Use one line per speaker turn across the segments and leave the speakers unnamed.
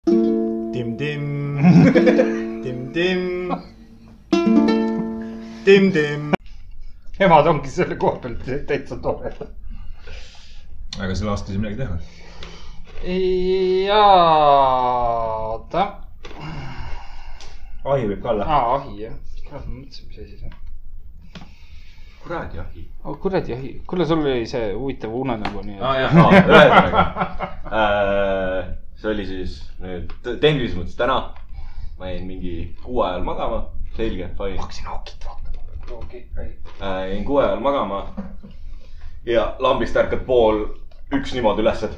Dim-dim. Dim-dim. Dim-dim.
nemad ongi selle koha pealt täitsa toredad .
aga selle aasta ei saa midagi teha .
ja , oota ,
ahi võib ka olla .
aa , ahi jah , kurat ma mõtlesin , mis asi see on .
kuradi ahi .
oh kuradi ahi , kuule , sul oli see huvitav unenägu nii
aa jah , ühesõnaga äh, . see oli siis nüüd t- tehnilises mõttes täna . ma jäin mingi kuue ajal magama , selge , fine
hakkasin haakit vaatama .
äh, . jäin kuue ajal magama . ja lambist ärkad pool üks niimoodi ülesse .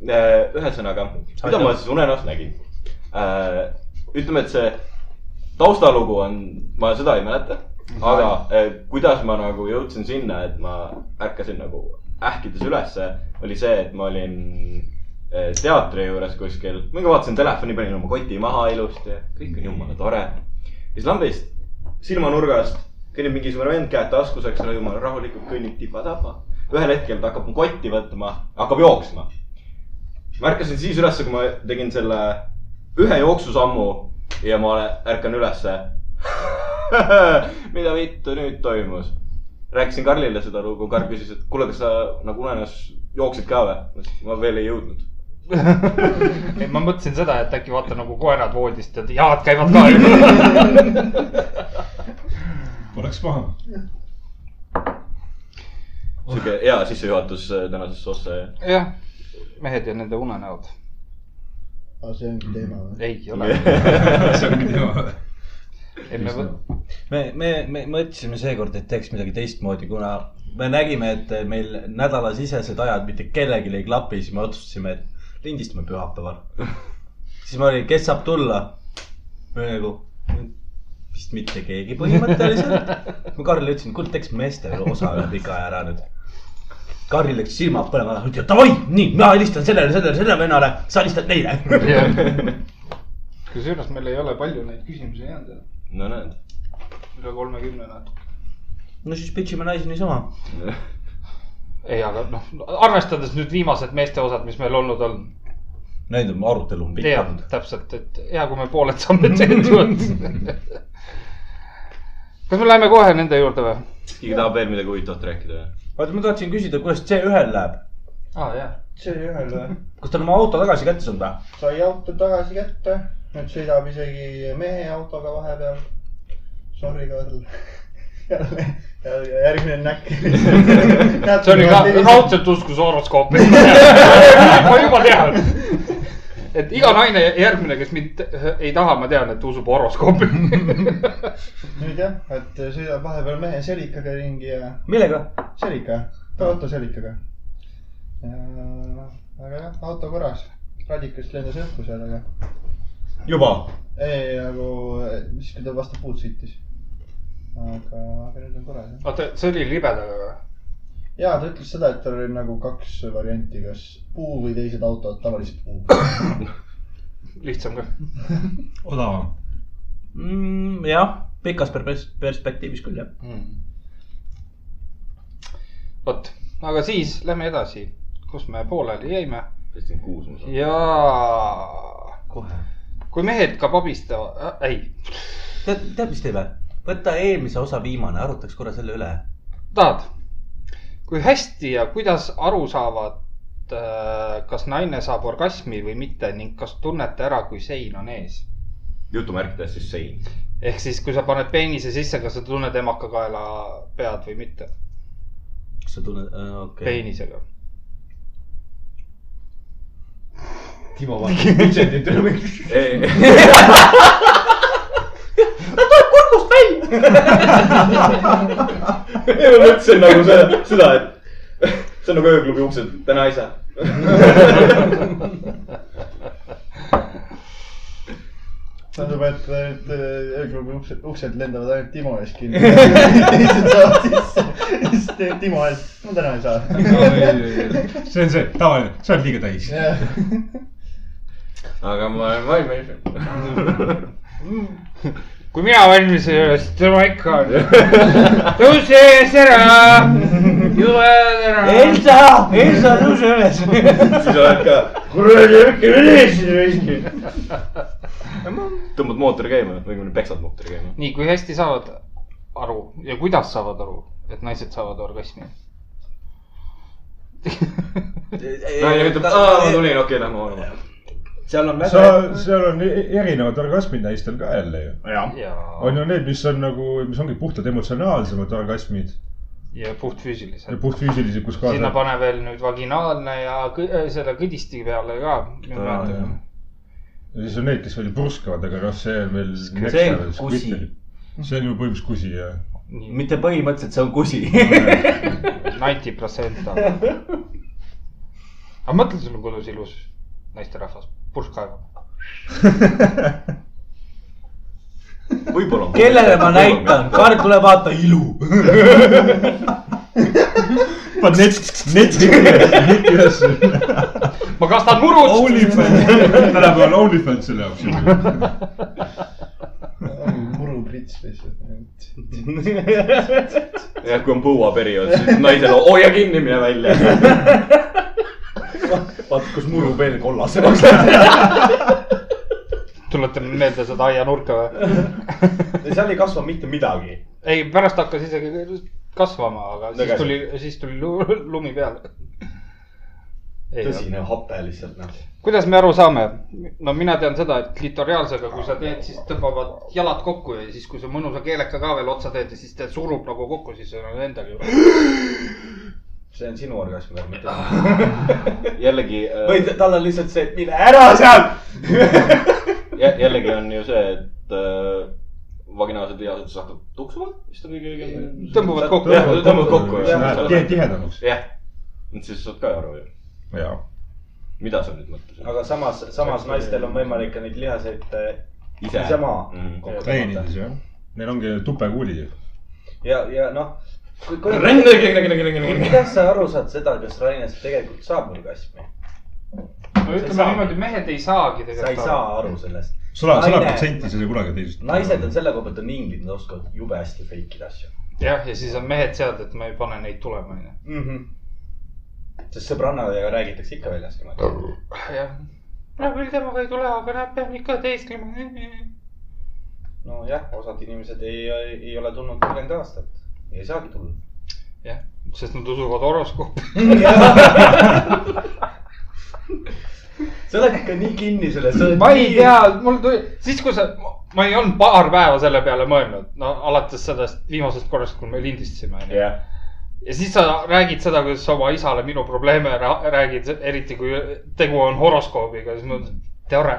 ühesõnaga , mida ma siis unenäos nägin äh, ? ütleme , et see taustalugu on , ma seda ei mäleta , aga äh, kuidas ma nagu jõudsin sinna , et ma ärkasin nagu ähkides ülesse , oli see , et ma olin äh, teatri juures kuskil , mingi vaatasin telefoni , panin oma koti maha ilusti ja kõik on jumala tore . ja siis lambist silmanurgast kõnnib mingisugune vend käed taskus , eks ole , jumala rahulikult kõnnib tipa-tapa . ühel hetkel ta hakkab mu kotti võtma , hakkab jooksma . ma ärkasin siis üles , kui ma tegin selle ühe jooksusammu ja ma ole- ärkan ülesse . mida vittu nüüd toimus ? rääkisin Karlile seda lugu , Karl küsis , et kuule , kas sa nagu unenäos jooksid ka või ? ma veel ei jõudnud .
ei , ma mõtlesin seda , et äkki vaata nagu koerad voodist , et jalad käivad ka .
Poleks paha .
sihuke hea sissejuhatus äh, tänasesse ossa .
jah , mehed ja nende unenäod .
aga Ah, see ongi teema või ?
ei ole .
see ongi teema .
ei , me võ- ,
me , me , me mõtlesime seekord , et teeks midagi teistmoodi , kuna me nägime , et meil nädalasisesed ajad mitte kellelgi ei klapi , siis me otsustasime , et lindistame pühapäeval . siis ma olin , kes saab tulla ? me nagu , vist mitte keegi põhimõtteliselt . ma Karlile ütlesin , kuule , teeks meeste osa üle pika aja ära nüüd . Karlil läks silmad põlema , ütles , et davai , nii , mina helistan sellele , sellele , sellele vennale , sa helistad neile .
jah. kusjuures meil ei ole palju neid küsimusi jäänud jah.
no näed .
üle kolmekümne natuke .
no siis pitsime naisi niisama .
ei , aga noh , arvestades nüüd viimased meeste osad , mis meil olnud on .
näinud , arutelu on pikk
tead
olnud .
täpselt , et hea , kui me pooled saame tehtud . kas me läheme kohe nende juurde või ?
keegi tahab veel midagi huvitavat rääkida või ?
vaata , ma tahtsin küsida , kuidas C1-l läheb ?
aa ah, jah ,
see ühel või ?
kas ta on oma auto tagasi kätte saanud või ?
sai auto tagasi kätte , nüüd sõidab isegi mehe autoga vahepeal . Sorry , Karl . jälle , jälle järgmine näkk .
see oli ka raudselt uskus horoskoopi . ma juba tean . et iga naine järgmine , kes mind ei taha , ma tean , et usub horoskoopi .
nüüd jah , et sõidab vahepeal mehe selikaga ringi ja
millega ?
selika , auto selikaga . aga jah , auto korras , radikast lendas õhku seal , aga
juba .
ei nagu , siis kui ta vastu puud sõitis . aga , aga nüüd on korras jah .
oota , see oli libedaga või ?
ja ta ütles seda , et tal oli nagu kaks varianti , kas puu või teised autod , tavaliselt puu .
lihtsam ka .
odavam .
Mm, jah , pikas perpes- perspektiivis küll jah .
vot , aga siis lähme edasi , kus me pooleli jäime
seitsekümmend kuus ma saan .
ja
kohe .
kui mehed ka pabistavad äh, , ei ,
tead , tead , mis teeme ? võta eelmise osa viimane , arutaks korra selle üle .
tahad , kui hästi ja kuidas aru saavad äh, kas naine saab orgasmi või mitte ning kas tunnete ära , kui sein on ees ?
jutumärkides siis sein .
ehk siis , kui sa paned peenise sisse , kas sa tunned emakakaela pead või mitte okay. ,
kas sa tunned , okei .
peenisega .
Timo vaatab budžetit üle või ? ta tuleb kurgust välja .
ei , ma mõtlesin nagu seda , seda , et see on nagu ööklubi uksed , täna ei saa .
tundub , et eh, need ööklubi uksed , uksed lendavad ainult Timo ees kinni . teised saavad sisse , siis teeb Timo ees , ma täna ei saa .
see on see tavaline , sa oled liiga täis .
aga ma olen valmis .
kui mina valmis ei ole , siis tema ikka on . tõuse ees ära . jube tere .
Elsa , Elsa tõuse üles .
siis oled ka ,
kuradi äkki üles raiski .
tõmbad mootori käima , õigemini peksad mootori käima .
nii , kui hästi saavad aru ja kuidas saavad aru , et naised saavad orgasmi ?
naine ütleb , aa , ma tulin , okei , lähme magama .
seal on
sa
väga ,,
seal on e- erinevad orgasmid naistel ka jälle ju .
jah ,
on ju need , mis on nagu , mis ongi puhtalt emotsionaalsemad orgasmid
ja puhtfüüsiliselt .
puhtfüüsilised , kus
sinna
kaasa .
pane veel nüüd vaginaalne ja kõ- äh, selle kõdisti peale ka .
ja siis on need , kes veel purskavad , aga noh , see on veel .
see on kusi. .
see on ju põhimõtteliselt kusi jah .
nii ,
mitte põhimõtteliselt , see on kusi .
ninety protsent . aga mõtle , sul on kodus ilus naisterahvas , pursk kaevab .
võib-olla .
kellele ma näitan ,? Karl , tule vaata ilu .
paned net , net ülesse .
ma kastan murud .
OnlyFans , tänapäeval on OnlyFans selle jaoks ju .
muru prits lihtsalt .
jah , kui on põuaperiood , siis naisel , hoia kinni , mine välja .
vaata , kus muru veel kollaseks läheb .
tuletame meelde seda aianurka või ?
seal ei kasva mitte midagi .
ei , pärast hakkas isegi kasvama , aga siis
Tagasi.
tuli , siis tuli lu- lumi peale .
tõsine hape lihtsalt noh .
kuidas me aru saame ? no mina tean seda , et klitoriaalsega , kui sa teed , siis tõmbavad jalad kokku ja siis , kui sa mõnusa keeleka ka veel otsa teed ja siis ta surub nagu kokku , siis on endaga juba .
see on sinu orgasm , mitte .
jällegi äh,
või ta- tal on lihtsalt see , et mine ära sealt .
jä, , jällegi on ju see , et äh, vaginaalsed lihased hakkavad tuksuma , vist on kõige õigem .
tõmbuvad kokku .
Jah, tõmbad kokku, jah.
tee tihedamaks .
jah , siis saad ka aru ju ,
jaa .
mida sa nüüd mõtlesid .
aga samas , samas naistel on võimalik ka neid lihaseid eh, ise maha
Mhm.
kokku tõmmata
treenides . jah . Neil ongi tupekuuli ju .
ja , ja noh .
Ränn , ränn , ränn , ränn , ränn .
kuidas sa aru saad seda , kas Rainest tegelikult saab orgasmi ?
no ütleme niimoodi , mehed ei saagi
sa ei
tegelikult .
saa aru sellest .
sada , sada protsenti selle kunagi teisest .
naised on . selle koha pealt on inglid , nad oskavad jube hästi fake ida asju
jah , ja siis on mehed sealt , et ma ei pane neid tulema , onju .
mm . -hmm. sest sõbrannadega räägitakse ikka väljas niimoodi .
jah . no küll temaga ei tule , aga näed , peab ikka teesklema .
nojah , osad inimesed ei , ei ole tulnud kolmkümmend aastat , ei saagi tulla .
jah , sest nad usuvad horoskoopi .
sa oled ikka nii kinni selles , sa oled
ma ei
nii-
tea , mul tuli , siis kui sa , ma ei olnud paar päeva selle peale mõelnud , no alates sellest viimasest korrast , kui me lindistasime , onju .
jah ,
ja siis sa räägid seda , kuidas sa oma isale minu probleeme ra- räägid , eriti kui tegu on horoskoobiga , siis ma mõtlen , tore .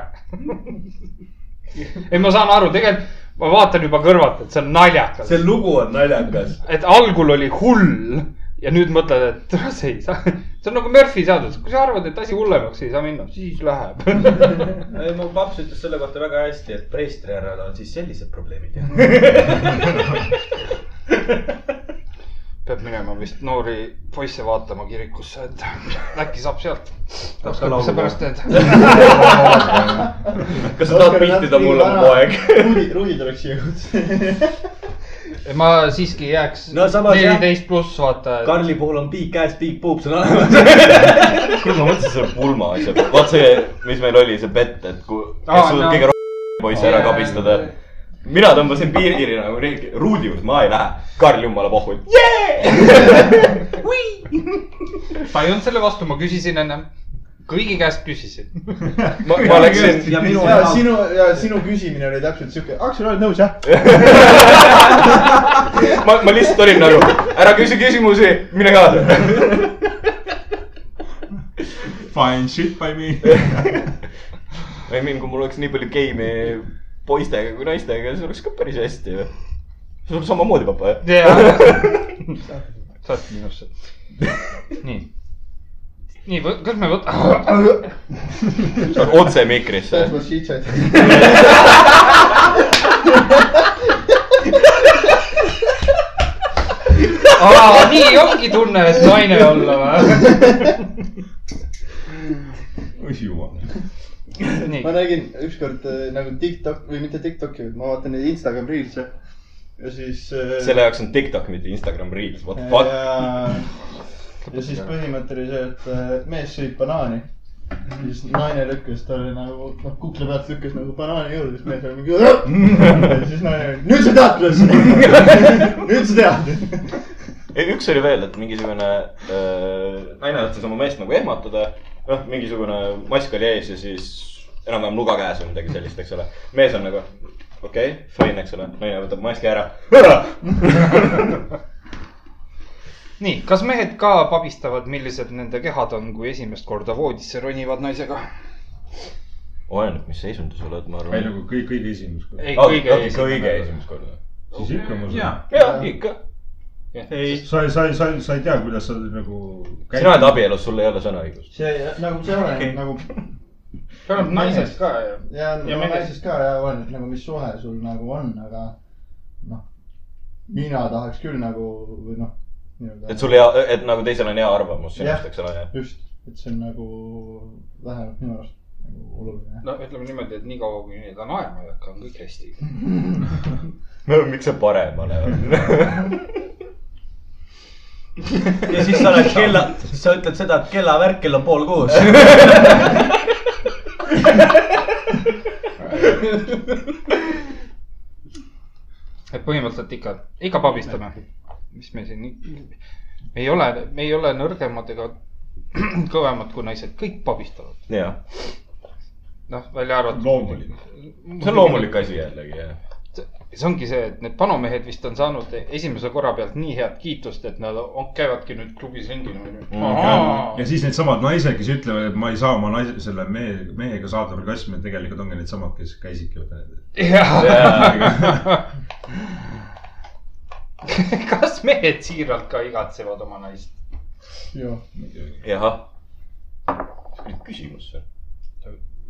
ei , ma saan aru , tegelikult ma vaatan juba kõrvalt , et see on naljakas .
see lugu on naljakas .
et algul oli hull ja nüüd mõtled , et tere, see ei saa , see on nagu Murphy seadus , kui sa arvad , et asi hullemaks ei saa minna , siis läheb .
mu paps ütles selle kohta väga hästi , et preestrihärral on siis sellised probleemid .
peab minema vist noori poisse vaatama kirikusse , et äkki saab sealt .
Tahaks
mis
ka laulu
sa pärast teed ?
kas sa tahad piltida mulle oma poeg ?
ruudid , ruudid oleks siia kutsunud .
ma siiski jääks
No samas jah.
neliteist pluss , vaata .
Karli puhul on piik käes , piik puup , see on olemas .
kuule , ma mõtlesin selle pulma asja peale , vaat see , mis meil oli , see bett , et kui ,
Aa,
kes suudab
no.
kõige rohkem poisse ära kabistada . mina tõmbasin piiri nagu riigi , ruudi juurde ma ei lähe . Karl jumala pohhu , et jee ,
ma ei olnud selle vastu , ma küsisin ennem . kõigi käest küsisin .
ma , ma läksin ,
ja minu
ja sinu ja sinu küsimine oli täpselt siuke , Aksel , oled nõus jah ?
ma , ma lihtsalt olin nagu , ära küsi küsimusi , mine kaasa .
Fine shit by me .
I mean , kui mul oleks nii palju geimi poistega kui naistega , siis oleks ka päris hästi ju . sul samamoodi , papa , jah ?
saad minusse . nii . nii , kas me võtame ?
otse mikrisse
That's . what she said .
aa , nii ongi tunne , et naine olla või ?
oi jumal .
nii
ma , nägin ükskord äh, nagu Tiktok või mitte Tiktoki , vaid ma vaatan neid Instagram reels'e ja siis .
selle jaoks on Tiktok , mitte Instagram Reels , what the fuck .
ja ja siis põhimõte oli see , et äh, mees sõi banaani . siis naine lükkas talle nagu , noh kukla pealt lükkas nagu banaani juurde , siis mees oli mingi . ja siis naine oli , nüüd sa tead , kuidas see on . nüüd sa tead .
ei , E, üks oli veel , et mingisugune äh, naine tahtis oma meest nagu ehmatada . noh , mingisugune mask oli ees ja siis enam-vähem nuga käes või midagi sellist , eks ole . mees on nagu okei okay, , fine , eks ole . naine võtab maski ära .
nii , kas mehed ka pabistavad , millised nende kehad on , kui esimest korda voodisse ronivad naisega ?
oleneb , mis seisundis sa oled , ma
ei
arvan .
nagu kõik , kõige esimest korda .
ei , kõige
kõige , kõige
esimene .
esimest korda .
siis ikka ma
Jaa.
saan .
jah , ikka .
ei ,
sa ei , sa ei , sa ei , sa ei tea , kuidas sa nagu .
sina oled . abielus , sul ei ole sõnaõigust .
see nagu see oleneb
Okei.
nagu
see oleneb naisest ka ju .
ja , ja
mees-
naisest ka ja oleneb nagu , mis suhe sul nagu on , aga noh , mina tahaks küll nagu või noh ,
et sul hea , et nagu teisel on hea arvamus
Jah.
sinust , eks ole , jah .
just , et see on nagu vähemalt minu arust nagu oluline .
no ütleme niimoodi , et niikaua kui neid on ajama ei hakka , on kõik hästi .
miks see paremale on ?
ja siis sa oled kella , siis sa ütled seda , et kellavärk kell on pool kuus .
et põhimõtteliselt ikka , ikka pabistame . mis me siin , me ei ole , me ei ole nõrgemad ega kõvemad kui naised , kõik pabistavad .
jah ,
noh , välja arvatud .
loomulik .
see on . loomulik asi jällegi , jah .
see ongi see , et need panumehed vist on saanud esimese korra pealt nii head kiitust , et nad on, käivadki nüüd klubis ringi .
ja siis needsamad naised , kes ütlevad , et ma ei saa oma naise , selle mehe , mehega saada orgasmi , tegelikult ongi needsamad , kes käisidki .
kas mehed siiralt ka igatsevad oma naist ?
jah ,
jah . mis oli küsimus see ?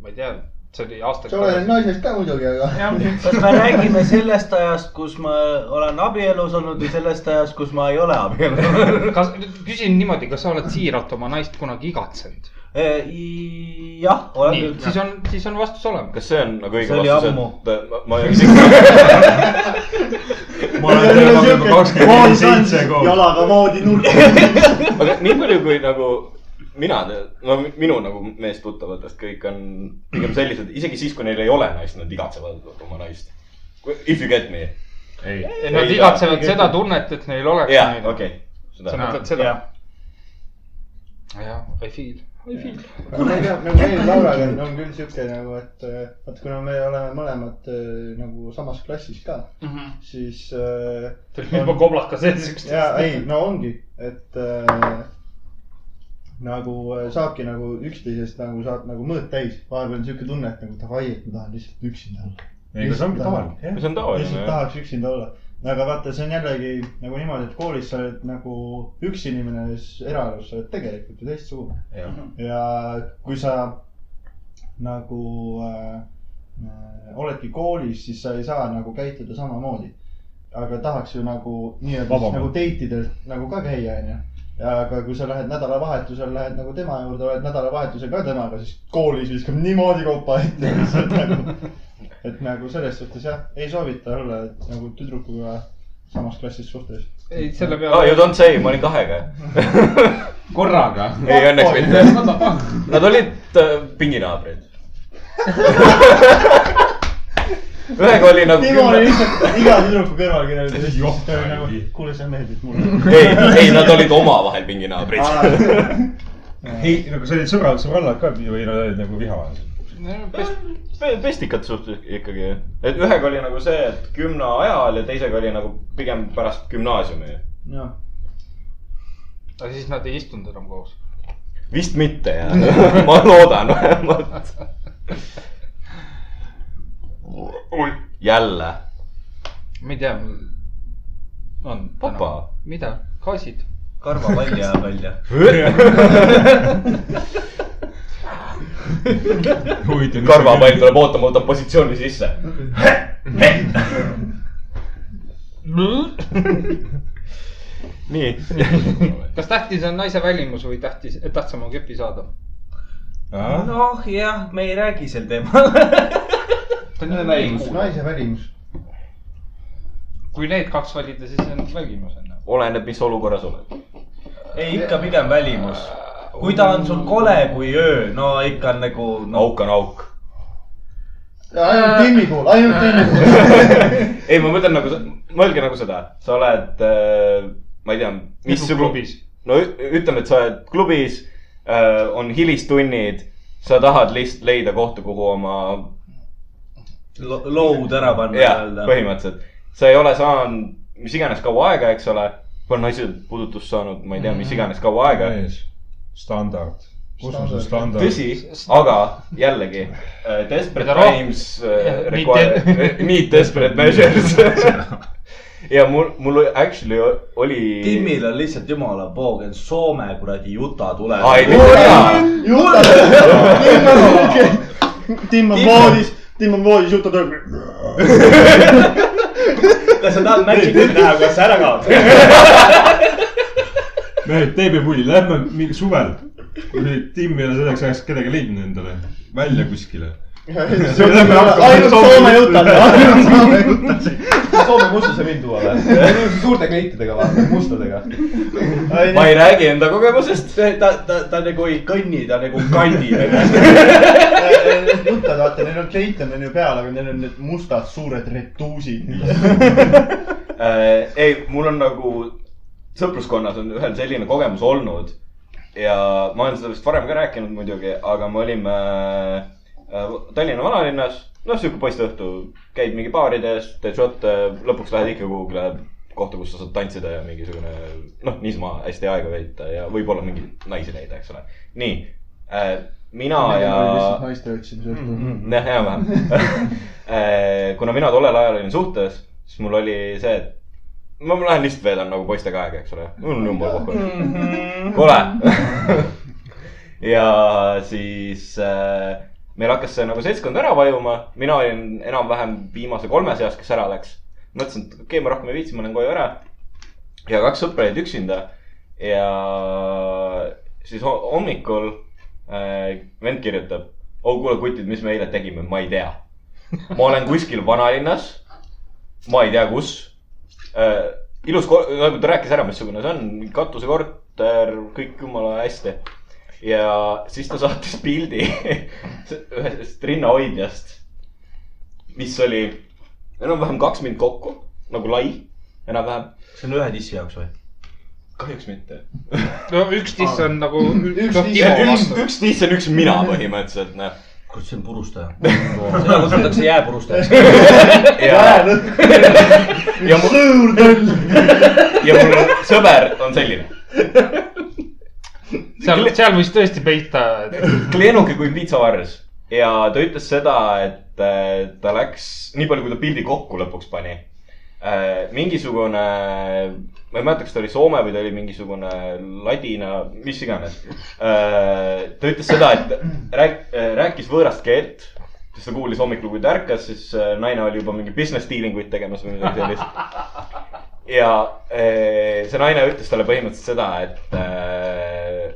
ma ei tea , see oli aastaid
sa oled . naisest ka muidugi , aga .
kas me räägime sellest ajast , kus ma olen abielus olnud või sellest ajast , kus ma ei ole abielus olnud ?
kas , küsin niimoodi , kas sa oled siiralt oma naist kunagi igatsenud ?
Äh, jah , olen
nii , siis
küll .
on , siis on vastus olemas .
kas see on nagu õige
See oli
vastus ,
ammu.
et ma- ma ei ole
ma olen temaga juba kakskümmend seitse koos .
jalaga voodi nurka .
aga nii palju , kui nagu mina , no minu nagu meestuttavatest kõik on pigem sellised , isegi siis , kui neil ei ole naist , nad igatsevad oma naist . If you get me .
ei ,
Nad
Ei,
igatsevad
ei,
seda tunnet , et neil oleks
jaa ,
naine.
okei .
sa
seda .
mõtled seda ? jah , I feel , I feel .
ma ei tea , nagu meil Lauraga on- on küll siuke nagu , et eh, vaat kuna me oleme mõlemad eh, nagu samas klassis ka , siis äh, .
tuli juba koblaka sees üks .
ja ei , no ongi , et äh, nagu äh, saabki nagu üksteisest nagu saad nagu mõõt täis , vahepeal on siuke tunne , et nagu davai , et ma tahan lihtsalt üksinda olla .
aga see ongi tavaline .
see on
lihtsalt
tavaline jah .
tahaks üksinda olla . aga vaata , see on jällegi nagu niimoodi , et koolis sa oled nagu üks inimene , siis eraelus sa oled tegelikult ju teistsugune . ja kui sa nagu äh, äh, oledki koolis , siis sa ei saa nagu käituda samamoodi . aga tahaks ju nagu nii-öelda siis
Vabamalt.
nagu date idel nagu ka käia , onju . ja aga kui sa lähed nädalavahetusel , lähed nagu tema juurde , oled nädalavahetusel ka temaga , siis koolis viskab niimoodi kaupa ette lihtsalt nagu . et nagu selles suhtes jah , ei soovita olla et, nagu tüdrukuga samas klassis suhtes .
ei , selle
aa , Ah,
peale .
you don't say , ma olin kahega .
korraga .
ei , õnneks mitte . Nad olid äh, pinginaabrid . ühega oli nagu .
Timo oli lihtsalt iga tüdruku kõrval , kellele ta ütles , ta oli nagu
Joh, ,
kuule , sa meeldid mulle .
ei , ei , nad olid omavahel pinginaabrid .
ei , aga sa olid sõbrad , sõbrannad ka või nad olid nagu viha all ?
pestikad suht ikkagi , et ühega oli nagu see , et gümna ajal ja teisega oli nagu pigem pärast gümnaasiumi .
jah ,
aga siis nad ei istunud enam koos .
vist mitte jah , ma loodan vähemalt . jälle ,
ma ei tea . on .
Papa. .
mida ? gaasid ?
karva välja ja välja .
karvapall tuleb ootamata positsiooni sisse . nii .
kas tähtis on naise välimus või tähtis , tähtsam on kepi saada ?
Ah?
noh , jah , me ei räägi sel teemal .
ta on
Naine välimus.
naise välimus .
kui need kaks valida , siis on välimus on ju .
oleneb , mis olukorras oled .
ei , ikka pigem välimus . kui ta on sul kole kui öö , no ikka on nagu no, .
auk on auk .
Äh,
ainult Timmi puhul , ainult Timmi puhul .
ei , ma mõtlen nagu , mõelge nagu seda , sa oled , ma ei tea , mis .
klubis ?
no ü- ütleme , et sa oled klubis , on hilistunnid , sa tahad lihtsalt leida kohta , kuhu oma ,
lood ära panna
jah , põhimõtteliselt . sa ei ole saanud mis iganes kaua aega , eks ole . on naised puudutust saanud , ma ei tea , mis iganes kaua aega .
mees , standard , kosmose
Standard.
standard .
tõsi , aga jällegi äh,
Mida
Desperate
rohkem-
Times
jah, need
äh, require
te- ,
need desperate measures . ja mul , mul actually oli .
Timmil on lihtsalt jumala poogen Soome kuradi juta tuleb .
Ai, nii.
Juta , Timm on okei . Timm on
Timm-
voodis , Timm on voodis , Juta tuleb .
kas sa tahad Magicit näha , kas sa ära kaotad ?
me teeme mulli , lähme mingi suvel . Tim ei ole selleks ajaks kedagi leidnud endale , välja kuskile .
ainult Soome Juta , ainult Soome Juta .
Soome mustuse mind tuua või ? suurte kleitidega või , mustadega .
ma ei räägi enda kogemusest .
ta , ta , ta nagu ei kõnni , ta nagu kandib ennast .
Juta , äh, vaata , neil on kleite on ju peal , aga neil on need mustad suured retuusid .
äh, . ei , mul on nagu sõpruskonnas on ühel selline kogemus olnud ja ma olen seda vist varem ka rääkinud muidugi , aga me olime äh, Tallinna vanalinnas , noh , sihuke poisteõhtu , käid mingi baarides , teed šotte , lõpuks lähed ikka kuhugile kohta , kus sa saad tantsida ja mingisugune noh , niisama hästi aega veeta ja võib-olla mingeid naisi leida , eks ole . nii äh, , mina ja .
naiste otsimise juhtum .
Mm, jah , enam-vähem . kuna mina tollel ajal olin suhtes , siis mul oli see , et ma ma lähen lihtsalt veedan nagu poistega aega , eks ole . mul on jumal kokku . kole . ja siis äh, meil hakkas see nagu seltskond ära vajuma , mina olin enam-vähem viimase kolme seas , kes ära läks . mõtlesin , et okei okay, , ma rohkem ei viitsi , ma lähen koju ära . ja kaks sõpra olid üksinda ja siis ho- hommikul äh, vend kirjutab . oh kuule , kutid , mis me eile tegime , ma ei tea . ma olen kuskil vanalinnas . ma ei tea , kus äh, . ilus , nagu ta rääkis ära , missugune see on , katusekorter , kõik jumala hästi . ja siis ta saatis pildi ühest rinnahoidjast , mis oli enam-vähem kaks mind kokku , nagu lai , enam-vähem .
see on ühe dissi jaoks või ?
kahjuks mitte .
no üks diss on nagu .
Üks diss-
üks , üks diss on üks mina põhimõtteliselt , noh .
kurat , see on purustaja . seda kutsutakse jääpurustajaks .
ja , ja mul ,
suur tõll .
ja mul sõber on selline .
seal , seal võis tõesti peita .
kleenuke kui piitsavars ja ta ütles seda , et äh, ta läks , nii palju , kui ta pildi kokku lõpuks pani . mingisugune , ma ei mäleta , kas ta oli Soome või ta oli mingisugune ladina , mis iganes . ta ütles seda , et rääk- , rääkis võõrast keelt , sest ta kuulis hommikul , kui ta ärkas , siis äh, naine oli juba mingi business dealing uid tegemas või midagi sellist . ja eh, see naine ütles talle põhimõtteliselt seda , et eh,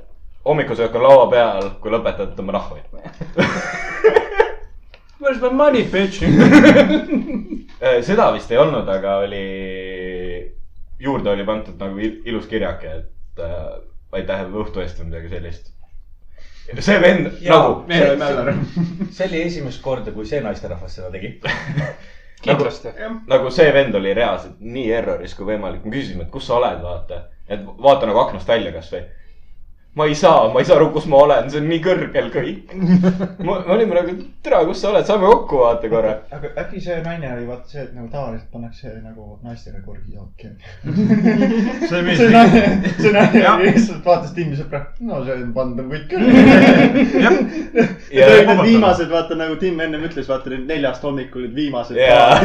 hommikusöök on laua peal , kui lõpetad , tõmba nahku .
Where's my money , bitch ?
Eh, seda vist ei olnud , aga oli , juurde oli pandud nagu il- ilus kirjake , et eh, aitäh õhtu eest või midagi sellist . see vend ja, nagu ,
me oleme Allar . see oli esimest korda , kui see naisterahvas seda tegi .
kindlasti .
nagu see vend oli reaalselt nii erroris kui võimalik . me küsisime , et kus sa oled , vaata , et vaata nagu aknast välja kasvõi ma ei saa , ma ei saa aru , kus ma olen , see on nii kõrgel kõik . me olime nagu , tere , kus sa oled , saame kokku vaata korra .
aga äkki see naine oli vaata see , et nagu tavaliselt pannakse nagu naistele korgi jooki .
see mees
see , naine , see naine oli lihtsalt vaatas Timmi sõpra , no see on pandav kõik küll . ja
ja
jah ,
need
vabandada.
viimased , vaata nagu Tim ennem ütles , vaata need neljast hommikul need viimased .
ja ,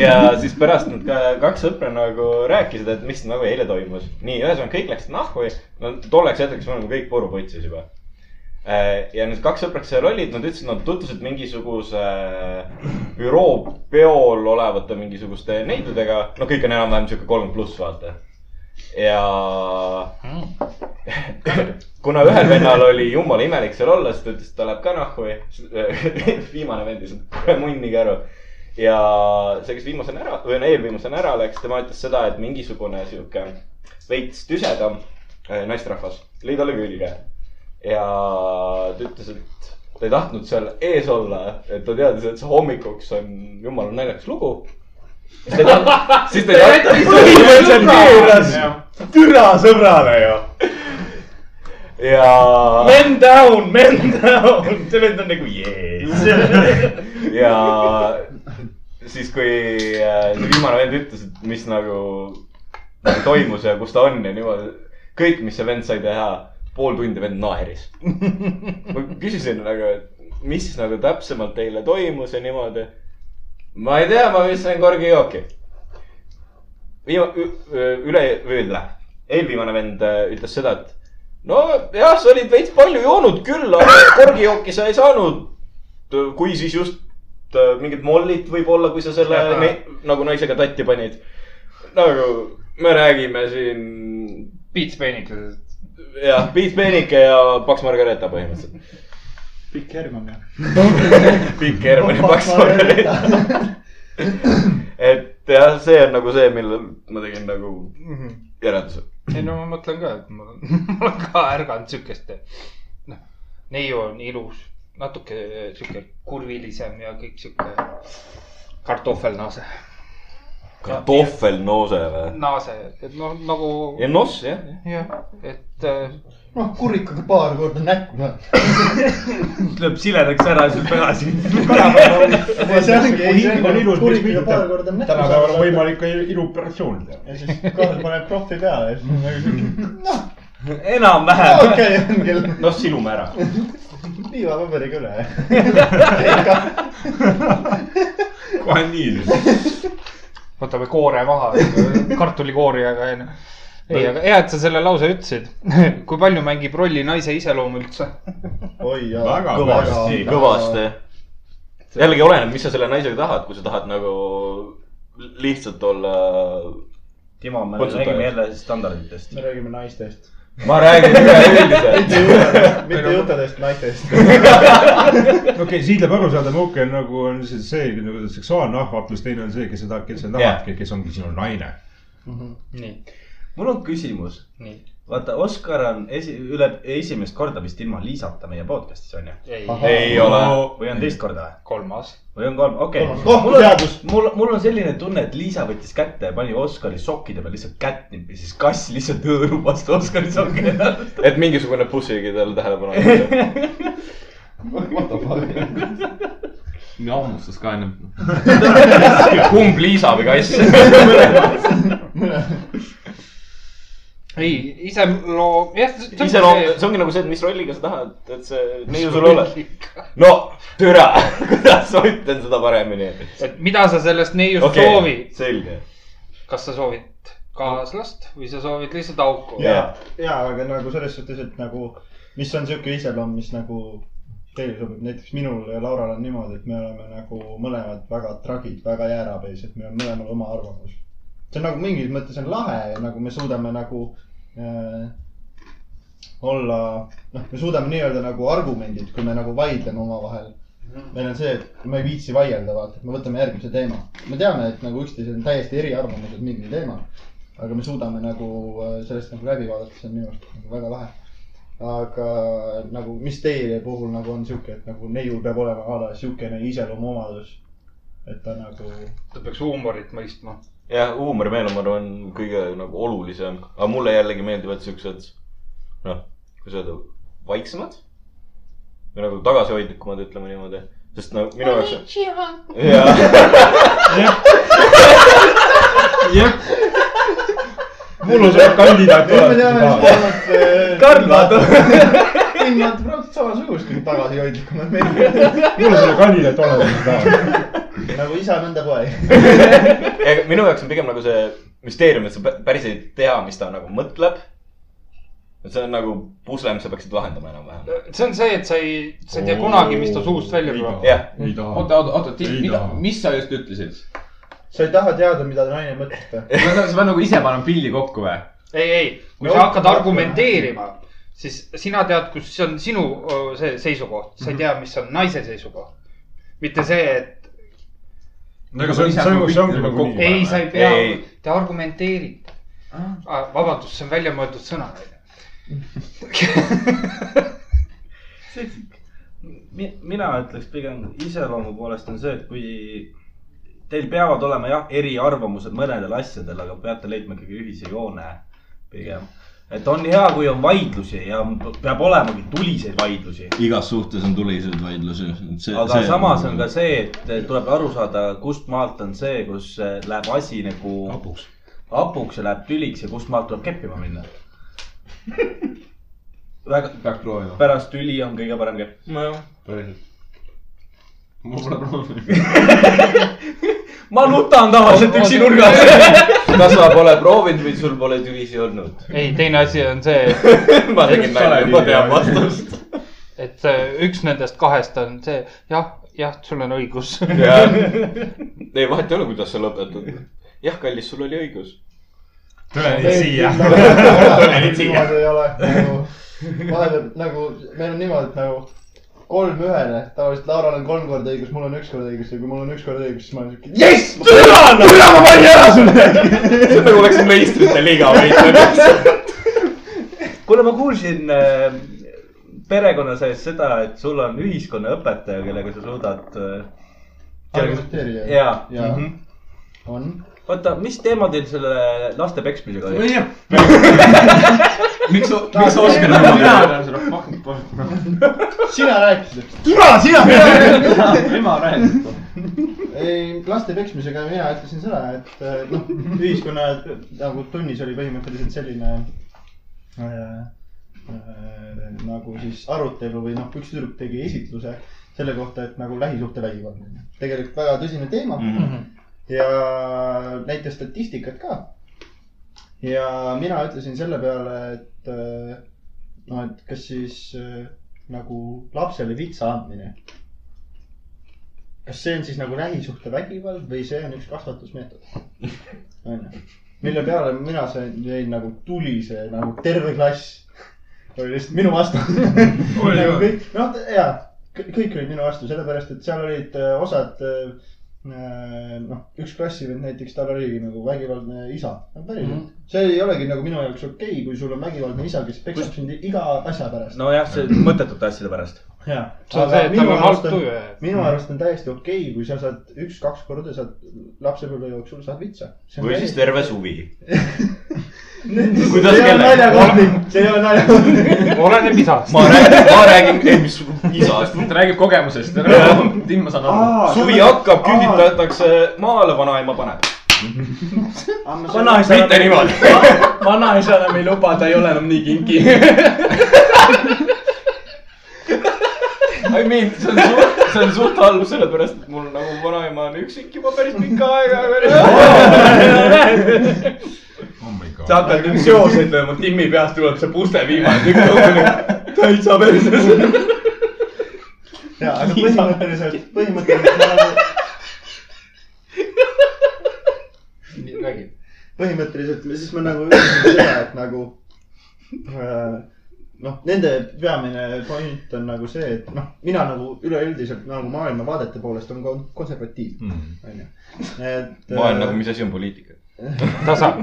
ja siis pärast nad ka kaks sõpra nagu rääkisid , et mis nagu eile toimus . nii , ühesõnaga kõik läksid nahku ja no tolleks hetkeks me olime kõik purupotsis juba . ja need kaks sõpra , kes seal olid , nad ütlesid , nad tutvusid mingisuguse büroo peol olevate mingisuguste neidudega . no kõik on enam-vähem sihuke kolmkümmend pluss , vaata . ja kuna ühel vennal oli jumala imelik seal olla , siis ta ütles , et ta läheb ka nahku ja siis viimane vend ütles , et kuule munnige aru . ja see , kes viimasena ära või no eelviimasena ära läks , tema ütles seda , et mingisugune sihuke veits tüsedam eh, naisterahvas , lõi talle külge ja ta ütles , et ta ei tahtnud seal ees olla , et ta teadis , et see hommikuks on jumala naljakas lugu . siis ta ei tahtnud , siis ta ei tahtnud .
türa sõbrale ju .
ja .
Men down , men down , see vend on nagu jees .
ja siis , kui äh, see viimane vend ütles , et mis nagu nagu toimus ja kus ta on ja niimoodi . kõik , mis see vend sai teha , pool tundi vend naeris . ma küsisin nagu , et mis nagu täpsemalt teile toimus ja niimoodi . ma ei tea , ma viskasin korgi jooki . viimane , üle , üle , eelviimane vend äh, ütles seda , et nojah , sa olid veits palju joonud küll , aga korgijooki sa ei saanud . kui siis just äh, mingit mollit võib-olla , kui sa selle ne, nagu naisega tatti panid . nagu me räägime siin
Piits peenikesest .
jah , Piet Peenike ja Paks Margareeta põhimõtteliselt .
pikk Herman ja .
pikk Hermanni Paks Margareeta . et jah , see on nagu see , millel ma tegin nagu järelduse .
ei no ma mõtlen ka , et ma olen , ma olen ka ärganud siukest , noh , neiu on ilus , natuke siuke kurvilisem ja kõik siuke kartohvelnaase ,
kartohvelnoose või ?
naase , et noh , nagu
Ennos jah .
jah , et äh,
noh , kurikaga paar korda näkku saad .
lööb siledaks ära ja siis tagasi .
see ongi ,
Kui
ei see
hind on
ongi
ilus, miks
kurikaga
mitte?
paar korda näkku
tänapäeval on
saad .
võimalik ka iluoperatsioon teha .
ja siis Karl paneb profi peale ja siis on nagu siuke , noh ,
enam-vähem .
okei on küll .
noh , silume ära .
liivapaberiga üle .
kohe nii ilus .
võtame koore maha , kartulikoori , aga ei noh . ei , aga hea , et sa selle lause ütlesid . kui palju mängib rolli naise iseloom üldse ?
oi jaa .
Väga
kõvasti , kõvasti . jällegi oleneb , mis sa selle naisega tahad , kui sa tahad nagu lihtsalt olla .
Timo , me
Kutsuta
räägime
just.
jälle standarditest .
me räägime naistest .
ma räägin üleüldiselt .
mitte juttudest , naistest .
okei , siit läheb aru saada , Muke on nagu on see , see nagu seksuaalne ahvatlus , teine on see , kes seda , kes sa tahadki , kes ongi sinu naine .
nii ,
mul on küsimus .
nii ,
vaata , Oskar on esi , üle , esimest korda vist ilma Liisata meie podcast'is on ju ?
ei ,
ei ole .
või on teist korda või ?
kolmas .
või on kolm , okei
Kolmas. Oh, teadus!
okay. . mul , mul on selline tunne , et Liisa võttis kätte ja pani Oskari sokkide peal lihtsalt kätt nippi , siis kass lihtsalt hõõrub vastu Oskari sokkide peal .
et mingisugune bussigi talle tähelepanu andis .
What the fuck ?
nii hammustas ka ennem .
kumb Liisa või kass ?
ei , iseloom , jah .
iseloom , see ongi nagu see , et mis rolliga sa tahad , et see neiu sul oled . no türa , kuidas ma ütlen seda paremini ?
et mida sa sellest neiust okay. soovid ,
selge .
kas sa soovid kaaslast või sa soovid lihtsalt auku
Jah.
yeah. ?
ja , ja , aga nagu selles suhtes , et nagu , mis on sihuke iseloom , mis nagu teile sobib , näiteks minul ja Laural on niimoodi , et me oleme nagu mõlemad väga tragid , väga jäärapäis , et meil on mõlemal oma arvamus . see on nagu mingis mõttes on lahe ja nagu me suudame nagu äh, olla , noh , me suudame nii-öelda nagu argumendid , kui me nagu vaidleme omavahel . meil on see , et me ei viitsi vaielda , vaata , et me võtame järgmise teema . me teame , et nagu üksteisel on täiesti eriarvamused mingil teemal aga me suudame nagu äh, sellest nagu läbi vaadata , see on minu arust nagu väga lahe . aga nagu , mis teie puhul nagu on sihuke , et nagu neiul peab olema a la siukene iseloomuomadus , et ta nagu .
ta peaks huumorit mõistma .
jah , huumorimeel , ma arvan , on kõige nagu olulisem , aga mulle jällegi meeldivad siuksed , noh , kuidas öelda , vaiksemad või nagu tagasihoidlikumad , ütleme niimoodi , sest no minu jaoks . jah ,
jah . mul on see kandidaat olemas .
Karl vaatab .
hinnad praktiliselt samasugust , kui tagasihoidlikumad meil .
mul on selle kandidaat olemas .
nagu isa nõnda poeg .
ega minu jaoks on pigem nagu see müsteerium , et sa pä- päris ei tea , mis ta nagu mõtleb . et see on nagu pusle , mis sa peaksid lahendama enam-vähem .
see on see , et sa ei , sa ei tea kunagi , mis ta suust välja tuleb .
Jah.
ei taha .
oota , oota , oota ,
Ei
mida
taha. ,
mis sa just ütlesid ?
sa ei taha teada , mida naine mõtleb .
ma saan , sa pead nagu ise panema pilli kokku või ?
ei , ei , kui
No,
sa hakkad
no,
argumenteerima , siis sina tead , kus on sinu öö, see seisukoht , sa ei tea , mis on naise seisukoht . mitte see , et
aga see on , see on , see ongi nagu nii .
ei , sa ei pea Ah,
Ei, ei. ,
te argumenteerite . vabandust , see on väljamõeldud sõna .
Mi- mina ütleks pigem iseloomu poolest on see , et kui teil peavad olema jah , eriarvamused mõnedel asjadel , aga peate leidma ikkagi ühise joone pigem . et on hea , kui on vaidlusi ja on- peab olemagi tuliseid vaidlusi .
igas suhtes on tuliseid vaidlusi .
aga samas on ka see , et tuleb aru saada , kust maalt on see , kus eh, läheb asi nagu
hapuks .
hapuks ja läheb tüliks ja kust maalt tuleb keppima minna . väga ,
peaks proovima .
pärast tüli on kõige parem kepp .
nojah ,
päriselt .
mul pole proovinud .
ma nutan tavaliselt üksi nurgas .
kas sa pole proovinud või sul pole tüvisi olnud ?
ei , teine asi on see ,
ma tegin nalja , ma tean vastust .
et äh, üks nendest kahest on see , jah , jah , sul on õigus .
ei , vahet ei ole , kuidas sa lõpetad . jah , kallis , sul oli õigus .
tule nüüd siia . tule nüüd siia .
niimoodi ei ole nagu , vahel nagu meil on niimoodi , et nagu kolm ühele , tavaliselt Laural on kolm korda õigus , mul on üks kord õigus ja kui mul on üks kord õigus , siis ma olen siuke jess ,
türa , ma panin ära sulle .
see nagu oleks meistrite liiga võitlemas .
kuule , ma kuulsin äh, perekonna sees seda , et sul on ühiskonnaõpetaja , kellega sa suudad äh, .
argumenteerija .
Jaa. Mhm.
jaa , on .
oota , mis teema teil selle laste peksmisega oli ?
miks sa , miks sa oskad nagu teha ?
sina rääkisid ,
türa , sina .
ema räägib .
ei laste peksmisega mina ütlesin seda , et eh, noh , ühiskonna nagu tunnis oli põhimõtteliselt selline äh, äh, nagu siis arutelu või noh , üks tüdruk tegi esitluse selle kohta , et nagu lähisuhtevägivald on ju . tegelikult väga tõsine teema mm .
Mhm.
-hmm
Mhm.
ja näitas statistikat ka . ja mina ütlesin selle peale , et äh, noh , et kas siis äh, nagu lapsele vitsa andmine . kas see on siis nagu lähisuhtevägivald või see on üks kasvatusmeetod ? onju , mille peale mina sain , jäin nagu tulise nagu terve klass oli lihtsalt minu vastus . nagu kõik , noh ja kõik olid minu vastu , sellepärast et seal olid äh, osad äh, noh , üks klassivend näiteks , tal oligi nagu vägivaldne isa , no päriselt
Mhm.
mm . -hmm. see ei olegi nagu minu jaoks okei okay, , kui sul on vägivaldne isa , kes peksab sind iga asja pärast no. .
nojah , see mõttetute asjade pärast .
see on see , et Mhm. tal on halb tuju ja .
minu arust on täiesti okei okay, , kui sa saad üks-kaks korda saad lapsepõlve jooksul saad vitsa .
või siis terve suvi .
kuidas
Kuidas
see ei ole
kellegi-
naljakohtlik , see ei ole naljakohtlik .
oleneb isast .
ma räägin , ma räägin , ei mis isast .
ta räägib kogemusest . Tim , ma saan aru .
suvi hakkab , küüditatakse maale , vanaema paneb .
vanaisa
mitte niimoodi .
vanaisa enam ei luba , ta ei ole enam nii kinki .
I mean , see on suht , see on suht halb , sellepärast et mul nagu vanaema on üksik juba päris pikka aega .
oh my god .
sa hakkad nüüd seoseid lööma , Timmi peast tuleb see puste viimane tükk . täitsa perses .
ja , aga põhimõtteliselt , põhimõtteliselt ma nagu
räägi .
põhimõtteliselt siis ma nagu ütlesin seda , et nagu äh, noh , nende peamine point on nagu see , et noh , mina nagu üleüldiselt nagu maailmavaadete poolest on kon- konservatiiv ,
Hmm.
onju . et
ma olen nagu , mis asi on poliitika ?
tasa .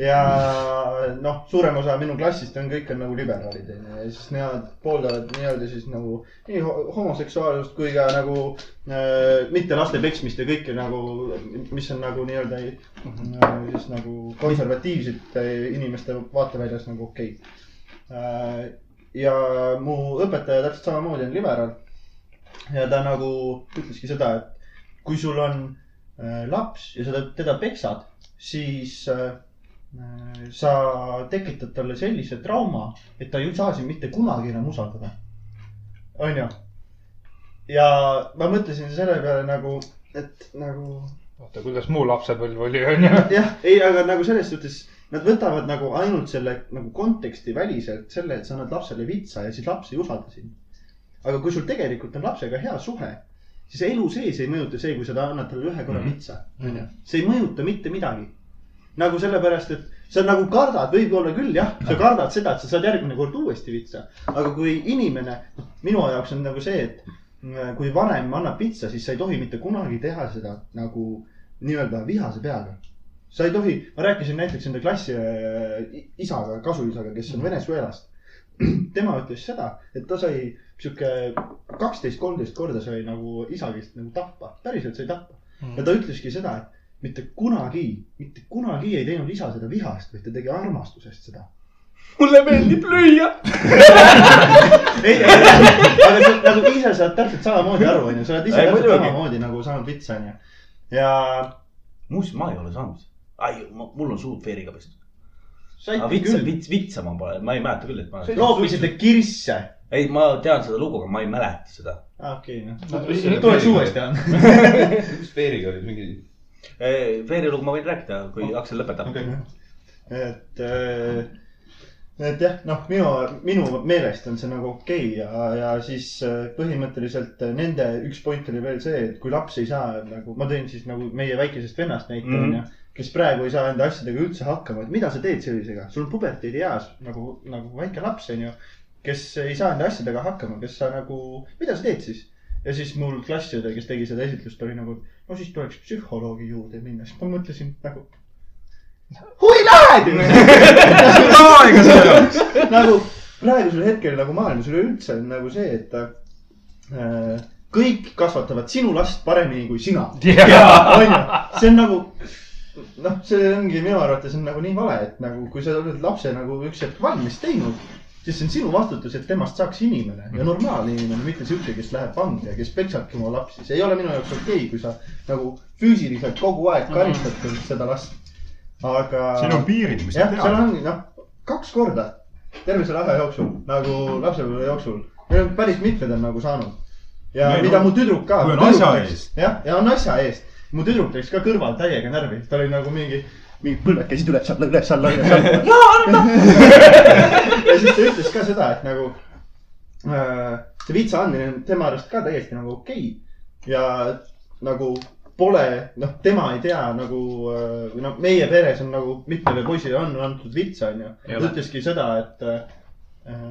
ja noh , suurem osa minu klassist on kõik on nagu liberaalid onju ja siis nemad pooldavad nii-öelda siis nagu nii ho- homoseksuaalsust kui ka nagu äh, mitte laste peksmist ja kõike nagu , mis on nagu nii-öelda äh, siis nagu konservatiivsete inimeste vaateväljas nagu okei okay. . ja mu õpetaja täpselt samamoodi on liberaal ja ta nagu ütleski seda , et kui sul on äh, laps ja sa teda peksad , siis äh, sa tekitad talle sellise trauma , et ta ei saa sind mitte kunagi enam usaldada . onju . ja ma mõtlesin selle peale nagu , et nagu
oota , kuidas mu lapsepõlv oli , onju .
jah , ei , aga nagu selles suhtes nad võtavad nagu ainult selle nagu konteksti väliselt selle , et sa annad lapsele vitsa ja siis laps ei usalda sind . aga kui sul tegelikult on lapsega hea suhe , siis elu sees ei mõjuta see , kui sa ta- annad talle ühe korra vitsa , onju . see ei mõjuta mitte midagi . nagu sellepärast , et sa nagu kardad , võib-olla küll jah , sa kardad seda , et sa saad järgmine kord uuesti vitsa , aga kui inimene , minu jaoks on nagu see , et mm, kui vanem annab vitsa , siis sa ei tohi mitte kunagi teha seda nagu nii-öelda vihase peaga sa ei tohi , ma rääkisin näiteks enda klassi äh, isaga , kasuisaga , kes on Venezuelast tema ütles seda , et ta sai sihuke kaksteist , kolmteist korda sai nagu isa käest nagu tappa , päriselt sai tappa . ja ta ütleski seda , et mitte kunagi , mitte kunagi ei teinud isa seda vihast , vaid ta tegi armastusest seda .
mulle meeldib lüüa .
ei , aga sa nagu ise saad täpselt samamoodi aru , onju , sa oled ise
Ei,
täpselt
muidugi.
samamoodi nagu saanud vitsa , onju . ja
muuseas , ma ei ole saanud . ai , mul on suud veeriga pestud . aga
saite
vitsa ,
küll ,
vits , vitsa ma pole , ma ei mäleta küll , et ma olen .
loopisite kirsse .
ei , ma tean seda lugu , aga ma ei mäleta seda .
okei ,
No,
noh .
mis selle
tuleks
piiriga
uuesti anda .
mis veeriga oli mingi ?
Veeri lugu Eh, ma võin rääkida , kui Aksel lõpetab
Okei. et , et jah , noh , minu , minu meelest on see nagu okei okay ja , ja siis äh, põhimõtteliselt nende üks point oli veel see , et kui laps ei saa nagu , ma tõin siis nagu meie väikesest vennast näite
Mhm.
onju mm -hmm. kes praegu ei saa enda asjadega üldse hakkama , et mida sa teed sellisega , sul on puberteedieas nagu , nagu väike laps onju , kes ei saa enda asjadega hakkama , kes sa nagu , mida sa teed siis ? ja siis mul klassiõde , kes tegi seda esitlust , oli nagu , no siis tuleks psühholoogi juurde minna , siis ma mõtlesin nagu huvi lähed ju .
aega selle jaoks .
nagu praegusel hetkel nagu maailmas üleüldse on nagu see , et äh, kõik kasvatavad sinu last paremini kui sina . onju , see on nagu noh , see ongi minu arvates on nagu nii vale , et nagu kui sa oled lapse nagu üks hetk valmis teinud , siis see on sinu vastutus , et temast saaks inimene
Mhm.
ja normaalne inimene , mitte sihuke , kes läheb vangi ja kes peksabki oma lapsi , see ei ole minu jaoks okei okay, , kui sa nagu füüsiliselt kogu aeg karistad mm -hmm. seda last . aga .
Mhm. siin on piirid , mis sa
jah , seal
tead .
ongi noh , kaks korda terve selle aja jooksul nagu lapsepõlve jooksul , päris mitmed on nagu saanud . ja
Meil
Meil mida
on-
mu tüdruk ka .
kui on asja eest. .
jah , ja on asja eest . mu tüdruk läks ka kõrval täiega närvi , ta oli nagu mingi , mingi põlved käisid üles-alla , üles-alla , üles-alla . ja siis ta ütles ka seda , et nagu äh, see vitsa andmine on tema arust ka täiesti nagu okei okay. ja nagu pole , noh , tema ei tea nagu äh, või noh , meie peres on nagu mitmele poisile on antud vitsa , onju . ta ütleski seda , et äh,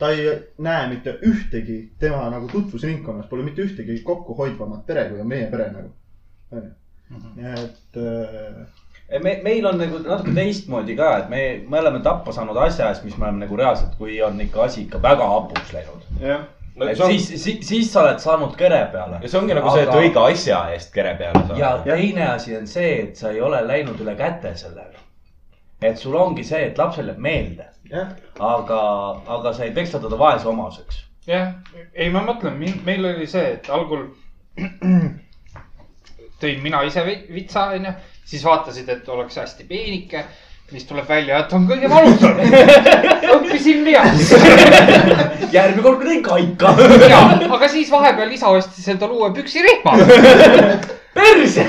ta ei näe mitte ühtegi tema nagu tutvusringkonnas pole mitte ühtegi kokkuhoidvamat pere , kui on meie pere nagu . et äh,
me , meil on nagu natuke teistmoodi ka , et me , me oleme tappa saanud asja eest , mis me oleme nagu reaalselt , kui on ikka asi ikka väga hapuks läinud .
jah ,
No,
et
see on,
siis , siis , siis sa oled saanud kere peale .
ja see ongi nagu see , et õige asja eest kere peale
ja
saada .
teine asi on see , et sa ei ole läinud üle käte sellega . et sul ongi see , et lapsele jääb meelde ,
jah ,
aga , aga sa ei peksta teda vaese omaseks .
jah , ei , ma mõtlen , meil oli see , et algul tõin mina ise vi- vitsa , onju , siis vaatasid , et oleks hästi peenike , siis tuleb välja , et on kõige valusam . õppisin veaks .
järgmine kord teen kaika .
ja , aga siis vahepeal isa ostis endale uue püksirihma .
perse .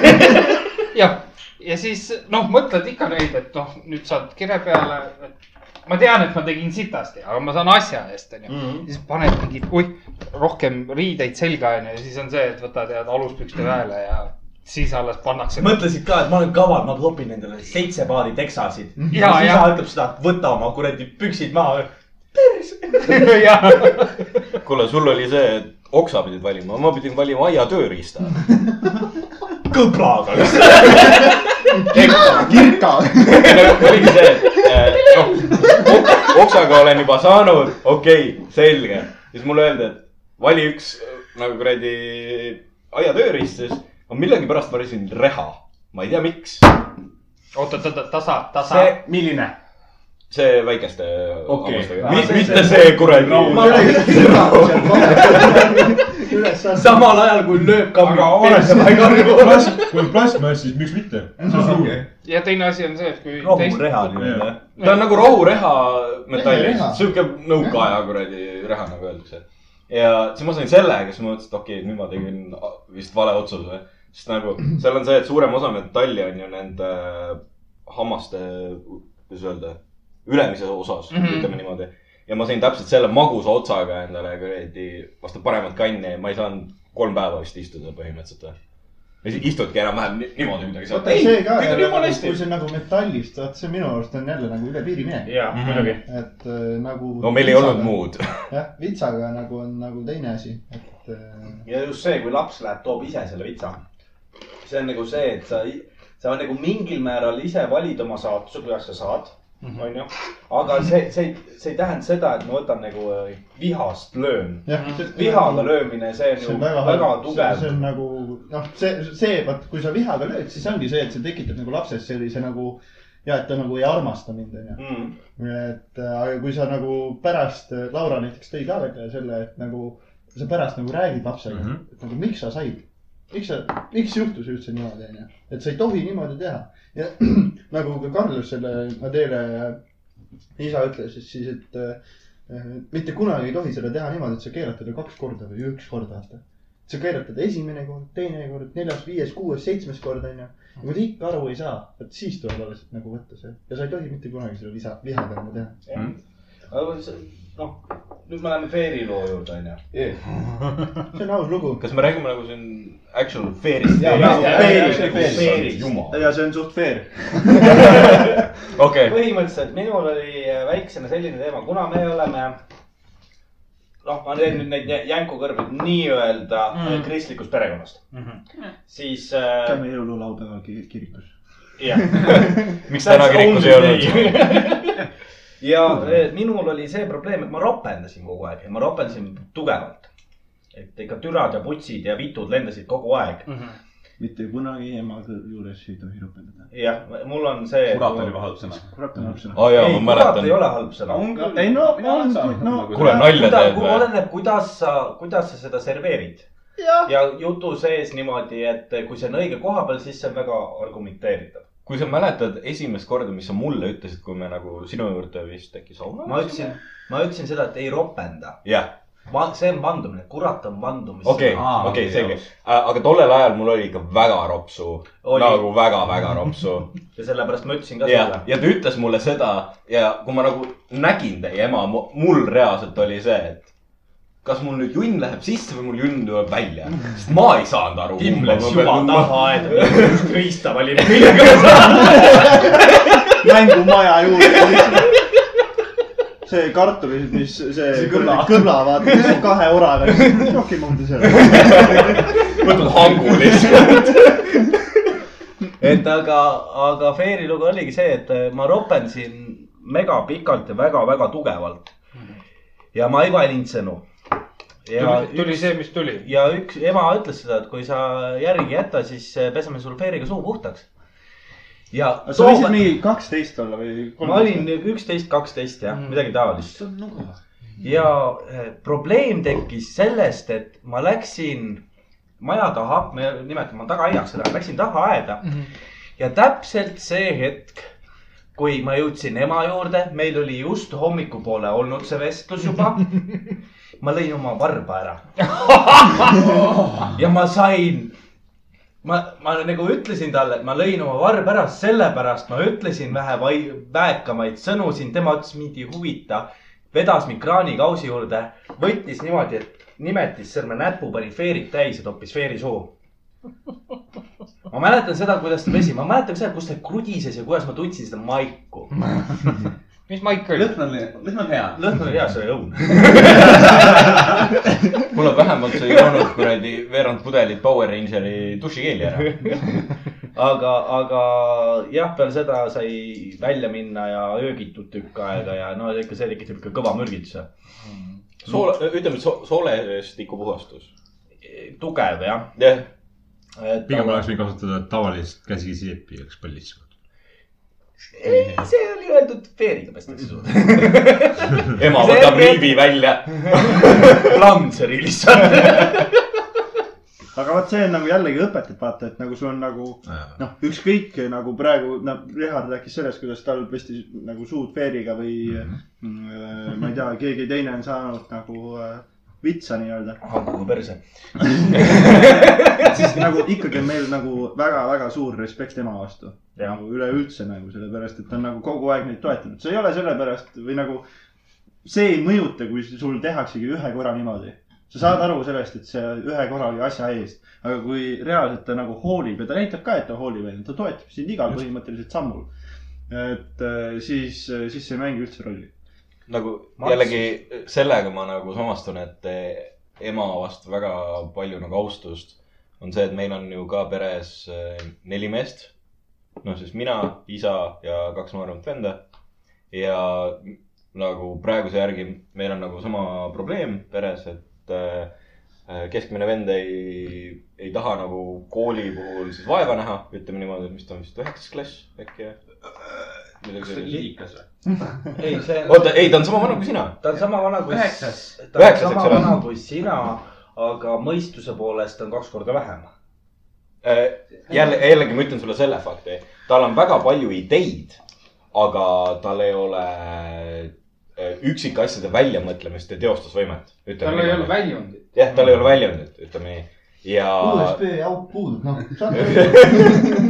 jah , ja siis noh , mõtled ikka neid , et noh , nüüd saad kire peale . ma tean , et ma tegin sitasti , aga ma saan asja eest , onju .
Mhm.
siis paned mingid , oih , rohkem riideid selga , onju , ja siis on see , et võtad ja
Mhm.
aluspükste väele ja siis alles pannakse .
mõtlesid ka , et ma olen kaval , ma klopin endale seitse paari teksasid .
Ja, ja.
isa ütleb seda , et võta oma kuradi püksid maha .
jah ,
kuule , sul oli see , et oksa pidid valima , ma pidin valima aia tööriista .
kõbraga .
kirka .
oligi see , et eh, noh ok- oksaga olen juba saanud , okei okay, , selge . siis mulle öeldi , et vali üks eh, nagu kuradi aia tööriist , siis ma millegipärast valisin reha . ma ei tea , miks .
oota , oota , tasa , tasa
see
see... .,
milline ?
see väikeste
Okei.
hammastega
Ah,
okay. ,
see-
mitte see kuradi
ma
no, .
räägin kirka seal vahel . üles astus .
samal ajal kui lööb
aga
kammi perse ma ei karju .
oleks , kui on plastmass , siis miks mitte ? see on suur .
ja teine asi on see , et kui
rohu reha nii-öelda .
ta on nagu rohureha metall
Reha. ,
sihuke nõukaaja kuradi reha , nagu öeldakse . ja siis ma sain selle , kes mõtles , et okei okay, , nüüd ma tegin vist vale otsuse . sest nagu seal on see , et suurem osa metalli on ju nende hammaste , kuidas öelda , ülemises osas mm ,
Mhm.
-hmm. ütleme niimoodi . ja ma sain täpselt selle magusa otsaga endale kuradi vastu paremat kanni ja ma ei saanud kolm päeva vist istuda põhimõtteliselt või . istudki enam-vähem ni- niimoodi midagi .
vaata see ka ,
jumala hästi
kui . see on nagu metallist , vaat see minu arust on jälle nagu üle piiri minek ,
jaa ,
Mhm.
muidugi .
et äh, nagu .
no meil ei olnud . muud .
jah , vitsaga nagu on nagu teine asi , et äh,
ja just see , kui laps läheb , toob ise selle vitsa . see on nagu see , et sa , sa nagu mingil määral ise valid oma saatuse , kuidas sa saad . onju . aga see , see , see ei tähenda seda , et ma võtan nagu äh, vihast löön . Mm. vihaga löömine , see
see
on
on
ju väga, väga
halb. See-
tugev
see . on nagu noh , see , see , vaat kui sa vihaga lööd , siis ongi see , et see tekitab nagu lapses sellise nagu ja et ta nagu ei armasta mind , onju . et äh, aga kui sa nagu pärast , Laura näiteks tõi ka välja selle , et nagu sa pärast nagu räägid lapsega mm ,
Mhm.
-hmm. et nagu miks sa said , miks sa , miks juhtus üldse niimoodi , onju . et sa ei tohi niimoodi teha ja nagu ka Carlos selle Adele isa ütles , et siis , et äh, mitte kunagi ei tohi seda teha niimoodi , et sa keelad teda kaks korda või üks kord , vaata . sa keelad teda esimene kord , teine kord , neljas , viies , kuues , seitsmes kord , onju . ja kui ta ikka aru ei saa , et siis tuleb alles nagu võtta see ja sa ei tohi mitte kunagi seda visa , viha peale teha .
aga see , noh , nüüd me läheme Feeri loo juurde , onju .
see on aus lugu .
kas me räägime nagu siin actual fair'ist ?
Jaa, jaa, jaa, jaa, see on fair.
jumal .
ja see on suht fair .
okei ,
põhimõtteliselt minul oli äh, väiksena selline teema , kuna me oleme , noh , ma teen nüüd neid jä- jänkukõrveid nii-öelda mm. kristlikust perekonnast mm .
Mhm.
-hmm. siis äh,
käime jõululaupäeval ki- kirikus .
jah ,
miks täna kirikus ei olnud ?
ja eh, minul oli see probleem , et ma ropendasin kogu aeg ja ma ropendasin tugevalt . et ikka türad ja putsid ja vitud lendasid kogu aeg .
Mhm.
mitte kunagi ema juures ei tohi ropendada .
jah , mul on see .
kurat oli vahepeal sõna .
kurat on halb sõna .
aa jaa ,
ei ,
ma
kurat ei
mäletan .
ole halb sõna .
ei no , mina olen
nagu
kuule ,
saanud .
nalja eh. teed või ?
oleneb , kuidas sa , kuidas sa seda serveerid . ja jutu sees niimoodi , et kui see on õige koha peal , siis see on väga argumenteeritav .
kui sa mäletad esimest korda , mis sa mulle ütlesid , kui me nagu sinu juurde vist äkki sauna
ma ütlesin , ma ütlesin seda , et ei ropenda .
jah ,
see on vandumine , kurat on vandumis .
okei ,
Aa,
okei ,
okei,
selge . aga tollel ajal mul oli ikka väga ropsu ,
Oli.
nagu väga-väga ropsu .
ja sellepärast ma ütlesin ka
ja
seda ,.
ja ta ütles mulle seda ja kui ma nagu nägin teie ema , mul reaalselt oli see , et kas mul nüüd junn läheb sisse või mul junn tuleb välja , sest ma ei saanud aru .
Imleks juba taha , et just riista valib .
mängumaja juurde . see kartulid , mis see kõla , kõla vaata , mis on kahe oraga , rohkem on ta seal .
võtad hangu lihtsalt .
et aga , aga Feeri lugu oligi see , et ma ropendasin mega pikalt ja väga-väga tugevalt . ja ma ei valinud sõnu . Mhm. ja
tuli, tuli see , mis tuli .
ja üks ema ütles seda , et kui sa järgi jäta , siis eh, peseme sul feeriga suu puhtaks . ja .
sa võisid mingi kaksteist olla või ?
ma olin . üksteist , kaksteist jah mm. , midagi taolist . ja eh, probleem tekkis sellest , et ma läksin maja taha , me nimetame tagaaiaks seda , läksin tagaaeda mm . -hmm. ja täpselt see hetk , kui ma jõudsin ema juurde , meil oli just hommikupoole olnud see vestlus juba . ma lõin oma varba ära . ja ma sain ma , ma nagu ütlesin talle , et ma lõin oma varba ära , sellepärast ma ütlesin vähe vai- , väekamaid sõnu siin , tema ütles mind ei huvita . vedas mind kraanikausi juurde , võttis niimoodi , et nimetis sõrme näpu , pani feerid täis ja toppis feeri suhu . ma mäletan seda , kuidas ta pesi , ma mäletan ka seda , kus ta krudises ja kuidas ma tundsin seda maiku .
mis maik oli ?
lõhn on , lõhn on hea .
lõhn oli hea , see oli õun .
kuule , vähemalt sa ei joonud kuradi veerand pudelit Power Rangeri dušikeeli ära .
aga , aga jah , peale seda sai välja minna ja öögitud tükk aega ja no ikka see tekitab ikka kõva mürgituse .
soole , ütleme so, soolestikupuhastus .
tugev jah .
jah ,
Et
pigem oleks võinud kasutada tavalist käsisiepi , oleks palju lihtsam .
ei , see oli öeldud veeriga pestakse suud .
ema
See
võtab
hetk-
riivi välja .
Lamseri lihtsalt .
aga vot see on nagu jällegi õpetab , vaata , et nagu sul on nagu noh , ükskõik nagu praegu , noh , Richard rääkis sellest , kuidas tal pesti nagu suud veeriga või mm, äh, ma ei tea , keegi teine on saanud nagu äh, vitsa nii-öelda .
hambuga perse .
et siis nagu ikkagi on meil nagu väga-väga suur respekt ema vastu .
Jah.
nagu üleüldse nagu sellepärast , et ta on nagu kogu aeg neid toetanud , see ei ole sellepärast või nagu see ei mõjuta , kui sul tehaksegi ühe korra niimoodi . sa saad aru sellest , et see ühe korra oli asja eest , aga kui reaalselt ta nagu hoolib ja ta näitab ka , et ta hoolib , onju , ta toetab sind igal põhimõtteliselt sammul . et äh, siis , siis see ei mängi üldse rolli .
nagu
Ma
jällegi sellega ma nagu samastun , et eh, ema vastu väga palju nagu austust on see , et meil on ju ka peres eh, neli meest . noh , siis mina , isa ja kaks nooremat venda . ja nagu praeguse järgi meil on nagu sama probleem peres , et äh, keskmine vend ei , ei taha nagu kooli puhul siis vaeva näha , ütleme niimoodi , et mis ta on vist üheksas klass äkki
kas see on
või ?
liidikas või ?
ei , see on ,
oota , ei , ta on sama vana kui sina .
ta on sama vana kui ,
Üheksas.
ta on
Üheksas,
sama
eks ole.
vana kui sina , aga mõistuse poolest on kaks korda vähem .
Äh, jälle , jällegi ma ütlen sulle selle fakti , tal on väga palju ideid , aga tal ei ole äh, üksikasjade väljamõtlemist ja teostusvõimet .
tal ei ole . väljundit .
jah , tal ei ole väljundit , ütleme nii . ja
USB auk puudub , noh .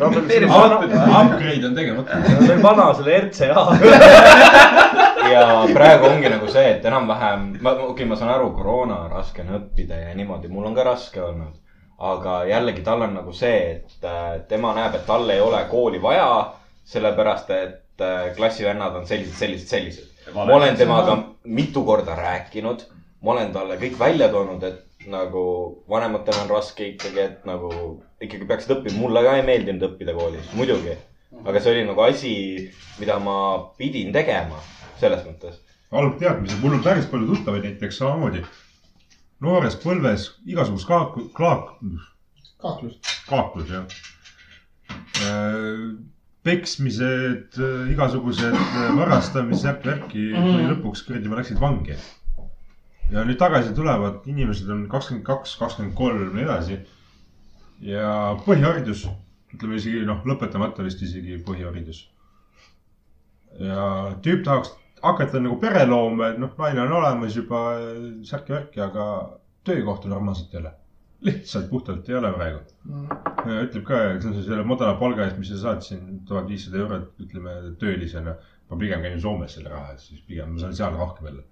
Upgrade on tegemata .
ta on veel vana selle RCA .
ja praegu ongi nagu see , et enam-vähem , ma , okei okay, , ma saan aru , koroona on raske on õppida ja niimoodi , mul on ka raske olnud . aga jällegi tal on nagu see , et äh, tema näeb , et tal ei ole kooli vaja , sellepärast et äh, klassivennad on sellised , sellised , sellised . ma olen temaga mitu korda rääkinud , ma olen talle kõik välja toonud , et nagu vanematel on raske ikkagi , et nagu ikkagi peaksid õppima , mulle ka ei meeldinud õppida koolis , muidugi . aga see oli nagu asi , mida ma pidin tegema selles mõttes .
algteadmised , mul on päris palju tuttavaid näiteks samamoodi . noores põlves igasugust kaak- , klaak- ,
kahtlus .
kaaklus jah . peksmised , igasugused äh, varastamised , värk-värki , kuni lõpuks kuradi ma läksin vangi . ja nüüd tagasi tulevad inimesed on kakskümmend kaks , kakskümmend kolm ja edasi . ja põhiharidus , ütleme isegi noh , lõpetamata vist isegi põhiharidus . ja tüüp tahaks hakata nagu pere looma , et noh , naine on olemas juba äh, särki-värki , aga töökohta normaalselt ei ole . lihtsalt puhtalt ei ole praegu . Ja ütleb ka , et see on selle madala palga eest , mis sa saad siin tuhat viissada eurot , ütleme töölisena . ma pigem käin Soomes selle raha eest , siis pigem ma saan seal rohkem jälle .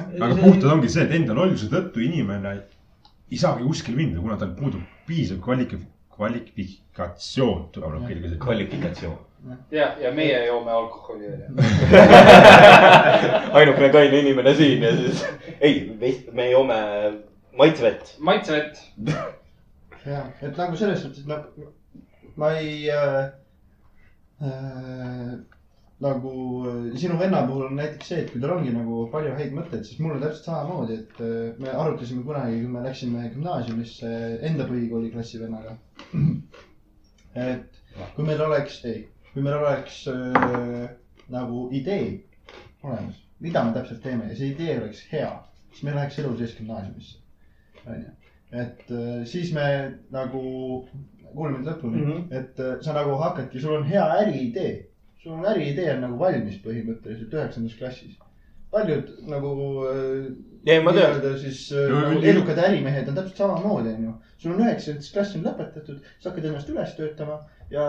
aga puhtalt ongi see , et enda lolluse tõttu inimene ei saagi kuskile minna , kuna tal puudub piisav kvalik- , kvalifikatsioon , tuleb kõige see .
kvalifikatsioon .
ja , ja meie joome alkoholi välja .
ainukene kaine inimene siin ja siis , ei , me joome maitsvett .
maitsevett .
jah , et nagu selles suhtes nagu ma ei äh, . Äh, nagu äh, sinu venna puhul on näiteks see , et kui tal ongi nagu palju häid mõtteid , siis mul on täpselt samamoodi , et äh, me arutasime kunagi , kui me läksime gümnaasiumisse enda põhikooli klassivennaga . et kui meil oleks , ei , kui meil oleks äh, nagu idee olemas , mida me täpselt teeme ja see idee oleks hea , siis me läheks elu sees gümnaasiumisse , onju . et äh, siis me nagu , kuulame nüüd lõpuni mm , -hmm. et äh, sa nagu hakkadki , sul on hea äriidee , sul on äriidee on nagu valmis põhimõtteliselt üheksandas klassis . paljud nagu äh,
ei , ma tean .
nii-öelda siis äh,
Jaa,
nagu
jaa.
edukad ärimehed on täpselt samamoodi , onju . sul on üheksandas klass on lõpetatud , sa hakkad ennast üles töötama ja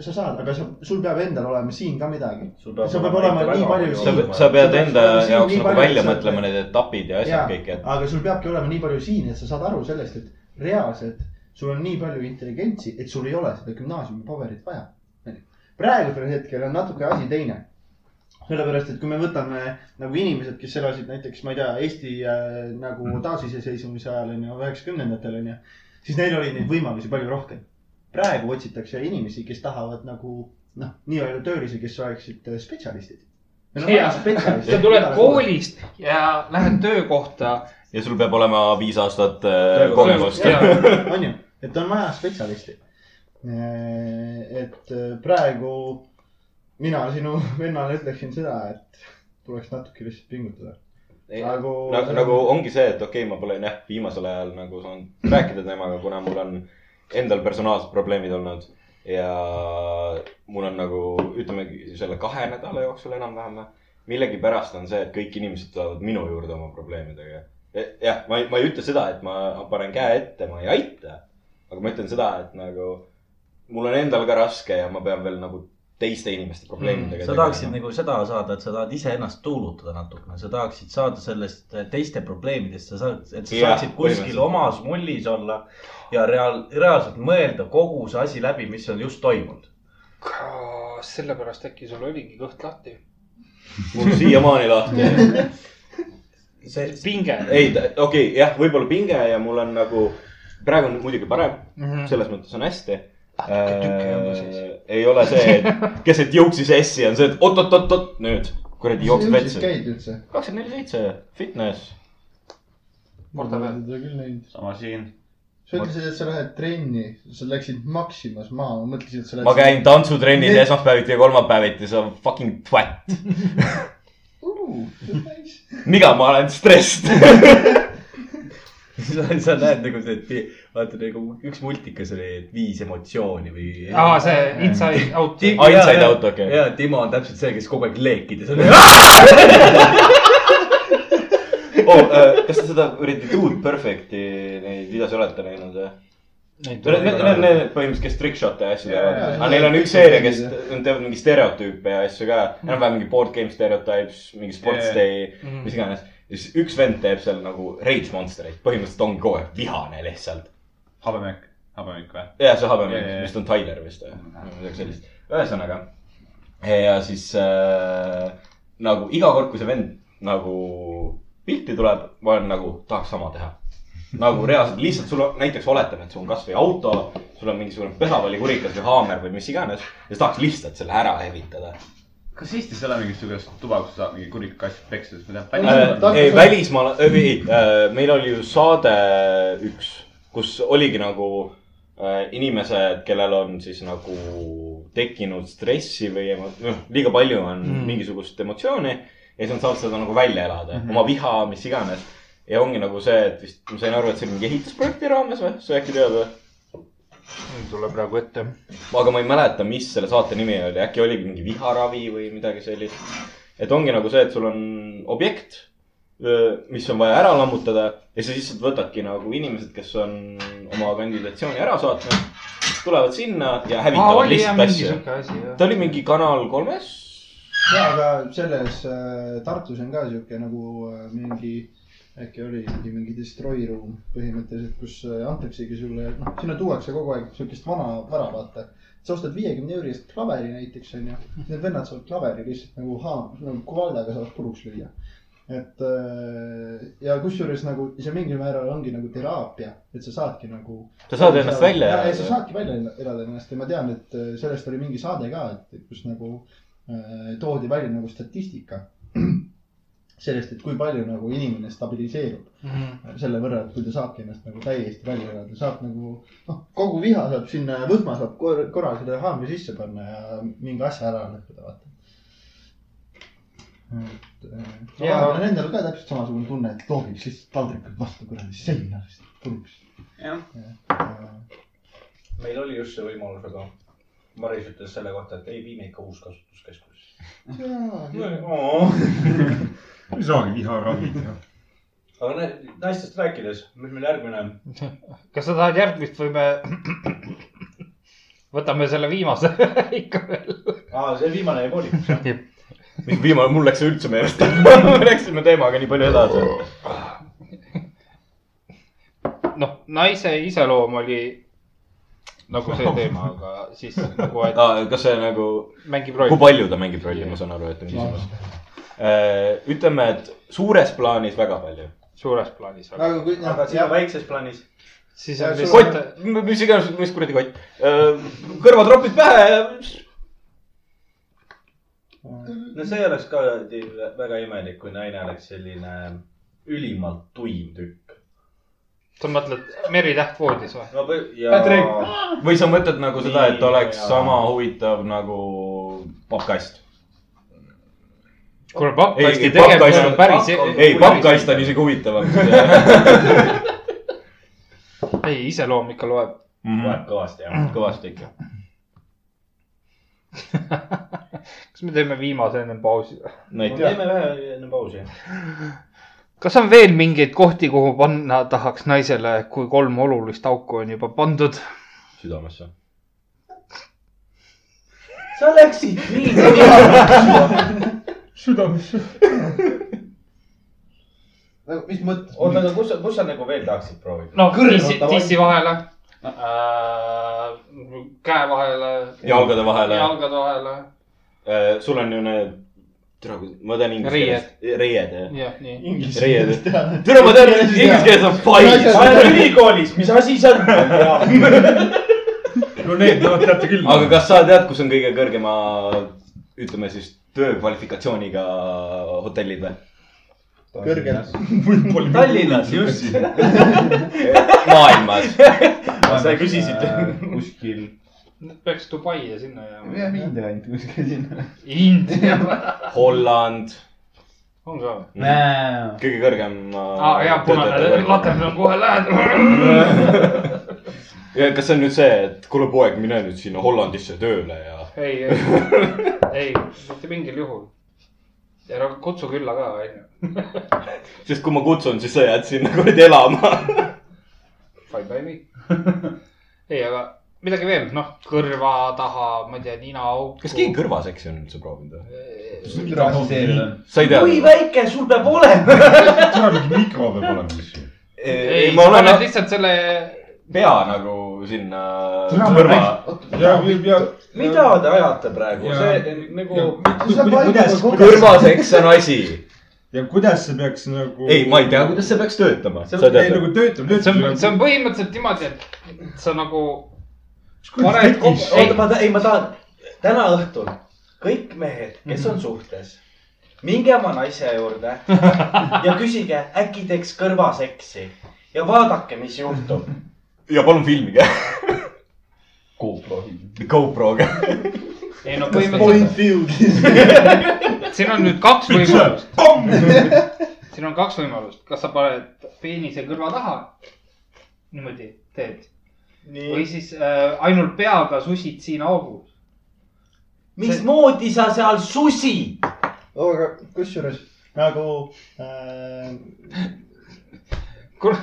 sa saad , aga sa , sul peab endal olema siin ka midagi .
sul
peab olema nii palju
sa
siin- ,
sa pead
sa-
enda
siin
jaoks
nii
nagu
palju,
välja
et sa-
mõtlema need etapid ja
Jaa,
asjad kõik , et
aga sul peabki olema nii palju siin , et sa saad aru sellest , et reaalselt sul on nii palju intelligentsi , et sul ei ole seda gümnaasiumi paberit vaja . praegusel hetkel on natuke asi teine . sellepärast , et kui me võtame nagu inimesed , kes elasid näiteks , ma ei tea , Eesti äh, nagu
Mhm.
taasiseseisvumise ajal on ju , üheksakümnendatel on ju , siis neil oli neid võimalusi palju rohkem . praegu otsitakse inimesi , kes tahavad nagu noh , nii-öelda töölisi , kes oleksid äh, spetsialistid . meil on
Jaa.
vaja spetsialiste
sa . tuled . koolist ja lähed töökohta .
ja sul peab olema viis aastat äh, kogemust .
on ju , et on vaja spetsialisti . et äh, praegu mina sinu vennale ütleksin seda , et tuleks natuke lihtsalt pingutada . nagu
nagu , nagu ongi see , et okei okay, , ma pole jah , viimasel ajal nagu saanud rääkida temaga , kuna mul on endal personaalsed probleemid olnud . ja mul on nagu , ütleme selle kahe nädala jooksul enam-vähem , millegipärast on see , et kõik inimesed tulevad minu juurde oma probleemidega . jah , ma ei , ma ei ütle seda , et ma panen käe ette , ma ei aita . aga ma ütlen seda , et nagu mul on endal ka raske ja ma pean veel nagu teiste inimeste probleemidega .
sa tahaksid nagu seda saada , et sa tahad iseennast tuulutada natukene , sa tahaksid saada sellest eh, teiste probleemidest , sa saad , et sa
Jah,
saaksid kuskil
põhimõtteliselt.
omas mullis olla ja reaal , reaalselt mõelda kogu see asi läbi , mis on just toimunud .
sellepärast äkki sul oligi kõht lahti .
mul siiamaani lahti
see ,
pinge .
ei ,
Mm.
okei
Mhm.
okay, , jah , võib-olla pinge ja mul on nagu , praegu on muidugi parem , selles mõttes on hästi , ei ole see , et kes see jooksis S-i on see , et oot-oot-oot-oot nüüd kuradi jookseb
mis sa
vetsu .
käid üldse ?
kakskümmend neli seitse , fitness .
ma
Korda veel.
olen seda küll näinud .
sama siin .
sa ütlesid , et sa lähed trenni , sa läksid Maximas maha , ma mõtlesin , et sa lähed .
ma käin . tantsutrennis esmaspäeviti ja kolmapäeviti , sa fucking twat . miga ma olen stressed .
sa , sa näed nagu see , et vi- vaata nagu üks multikas oli , et viis emotsiooni või .
aa , see inside out .
Ah, Inside Out, okei.
ja Timo on täpselt see , kes kogu aeg leekides on .
oh, . kas te seda kuradi Dude Perfecti neid videosi olete näinud või ? Need , need , need , need põhimõtteliselt , kes trickshot'e ja asju teevad .
jaa,
aga neil on üks seeria , kes teevad mingi stereotüüpe ja asju ka . enam-vähem mingi board game stereotüüps , mingi sports
Jaa.
day , mis iganes . ja siis üks vend teeb seal nagu rage monster'id , põhimõtteliselt ongi kogu aeg vihane lihtsalt .
habemekk , habemekk või ?
jah , see habemik
Jaa, jaa, Mhm. jaa.
vist on Tyler vist või , midagi sellist . ühesõnaga ja siis äh, nagu iga kord , kui see vend nagu pilti tuleb , ma olen nagu , tahaks sama teha . nagu reaalselt , lihtsalt sul on , näiteks oletame , et sul on kasvõi auto , sul on mingisugune pesavallikurikas või haamer või mis iganes ja sa tahaks lihtsalt selle ära hävitada .
kas Eestis ei ole mingisugust tuba , kus saab mingi kurika kass peksa , siis ma
Äh,
tahaks-
tean .
ei , välismaal , ei , meil oli ju saade üks , kus oligi nagu äh, inimesed , kellel on siis nagu tekkinud stressi või emo- noh , liiga palju on mm. mingisugust emotsiooni . ja siis nad saavad seda nagu välja elada mm , -hmm. oma viha , mis iganes . ja ongi nagu see , et vist ma sain aru , et see oli mingi ehitusprojekti raames või , sa äkki tead või ?
ei tule praegu ette .
aga ma ei mäleta , mis selle saate nimi oli , äkki oligi mingi viharavi või midagi sellist . et ongi nagu see , et sul on objekt , mis on vaja ära lammutada ja sa lihtsalt võtadki nagu inimesed , kes on oma kandidatsiooni ära saatnud , tulevad sinna ja
aa ,
hävitavad
oli jah
lihtsalt
mingi
asju .
sihuke asi jah .
ta oli mingi Kanal kolmes .
ja , aga selles äh, Tartus on ka sihuke nagu äh, mingi , äkki oli mingi , mingi destroy room põhimõtteliselt , kus äh, antaksegi sulle , noh , sinna tuuakse kogu aeg sihukest vana vara , vaata . sa ostad viiekümne euro eest klaveri näiteks , onju . Need vennad saavad klaveri lihtsalt nagu haam- , nagu kuvaldaga saavad puruks lüüa . et äh, ja kusjuures nagu see mingil määral ongi nagu teraapia , et sa saadki nagu
sa saad ennast välja
elada . ei , sa
elada .
saadki välja elada ennast ja ma tean , et äh, sellest oli mingi saade ka , et kus nagu äh, toodi välja nagu statistika sellest , et kui palju nagu inimene stabiliseerub
Mhm.
selle võrra , et kui ta saabki ennast nagu täiesti välja elada , saab nagu noh , kogu viha saab sinna ja võhma saab kor- korra selle haamri sisse panna ja mingi asja ära lõhkuda , vaata . et äh,
Jaa.
vahepeal on endal ka täpselt samasugune tunne , et loogiks lihtsalt taldrikud vastu kuradi seina , puruks .
Jah.
jah .
meil oli just see võimalus , aga Maris ütles selle kohta , et ei vii meid ka uuskasutuskeskusesse .
ei saagi viharavi teha .
aga ne- naistest rääkides , mis meil järgmine ,
kas sa tahad järgmist või me võtame selle viimase ikka veel ?
see viimane jäi poolikuks .
viimane , mul läks see üldse meelest . me läksime teemaga nii palju edasi .
noh , naise iseloom oli nagu see teema , aga siis nagu , et
kas see nagu ,
mängib
kui
rolli .
palju ta mängib rolli , ma saan aru , et on küsimus . ütleme , et suures plaanis väga palju .
suures plaanis .
aga kui ,
aga sinu väikses plaanis ,
siis on
Suur-
kott
lihtsalt ,,
mis iganes , mis kuradi kott . kõrvatropid pähe ja .
no see oleks ka ti- väga imelik , kui naine oleks selline ülimalt tuim tükk .
sa mõtled Meri Täht voodis või ?
no või- ja .
Patrick. või sa mõtled nagu seda , et
Nii,
oleks
jaa.
sama huvitav nagu pappkast .
kuule ,
ei ,
pappkasti
ei
tegemine on
pappkast ,
päris .
ei pappkast on isegi huvitavam .
ei , iseloom ikka loeb .
loeb kõvasti
Mm.
jah .
kõvasti ikka .
kas me teeme viimase enne pausi ?
näiteks .
teeme ühe enne pausi .
kas on veel mingeid kohti , kuhu panna tahaks naisele , kui kolm olulist auku on juba pandud ?
südamesse .
sa läksid nii .
Nagu, mis mõttes ?
oota , aga kus sa , kus sa nagu veel tahaksid proovida ?
no
Kõrva
tissi ,
tavaliselt.
tissi vahele äh, , käe vahele ,
jalgade vahele .
jalgade vahele ,
Äh, sul on ju need , tere , ma tean inglise
Riied.
keeles . riied , jah .
jah , nii .
inglise
Reied.
keeles tean .
tere , ma tean inglise keeles on
Naised-
ma
fight .
olen ülikoolis , mis asi see on ?
no no need , no teate küll .
aga kas sa tead , kus on kõige kõrgema , ütleme siis töökvalifikatsiooniga hotellid või ?
kõrgel .
Tallinnas just .
maailmas .
sa küsisid .
kuskil .
peaks Dubai ja sinna jääma .
jah , India anti kuskil sinna .
India ,
Holland ,
on ka või ?
kõige kõrgem . äh,
aa , jaa , punane latern on kohe lähedal .
ja kas see on nüüd see , et kuule poeg , mine nüüd sinna Hollandisse tööle ja .
ei , ei , ei , mitte mingil juhul . ja no kutsu külla ka , onju .
sest kui ma kutsun , siis sa jääd sinna kuradi elama .
Bye bye me . ei , aga midagi veel , noh , kõrva taha , ma ei tea , ninaauku .
kas keegi ? kõrvaseksi on üldse proovinud või ?
ei ,
sa ei tea ?
kui väike sul peab olema ?
sul on mingi mikro peab olema siis ju .
ei , ma olen lihtsalt selle ,
pea nagu sinna
Türa, ma
kõrva .
ja , ja .
mida te ajate praegu , see nagu .
kuidas ,
kõrvaseks on asi .
ja kuidas see peaks nagu .
ei , ma ei tea , kuidas see peaks töötama .
see on ei, nagu töötab ,
see on , see
töötab .
on põhimõtteliselt niimoodi , et sa nagu .
kuradi
paned
fetiš.
kokku , ei
oota ,, ma , ei , ma tahan , täna õhtul kõik mehed , kes
Mhm.
on suhtes , minge oma naise juurde ja küsige , äkki teeks kõrvaseksi ja vaadake , mis juhtub .
ja palun filmige
GoPro .
GoProga .
ei no
Point
põhimõtteliselt ,
view'is .
siin on nüüd kaks võimalust , siin on kaks võimalust , kas sa paned peenise kõrva taha . niimoodi teed või
nii ,
siis äh, ainult peaga susid siin augu .
mismoodi sa seal susid ?
aga kusjuures nagu äh,
kuule ,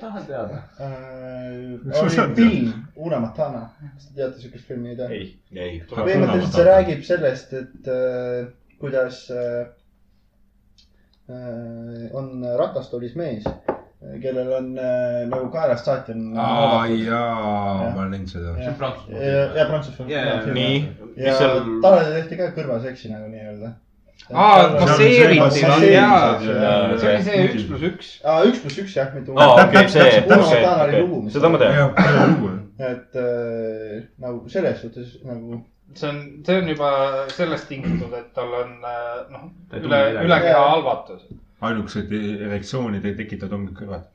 tahan teada .
äh,
Mis sa
oli
saad
film Una Matana . kas te teate siukest filmi , ei tea ?
ei .
ei .
põhimõtteliselt see räägib sellest , et äh, kuidas äh, äh, on ratastoolis mees , kellel on äh, nagu kaelast saati on .
aa jaa , ma olen näinud seda .
ja ,
Prantsusmaa .
ja prantsuse film
Jaa, jaa, .
nii ,
ja
mis seal ,
talle tehti ka kõrvaseksi nagu nii-öelda .
Aa,
masseeriti
masseeriti, jaa.
jaa.
see oli see üks pluss üks .
aa , üks pluss üks jah , mitte
aa
Una .
okei , see ,
täpselt, täpselt,
okei
okei. ,
seda ma tean .
jah , palju lugu .
et äh, nagu selles suhtes nagu
see on , see on juba sellest tingitud , et tal on äh, noh ,
Ta ei
üle
tunne midagi. ,
üle keha
Jaa.
halvatus .
ainukesed e- erektsiooni te- tekitavad ongi kõrvad .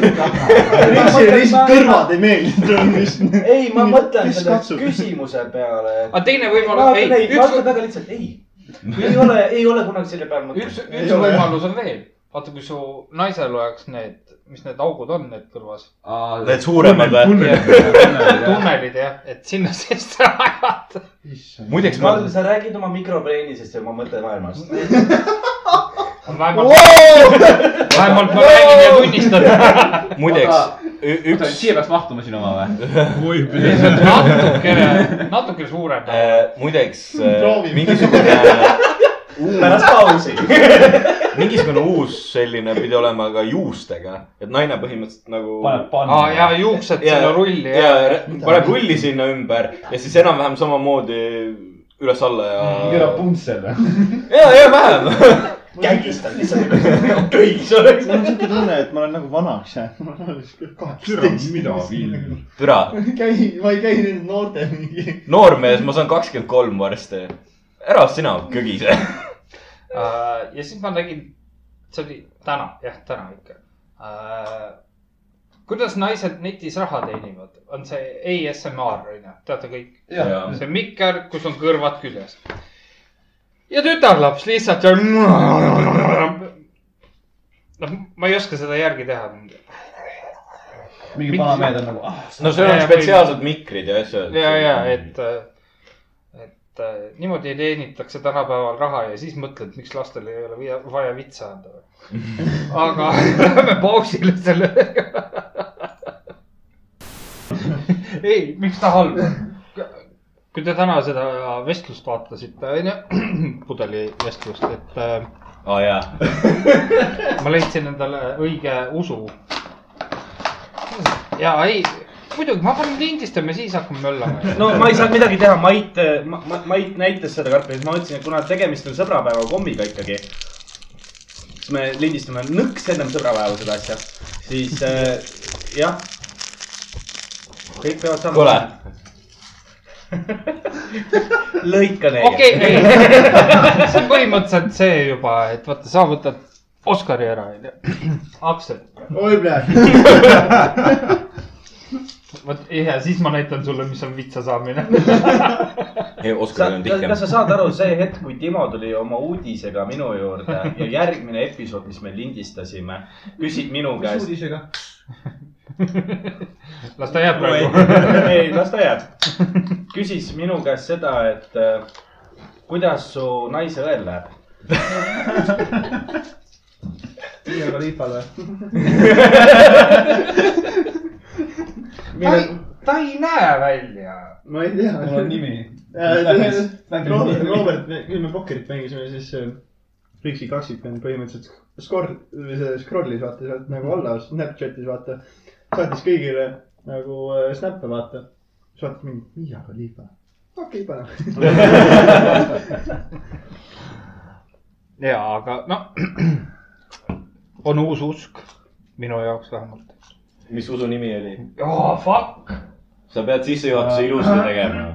Riksile lihtsalt kõrvad ei meeldi .
ei , ma mõtlen
Kes
selle
katsub?
küsimuse peale .
aga teine võimalus ,
vaatan ,
ei
ei ,, vaatan
üks ,
väga lihtsalt , ei . ei ole , ei ole kunagi selle peale
üks ,
mõtelnud .
Ei ole,
üks
jah.
võimalus on veel . vaata , kui su naisel oleks need , mis need augud on , need kõrvas ,
Need suuremad või ?
tunnelid jah , et sinna sisse ajada .
muideks ma ,
Karl , sa räägid oma mikropleenisest ja oma mõttemaailmast .
vähemalt , vähemalt ma räägin ja tunnistan .
muideks ü-
oota ,
üks
siia peaks mahtuma sinu oma või ?
oi ,
natukene , natukene suurem .
äh, , muideks äh,
Proovime.
mingisugune
pärast pausi .
mingisugune uus selline pidi olema ka juustega , et naine põhimõtteliselt nagu .
paned panna
aa ja juuksed sinna rulli
ja,
ja .
ja paneb rulli sinna ümber ja siis enam-vähem samamoodi üles-alla ja .
puntsele .
ja , ja vähem .
kägistan lihtsalt . köis oleks .
mul on siuke tunne , et ma olen nagu vanaks
türa ,
jäänud .
mida viil .
türa ,
käi , ma ei käi nende noorte mingi .
noormees , ma saan kakskümmend kolm varsti . ära sina kögise .
Äh, ja siis ma nägin , see oli täna , jah , täna ikka . kuidas naised netis raha teenivad , on see ASMR onju , teate kõik ,
ja
see mikker , kus on kõrvad küljes . ja tütarlaps lihtsalt . noh , ma ei oska seda järgi teha .
mingi vana mehed on nagu , ah ,
no seal on spetsiaalsed mikrid ja asjad .
ja , ja , et , et äh, niimoodi teenitakse tänapäeval raha ja siis mõtled , miks lastele ei ole via- vaja vitsa anda . aga lähme pausile selle . ei , miks ta halb on ? kui te täna seda vestlust vaatasite , onju , pudeli vestlust , et äh,
aa jaa .
ma leidsin endale õige usu . ja ei , muidugi ma panen lindistama , siis hakkame möllama .
no ma ei saanud midagi teha , Mait , Mait näitas seda karpi , ma mõtlesin , et kuna tegemist on sõbrapäeva kommiga ikkagi , siis me lindistame nõks ennem sõbrapäeva seda asja , siis äh, jah . kõik peavad saama .
Kuule. .
lõika neid .
okei , ei , see on põhimõtteliselt see juba , et vaata , sa võtad Oscari ära , onju . Aksel ,
oi , plee .
vot ja siis ma näitan sulle , mis on vitsa saamine .
ei ,
sa,
Oskar on
kas,
tihkem
kas . sa saad aru , see hetk , kui Timo tuli oma uudisega minu juurde ja järgmine episood , mis me lindistasime , küsib minu käest .
uudisega .
las ta jääb praegu .
ei , las ta jääb . küsis minu käest seda , et äh, kuidas su naise õel läheb .
Tiia Kalifale .
ta ei , ta ei näe välja .
ma ei tea .
mul on nimi .
Robert , Robert , kui me pokkerit mängisime , siis äh, Riksi kaksik on põhimõtteliselt skor- , või see scroll'is vaata sealt nagu alla , Snapchatis vaata . saatis kõigile nagu äh, snappe vaata . saatis mingi Tiia Kalifa . okei , paneme .
ja , aga noh , on uus usk , minu jaoks vähemalt .
mis usu nimi oli ?
oh fuck ,
sa pead sissejuhatuse
Äh.
ilusti tegema .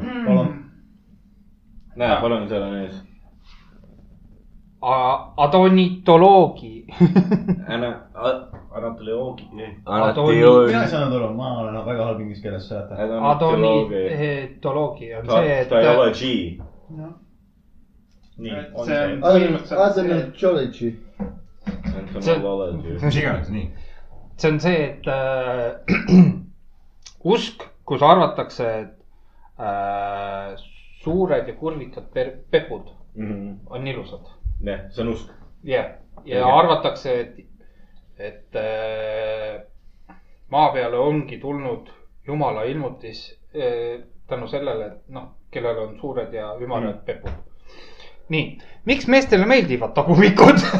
näe , palun , seal on ees .
adonitoloogi .
Anna ,
anatoloogi .
e.
mina ei
anatoloogia .
saanud aru , ma olen väga halb inglise keeles seletanud .
e adonitoloogia .
adonitoloogi on see , et .
ta ei ole G .
nii , on
see on
see .
põhimõtteliselt .
Geology .
entomoloogia .
mis iganes , nii .
see on see , et äh, usk , kus arvatakse , et äh, suured ja kurvikad per- pepud on ilusad .
jah , Mhm. see on usk .
jah , ja
Õige.
arvatakse , et , et äh, maa peale ongi tulnud jumala ilmutis äh, tänu sellele , et noh , kellel on suured ja ümarad mm. pepud . nii , miks meestele meeldivad tagumikud ?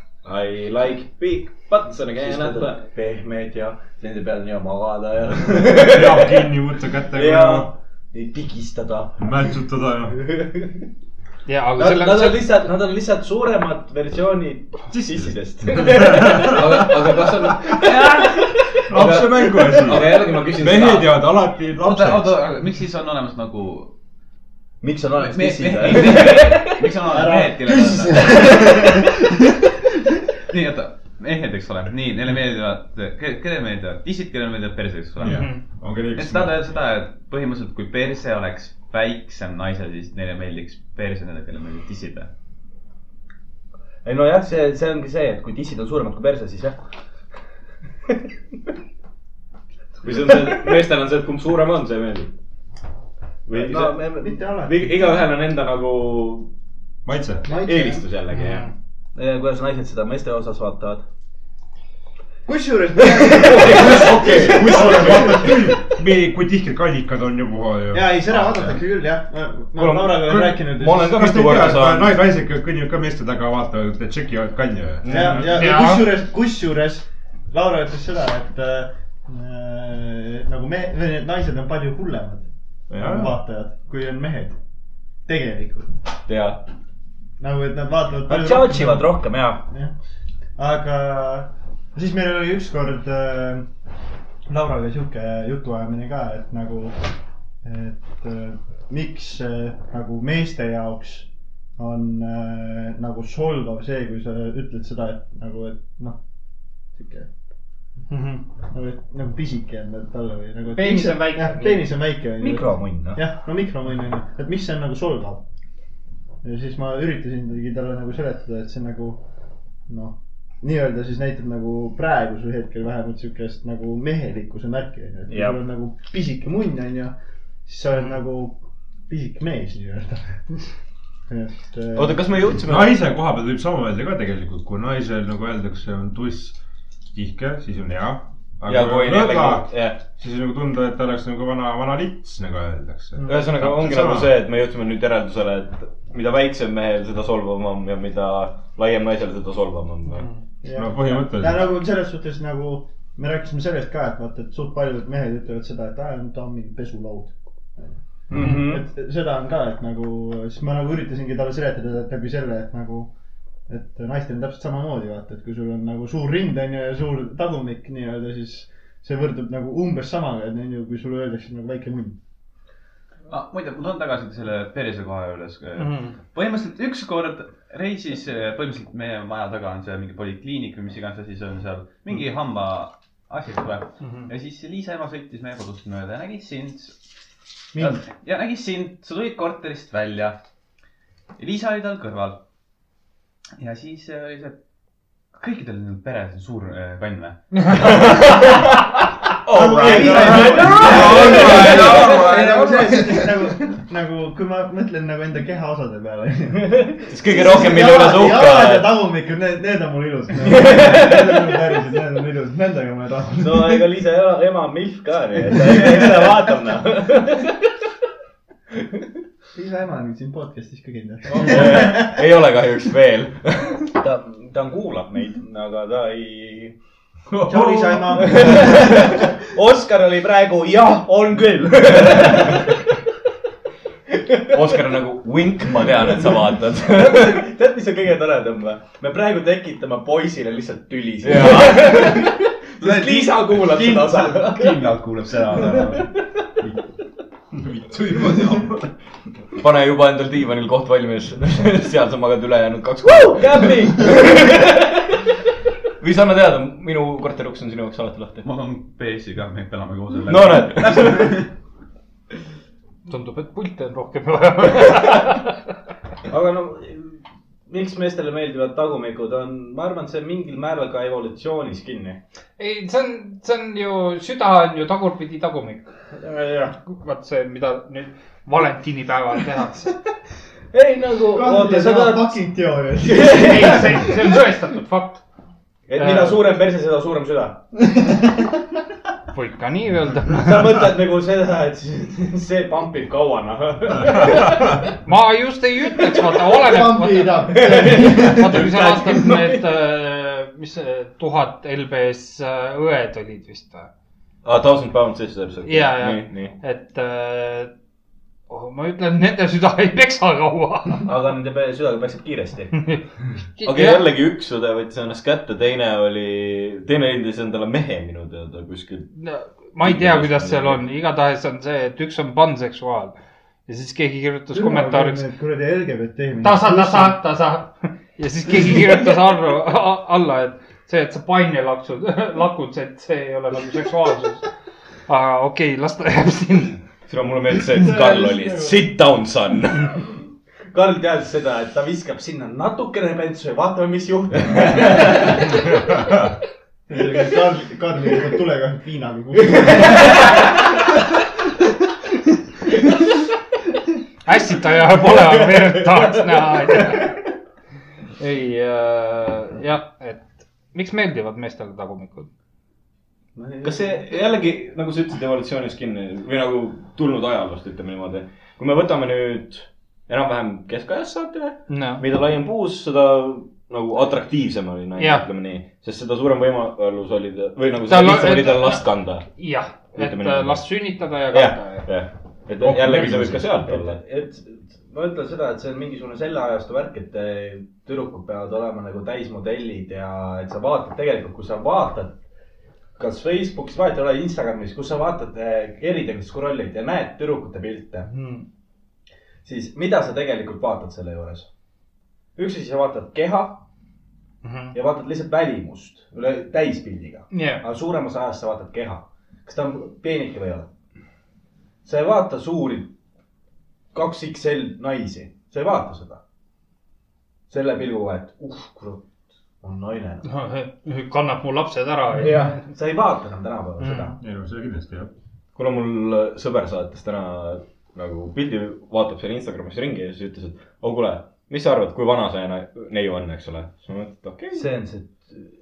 I like big butts on again at the .
pehmed ja nende peal nii magada ja ,
peab kinni võtta noh, kätega
ja , neid pigistada .
mätsutada ja .
ja , aga
Nad,
selle
nad on , lihtsalt , nad on lihtsalt suuremad versioonid sissidest .
aga , aga kas on ,
lapsemängu
aga
asi .
jällegi ma küsin
mehed jäävad alati
oota , oota
lapseks .,
miks siis on olemas nagu .
miks on olemas
miks on
sissid ?
olemas mehed , kellel on . nii , oota , mehed , eks ole , nii , neile meeldivad , kellele meeldivad tissid , kellele meeldivad persed , eks ole .
ongi
et
liiga
seda tähendab seda , et põhimõtteliselt , kui perse oleks väiksem naisel , siis neile meeldiks perse , nendele kellele meeldivad tissid või ?
ei nojah , see , see ongi see , et kui tissid on suuremad kui perse , siis jah .
või see on see , meestel on see , et kumb suurem on , see meeldib . või
no
no, ,
me , me ,
mitte alati .
igaühel on enda nagu
maitse .
eelistus jällegi , jah .
Mhm. kuidas naised seda meeste osas vaatavad .
kusjuures ,
okei , kui sa oled vaadanud küll , me , kui tihked kallikad on ja puha
ja
ja .
ei , seda vaadatakse küll jah . ma
Kuule,
olen Lauraga olen rääkinud .
ma olen ka
kas te
mitu
ei tea ,
korda
et
saanud .
naisnaised kõnnivad ka meeste taga , vaatavad , et tšekivad kalja ja .
ja , ja, ja
Jaa.
kusjuures , kusjuures Laura ütles seda , et äh, nagu me , või need naised on palju hullemad
Jaa.
vaatajad , kui on mehed . tegelikult
jaa ,
nagu , et nad vaatavad .
Nad tšautšivad . rohkem ja .
aga siis meil oli ükskord äh, Lauraga sihuke jutuajamine ka , et nagu , et äh, miks äh, nagu meeste jaoks on äh, nagu solvav see , kui sa ütled seda , et nagu , et noh , sihuke nagu , et nagu pisike on ta- talle või nagu .
Mhm. Peenis on väike.
peenis on väike .
mikromunn , noh .
jah , no mikromunn on ju , et miks see on nagu solvav . ja siis ma üritasingi talle nagu seletada , et see nagu noh , nii-öelda siis näitab nagu praegusel hetkel vähemalt siukest nagu mehelikkuse märki on ju , et kui
Jah.
sul on nagu pisike munn on ju , siis sa oled nagu pisike mees nii-öelda . et . äh,
oota , kas me jõudsime ?
naise koha peal võib sama öelda ka tegelikult , kui naisel nagu öeldakse , on tuss tihke , siis on hea .
ja
aga kui
kui
on nõga ,
jällegi , jah .
siis on nagu tunda , et ta oleks nagu vana , vana lits , nagu öeldakse .
ühesõnaga ongi
Täpselt
nagu
sama.
see , et me jõudsime nüüd järeldusele , et mida väiksem mehel , seda solvavam ja mida laiem naisel , seda solvavam on .
no põhimõtteliselt.
ja nagu selles suhtes nagu me rääkisime sellest ka , et vaata , et suht paljud mehed ütlevad seda , et aa , ta on mingi pesulaud mm .
Mhm.
-hmm. et seda on ka , et nagu , siis ma nagu üritasingi talle seletada et läbi selle , et nagu , et naistel on täpselt samamoodi , vaata , et kui sul on nagu suur rind on ju ja suur tagumik nii-öelda , siis see võrdub nagu umbes samaga , et on ju , kui sulle öeldakse nagu väike munn .
ah, . muide , ma tulen tagasi selle perse koha juures mm. .
-hmm.
põhimõtteliselt ükskord reisis , põhimõtteliselt meie maja taga on seal mingi polikliinik või mis iganes asi see on seal , mingi hamba asi tuleb . ja siis Liisa ema sõitis meie kodust mööda ja nägi sind . ja,
mind ,
ja nägi sind , sa tulid korterist välja . Liisa oli tal kõrval . ja siis äh, oli see , kõikidel nendel peres on suur äh, kann või ?
nagu , nagu kui ma mõtlen nagu enda kehaosade peale .
siis kõige rohkem , mille üle sa uhke
jalad ja
oled .
tagumikud , need , need on mul ilusad . Need on mul päriselt , need on ilusad , nendega ma ei taha .
no ega Liisa ema- ema on milf ka , nii et eks ta vaatab noh .
isa ema on siin podcast'is ka kindlasti .
ei ole kahjuks veel . ta , ta kuulab meid , aga ta ei .
tšau , isa ema .
Oskar oli praegu , jah , on küll .
Oskar on nagu vink , ma tean , et sa vaatad .
tead , mis on kõige toredam või ? me praegu tekitame poisile lihtsalt tüli siin . sest Liisa kuulab seda osa .
kindlalt kuuleb seda .
pane juba endal diivanil koht valmis . seal sa magad ülejäänud kaks kuud .
Käpi .
või sa anna teada , minu korteri uks on sinu jaoks alati lahti .
ma olen PS-iga , me elame koos jälle .
no näed ,
tundub , et pilte on rohkem vaja .
aga no , miks meestele meeldivad tagumikud on , ma arvan , see on mingil määral ka evolutsioonis kinni .
ei , see on , see on ju , süda on ju tagurpidi tagumik . vaat see , mida nüüd valentinipäeval tehakse .
ei nagu , oota , sa tahad ,
fucking teoorias .
ei , see , see on tõestatud fakt .
et mida suurem perse , seda suurem süda .
võib ka nii öelda .
sa mõtled nagu seda , et see- see pumpib kaua , noh .
ma just ei ütleks , vaata , oleneb .
Trumpi tahab .
eelmisel aastal need , mis see tuhat LBS äh, õed olid vist või ?
ah, thousand pounds sisse saab see .
ja , ja
nii , nii .,
et äh, oh, ma ütlen , nende süda ei peksa kaua .
aga nende pe- südaga peksab kiiresti .
aga jällegi üks õde võttis ennast kätte , teine oli , teine leidis endale mehe minu teada kuskil .
ma ei tea , kuidas seal on , igatahes on see , et üks on panseksuaal ja siis keegi kirjutas kommentaariks .
kuradi LGBT .
tasa , tasa , tasa ja siis keegi kirjutas arvu a- alla , et see , et sa paine laksud , lakud , see , see ei ole nagu seksuaalsus . aga okei okay, , las ta jääb sinna .
seda mulle meeldis see , et Karl oli sit down son .
Karl teadis seda , et ta viskab sinna natukene pentsu ja vaatame , mis juhtub .
Karl , Karl ütleb , tule ka viinaga kuskile .
hästi ta jääb olema , verd tahaks näha . ei äh, , jah , et miks meeldivad meestele tagumikud ?
kas see jällegi , nagu sa ütlesid , evolutsioonis kinni või nagu tulnud ajaloost , ütleme niimoodi . kui me võtame nüüd enam-vähem keskajast saate ,
noh ,
mida laiem puus , seda nagu atraktiivsem oli naine ,
Jah.
ütleme nii . sest seda suurem võimalus oli ta , või nagu
Tal
seda
on-
lihtsam oli
et-
tal last kanda .
jah , et
Ütleme
äh,
niimoodi.
las sünnitada ja
jah
kanda , ja .
jah . et jällegi see võib ka sealt olla .
et ma ütlen seda , et see on mingisugune selle ajastu värk , et eh, tüdrukud peavad olema nagu täismodellid ja et sa vaatad tegelikult , kui sa vaatad , kas Facebookis , vahet ei ole , Instagramis , kus sa vaatad eh, erinevaid scroll'id ja näed tüdrukute pilte ,
Hmm.
siis mida sa tegelikult vaatad selle juures ? üks asi , sa vaatad keha
Mhm.
ja vaatad lihtsalt välimust üle täispildiga .
jah ,
aga suuremas ajas sa vaatad keha , kas ta on peenike või ei ole . sa ei vaata suuri kaks XL naisi , sa ei vaata seda . selle pilguga , et uh kurat , on naine .
Noh, kannab mu lapsed ära .
sa ei vaata enam tänapäeval mm. seda .
ei no see kindlasti jah .
kuna mul sõber saatis täna nagu pildi , vaatab seal Instagramis ringi ja siis ütles , et oo kuule , mis sa arvad , kui vana see na- neiu on , eks ole . siis ma mõtlesin , et okei okay. ,
see on see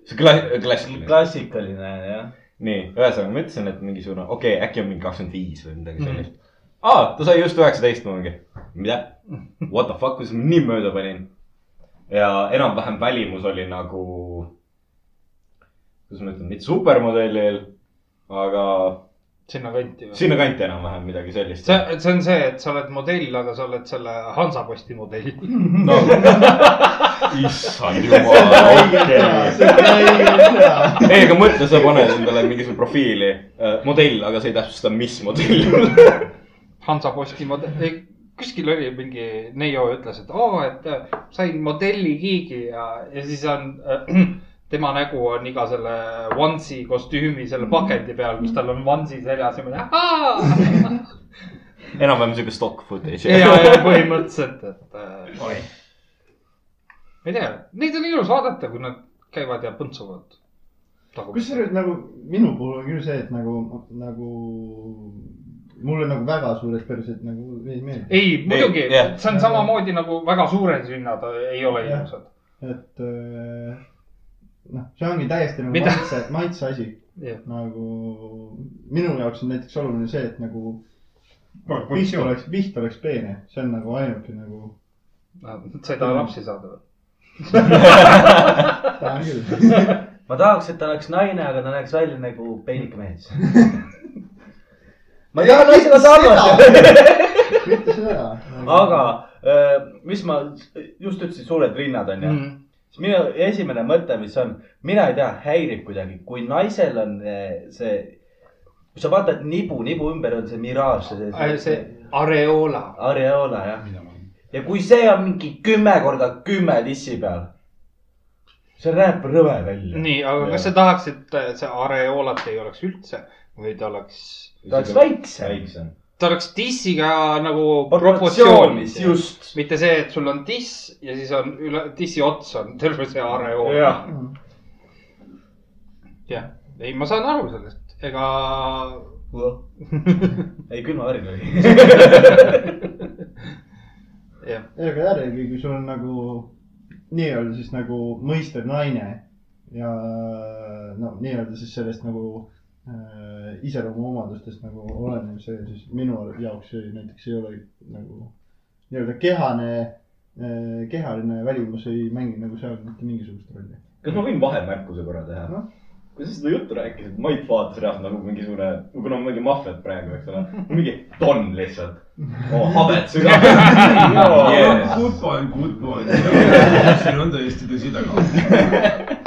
see kla- , klassikaline .
klassikaline jah .
nii , ühesõnaga ma ütlesin , et mingisugune , okei okay, , äkki on mingi kakskümmend viis või
Mhm.
midagi sellist mm . -hmm. aa , ta sai just üheksateist , ma mingi , mida ?
Mhm.
What the fuck , kuidas ma nii mööda panin ? ja enam-vähem välimus oli nagu , kuidas ma ütlen , mitte supermodellil , aga
sinnakanti või ?
sinnakanti enam-vähem midagi sellist .
see , see on see , et sa oled modell , aga sa oled selle Hansaposti modell .
no. . issand jumal , okei . ei , aga mõtle , sa paned endale mingisuguse profiili äh, modell , aga sa ei täpsusta , mis modell .
Hansaposti modell , kuskil oli mingi neiu ütles , et oo , et äh, sain modellikiigi ja , ja siis on äh, , tema nägu on iga selle One'i kostüümi selle pakendi peal , kus tal on One'i seljas ja ma olen ahaa .
enam-vähem sihuke stock footage .
ja , ja põhimõtteliselt , et äh, . ma ei tea , neid on ilus vaadata , kui nad käivad ja põntsuvad .
kusjuures nagu minu puhul on küll see , et nagu , nagu mulle nagu väga suured persed nagu ei meeldi .
ei , muidugi ,
jah.
see on samamoodi nagu väga suured sünnad ei ole ilusad .
et äh, noh , see ongi täiesti nagu
Mida-
maitse , maitse asi .
Jah.
nagu minu jaoks on näiteks oluline see , et nagu viht
proportsioon .
oleks , viht oleks peene , see on nagu ainuke nagu .
sa ei taha lapsi saada või ?
tahan küll .
ma tahaks , et ta oleks naine , aga ta näeks välja nagu peenike mees . ma ei taha naisena sarnast ,
mitte seda .
aga äh, mis ma just ütlesin , suured rinnad on ju mm. .
Mhm.
siis minu esimene mõte , mis on , mina ei tea , häirib kuidagi , kui naisel on äh, see , kui sa vaatad nibu , nibu ümber on see miraaž , see,
see areoola .
areoola jah . ja kui see on mingi kümme korda kümme tissi peal , see näeb rõve välja .
nii , aga kas sa tahaksid , et see areoolat ei oleks üldse või ta oleks ,
ta oleks väiksem .
väiksem .
ta oleks dissiga nagu proportsioonis
proportsioonis ,. just .
mitte see , et sul on diss ja siis on üle , dissi ots on terve see areool .
jah ,
Mm.
jah , ei , ma saan aru sellest , ega
ei külmavärin oli .
jah ,
ei , aga jällegi , kui sul on nagu nii-öelda siis nagu mõistev naine ja no nii-öelda siis sellest nagu äh, iseloomuomadustest nagu olenev , see siis minu jaoks ei, näiteks ei ole nagu nii-öelda kehane äh, kehaline välimus ei mängi nagu seal mitte mingisugust rolli .
kas ma võin vahemärkuse korra teha no?
Noh. ?
kui sa seda juttu rääkisid , Mait vaatas reaalselt nagu mingisugune , kuna ma mängin maffiat praegu , eks ole , mingi tonn lihtsalt oh, . habet sügavalt .
Good boy , good boy . see on täiesti tõsi taga .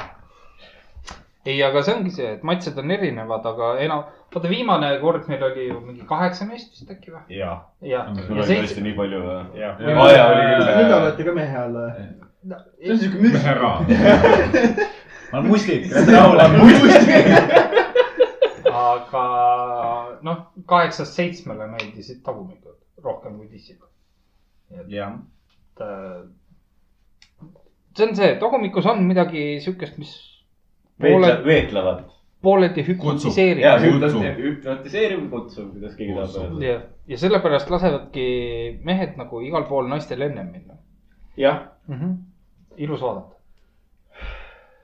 ei , aga see ongi see , et maitsed on erinevad , aga enam , vaata viimane kord meil oli ju mingi kaheksa meest vist äkki või ?
jah ,
jah ,
sul oli tõesti nii palju või ? jah ,
Jaa.
aja oli
nüüd
küll . äh,
olete ka mehe all või ?
seitse
see on . siuke müts .
ära .
ma olen mustik , rahule .
aga noh , kaheksast seitsmele meeldisid tagumikud rohkem kui dissid .
jah ,
et äh, see on see , tagumikus on midagi siukest , mis poole ,
veetlevad .
pooleldi
ja
hüpnotiseerib .
Kutsu.
hüpnotiseerib , kutsub , kuidas keegi tahab
Kutsu.
öelda .
ja , ja sellepärast lasevadki mehed nagu igal pool naistel ennem minna
jah ,
mm . -hmm. ilus vaadata .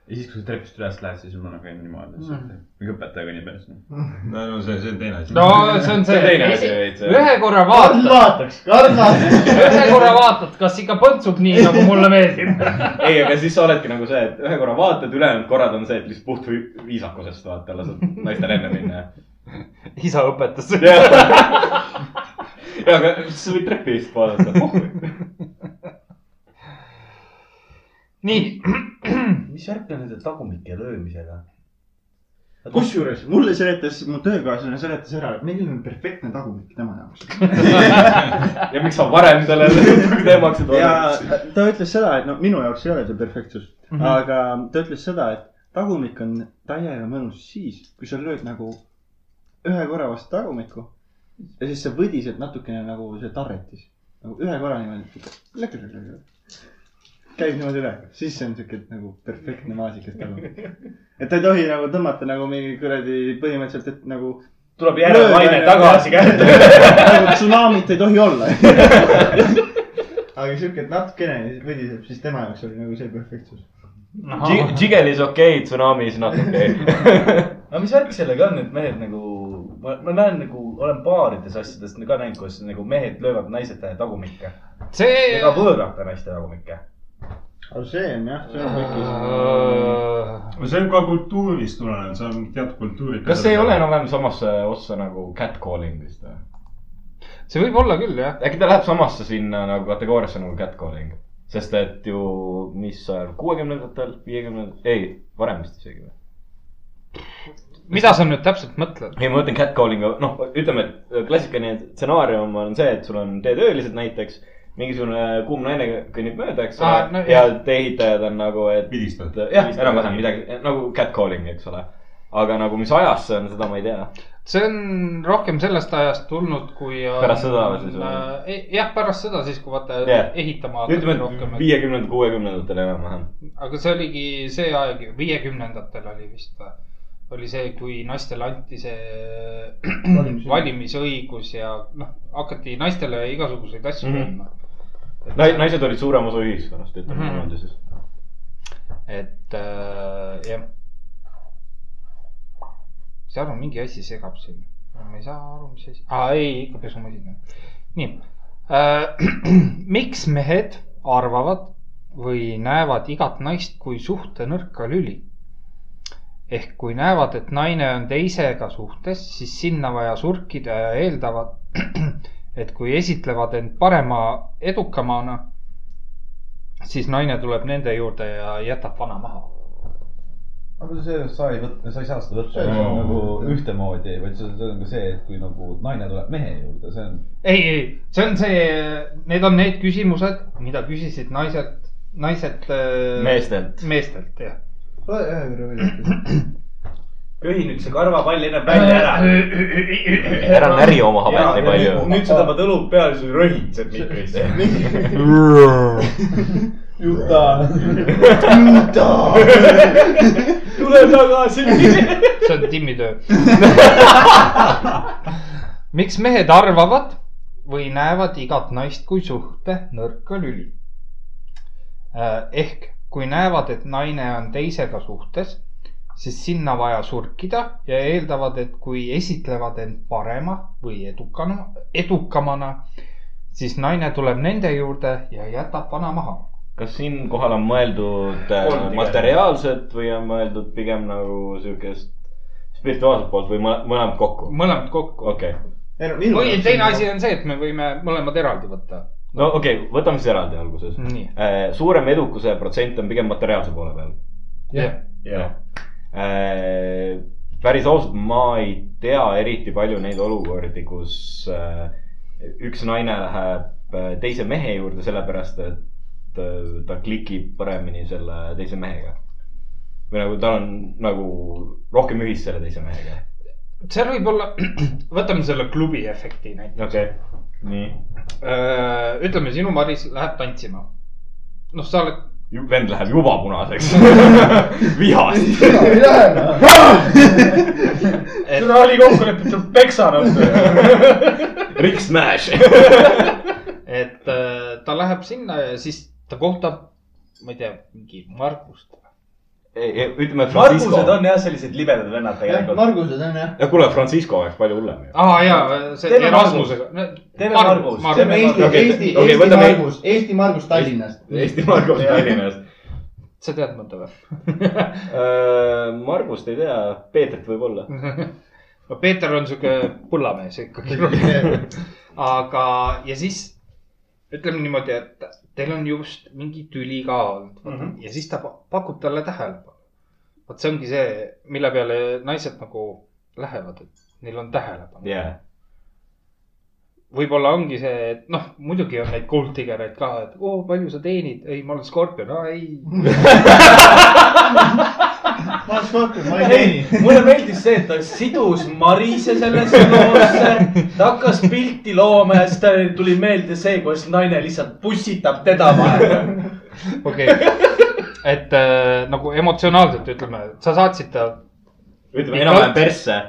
ja siis , kui sa trepist üles lähed , siis mul on nagu niimoodi mm. , mingi õpetajaga nii päris .
no no see , see on teine asi .
no see on
see on teine asi
see ,
veits .
ühe korra
Karl
vaatad ,
vaataks , Karl vaataks .
ühe korra vaatad , kas ikka põntsub nii , nagu mulle meeldib .
ei , aga siis sa oledki nagu see , et ühe korra vaatad , ülejäänud korrad on see , et lihtsalt puht vi- viisakusest vaata , lased naistel enne minna .
isa õpetas .
ja , aga sa võid trepi vist vaadata .
nii ,
mis värk on nende tagumike löömisega ?
kusjuures mulle seletas , mu töökaaslane seletas ära , et meil on perfektne tagumik tema jaoks .
ja miks sa varem selle jutuga teemaks ei
ja
toonud ?
ta ütles seda , et no minu jaoks ei ole see perfektsus mm , -hmm. aga ta ütles seda , et tagumik on täiega mõnus siis , kui sa lööd nagu ühe korra vastu tagumikku ja siis sa võdised natukene nagu see tarretis , nagu ühe korra niimoodi . käib niimoodi üle , siis see on siuke nagu perfektne maasikas tagumik . et ta ei tohi nagu tõmmata nagu mingi kuradi põhimõtteliselt , et nagu .
tuleb järelmaine tagasi kätte .
nagu tsunamit ei tohi olla . aga siuke , et natukene võdiseb , siis tema jaoks oli nagu see perfektsus .
Jigelis okei , tsunamis natuke .
aga mis värk sellega on , et mehed nagu , ma , ma näen nagu , olen baarides asjades ka näinud , kus nagu mehed löövad naised tagumikke
see
ja ka võõrate naiste tagumikke .
aga see on jah , see on kõik .
kas
see on ka kultuurist tulenev , see on teatud kultuurid .
kas see ei ole ? enam-vähem samasse ossa nagu catcalling vist või ?
see võib olla küll jah .
äkki ta läheb samasse sinna nagu kategooriasse nagu catcalling , sest et ju , mis ajal , kuuekümnendatel , viiekümnendatel , ei , varem vist isegi või ?
mida sa nüüd täpselt mõtled ?
ei , ma mõtlen catcalling'u , noh , ütleme , et klassikaline stsenaarium on see , et sul on teetöölised näiteks , mingisugune kuum naine kõnnib mööda , eks ole
Aa, no
ah, , ja
jah.
tee-ehitajad on nagu , et
pildistad .
jah , enam-vähem midagi nagu catcalling , eks ole . aga nagu , mis ajast see on , seda ma ei tea .
see on rohkem sellest ajast tulnud , kui .
Pärast sõda või siis
või ? jah , pärast sõda siis , kui vaata
Jah.
yeah. ehitama hakati
ütleme ,
rohkem
et . viiekümnendad , kuuekümnendatel enam-vähem .
aga see oligi see aeg , viiekümnendatel oli vist või ? oli see , kui naistele anti see valimisõigus ja noh , hakati naistele igasuguseid asju
Mhm.
andma mm -hmm. .
naised olid suurem osa ühiskonnast , ütleme
Mhm.
niimoodi siis .
et äh, jah . mis aru , mingi asi segab siin . ma ei saa aru , mis asi , aa ei , ikka pesumasin . nii äh, , miks mehed arvavad või näevad igat naist kui suhte nõrka lüli ? ehk kui näevad , et naine on teisega suhtes , siis sinna vaja surkida ja eeldavad , et kui esitlevad end parema edukamana , siis naine tuleb nende juurde ja jätab vana maha .
aga see , sa ei võta , sa ei saa seda võtta
See on-
nagu ühtemoodi , vaid see see on ka see , et kui nagu naine tuleb mehe juurde , see on .
ei , ei , see on see , need on need küsimused , mida küsisid naised , naised .
meestelt .
meestelt , jah .
ühe korra veel .
köhi nüüd see karvapall ennem välja ära .
ära näri oma habet nii palju .
nüüd sa tõmbad õlud peale , siis röhitsed mikrisse .
Juta .
tule tagasi .
see on Timmi töö . miks mehed arvavad või näevad igat naist kui suhte nõrka lüli ? ehk kui näevad , et naine on teisega suhtes , siis sinna vaja surkida ja eeldavad , et kui esitlevad end parema või edukana , edukamana , siis naine tuleb nende juurde ja jätab vana maha .
kas siinkohal on mõeldud äh,
Polnud
materiaalset või on mõeldud pigem nagu siukest spirituaalset poolt või mõ- mõlemad kokku ?
mõlemad kokku
okei okay. ,
või teine asi on see , et me võime mõlemad eraldi võtta .
no okei okay, , võtame siis eraldi alguses .
nii ,
suurem edukuse protsent on pigem materiaalse poole peal .
jah .
jah . päris ausalt , ma ei tea eriti palju neid olukordi , kus äh, üks naine läheb äh, teise mehe juurde sellepärast , et äh, ta klikib paremini selle teise mehega . või nagu tal on nagu rohkem ühist selle teise mehega .
seal võib olla , võtame selle klubi efekti näiteks .
okei okay. , nii .
ütleme , sinu Maris läheb tantsima . noh , sa oled ,
vend läheb juba punaseks vihast .
noh.
seda oli kokku lepitud peksanud .
Rick Smash .
et äh, ta läheb sinna ja siis ta kohtab , ma ei tea , mingi Margust .
ütleme , et Francisco
Margused . on jah , sellised libedad vennad tegelikult .
Margused on jah .
no kuule , Francisco oleks palju hullem ju .
aa Ah, jaa , see
Teeme
Erasmusega .
Teeme Margus.
see on Eesti ,
Okei,
Eesti ,
okei,
Eesti
võtame-
Margus , Eesti Margus Tallinnast .
Eesti Margus Tallinnast .
sa tead mõnda või ?
Margust Äh, ei tea , Peetrit võib-olla .
Mhm.
no Peeter on sihuke pullamees ikkagi . aga , ja siis ütleme niimoodi , et teil on just mingi tüli ka olnud mm -hmm. ja siis ta pa- pakub talle tähelepanu . vot see ongi see , mille peale naised nagu lähevad , et neil on tähelepanu .
jaa .
võib-olla ongi see , et noh , muidugi on neid kuldtigereid ka , et oo , palju sa teenid , ei , ma olen skorpion , aa ei .
ma olen Scorpion , ma ei teeni .
ei , mulle meeldis see , et ta sidus Marise sellesse loosse , ta hakkas pilti looma ja siis tal tuli meelde see , kuidas naine lihtsalt pussitab teda vahele .
okei , et äh, nagu emotsionaalselt ütleme , sa saatsid ta
ütleme
Pikalt.
enam-vähem persse .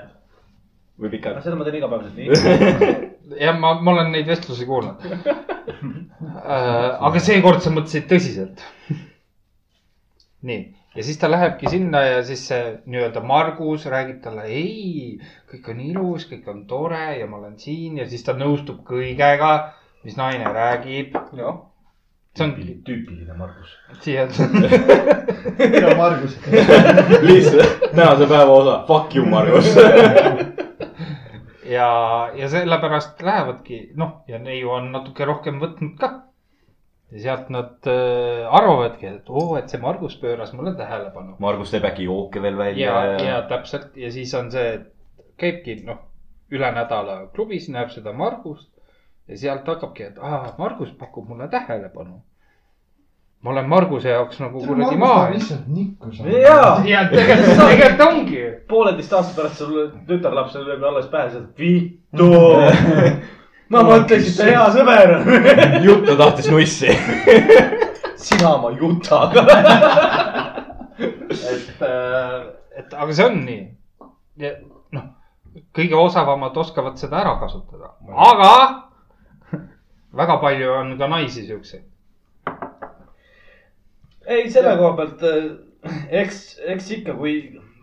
või pikalt .
seda ma teen igapäevaselt nii .
jah , ma , ma olen neid vestlusi kuulnud äh, . aga seekord sa mõtlesid tõsiselt . nii , ja siis ta lähebki sinna ja siis see nii-öelda Margus räägib talle , ei , kõik on ilus , kõik on tore ja ma olen siin ja siis ta nõustub kõigega , mis naine räägib . see on
Noh. tüüpiline, tüüpiline Margus .
siia .
mina , Margus .
lihtsalt tänase päeva osa , fuck you , Margus .
ja , ja sellepärast lähevadki , noh , ja neiu on natuke rohkem võtnud ka . ja sealt nad äh, arvavadki , et oo , et see Margus pööras mulle tähelepanu .
Margus teeb äkki jooke veel
ja ,
välja
ja täpselt ja siis on see , et käibki noh , üle nädala klubis näeb seda Margust ja sealt hakkabki , et aa , Margus pakub mulle tähelepanu . ma olen Marguse jaoks nagu kuradi maa .
lihtsalt nikkus .
jaa ,
ja tegelikult , tegelikult ongi ju .
pooleteist aasta pärast sul tütarlapsel lööb alles pähe sealt , Vito . ma mõtlesin , et ta hea sõber on .
Juta tahtis nussi .
sina oma juta .
et , et aga see on nii . noh , kõige osavamad oskavad seda ära kasutada , aga väga palju on ka naisi siukseid .
ei , selle koha pealt äh, eks , eks ikka , kui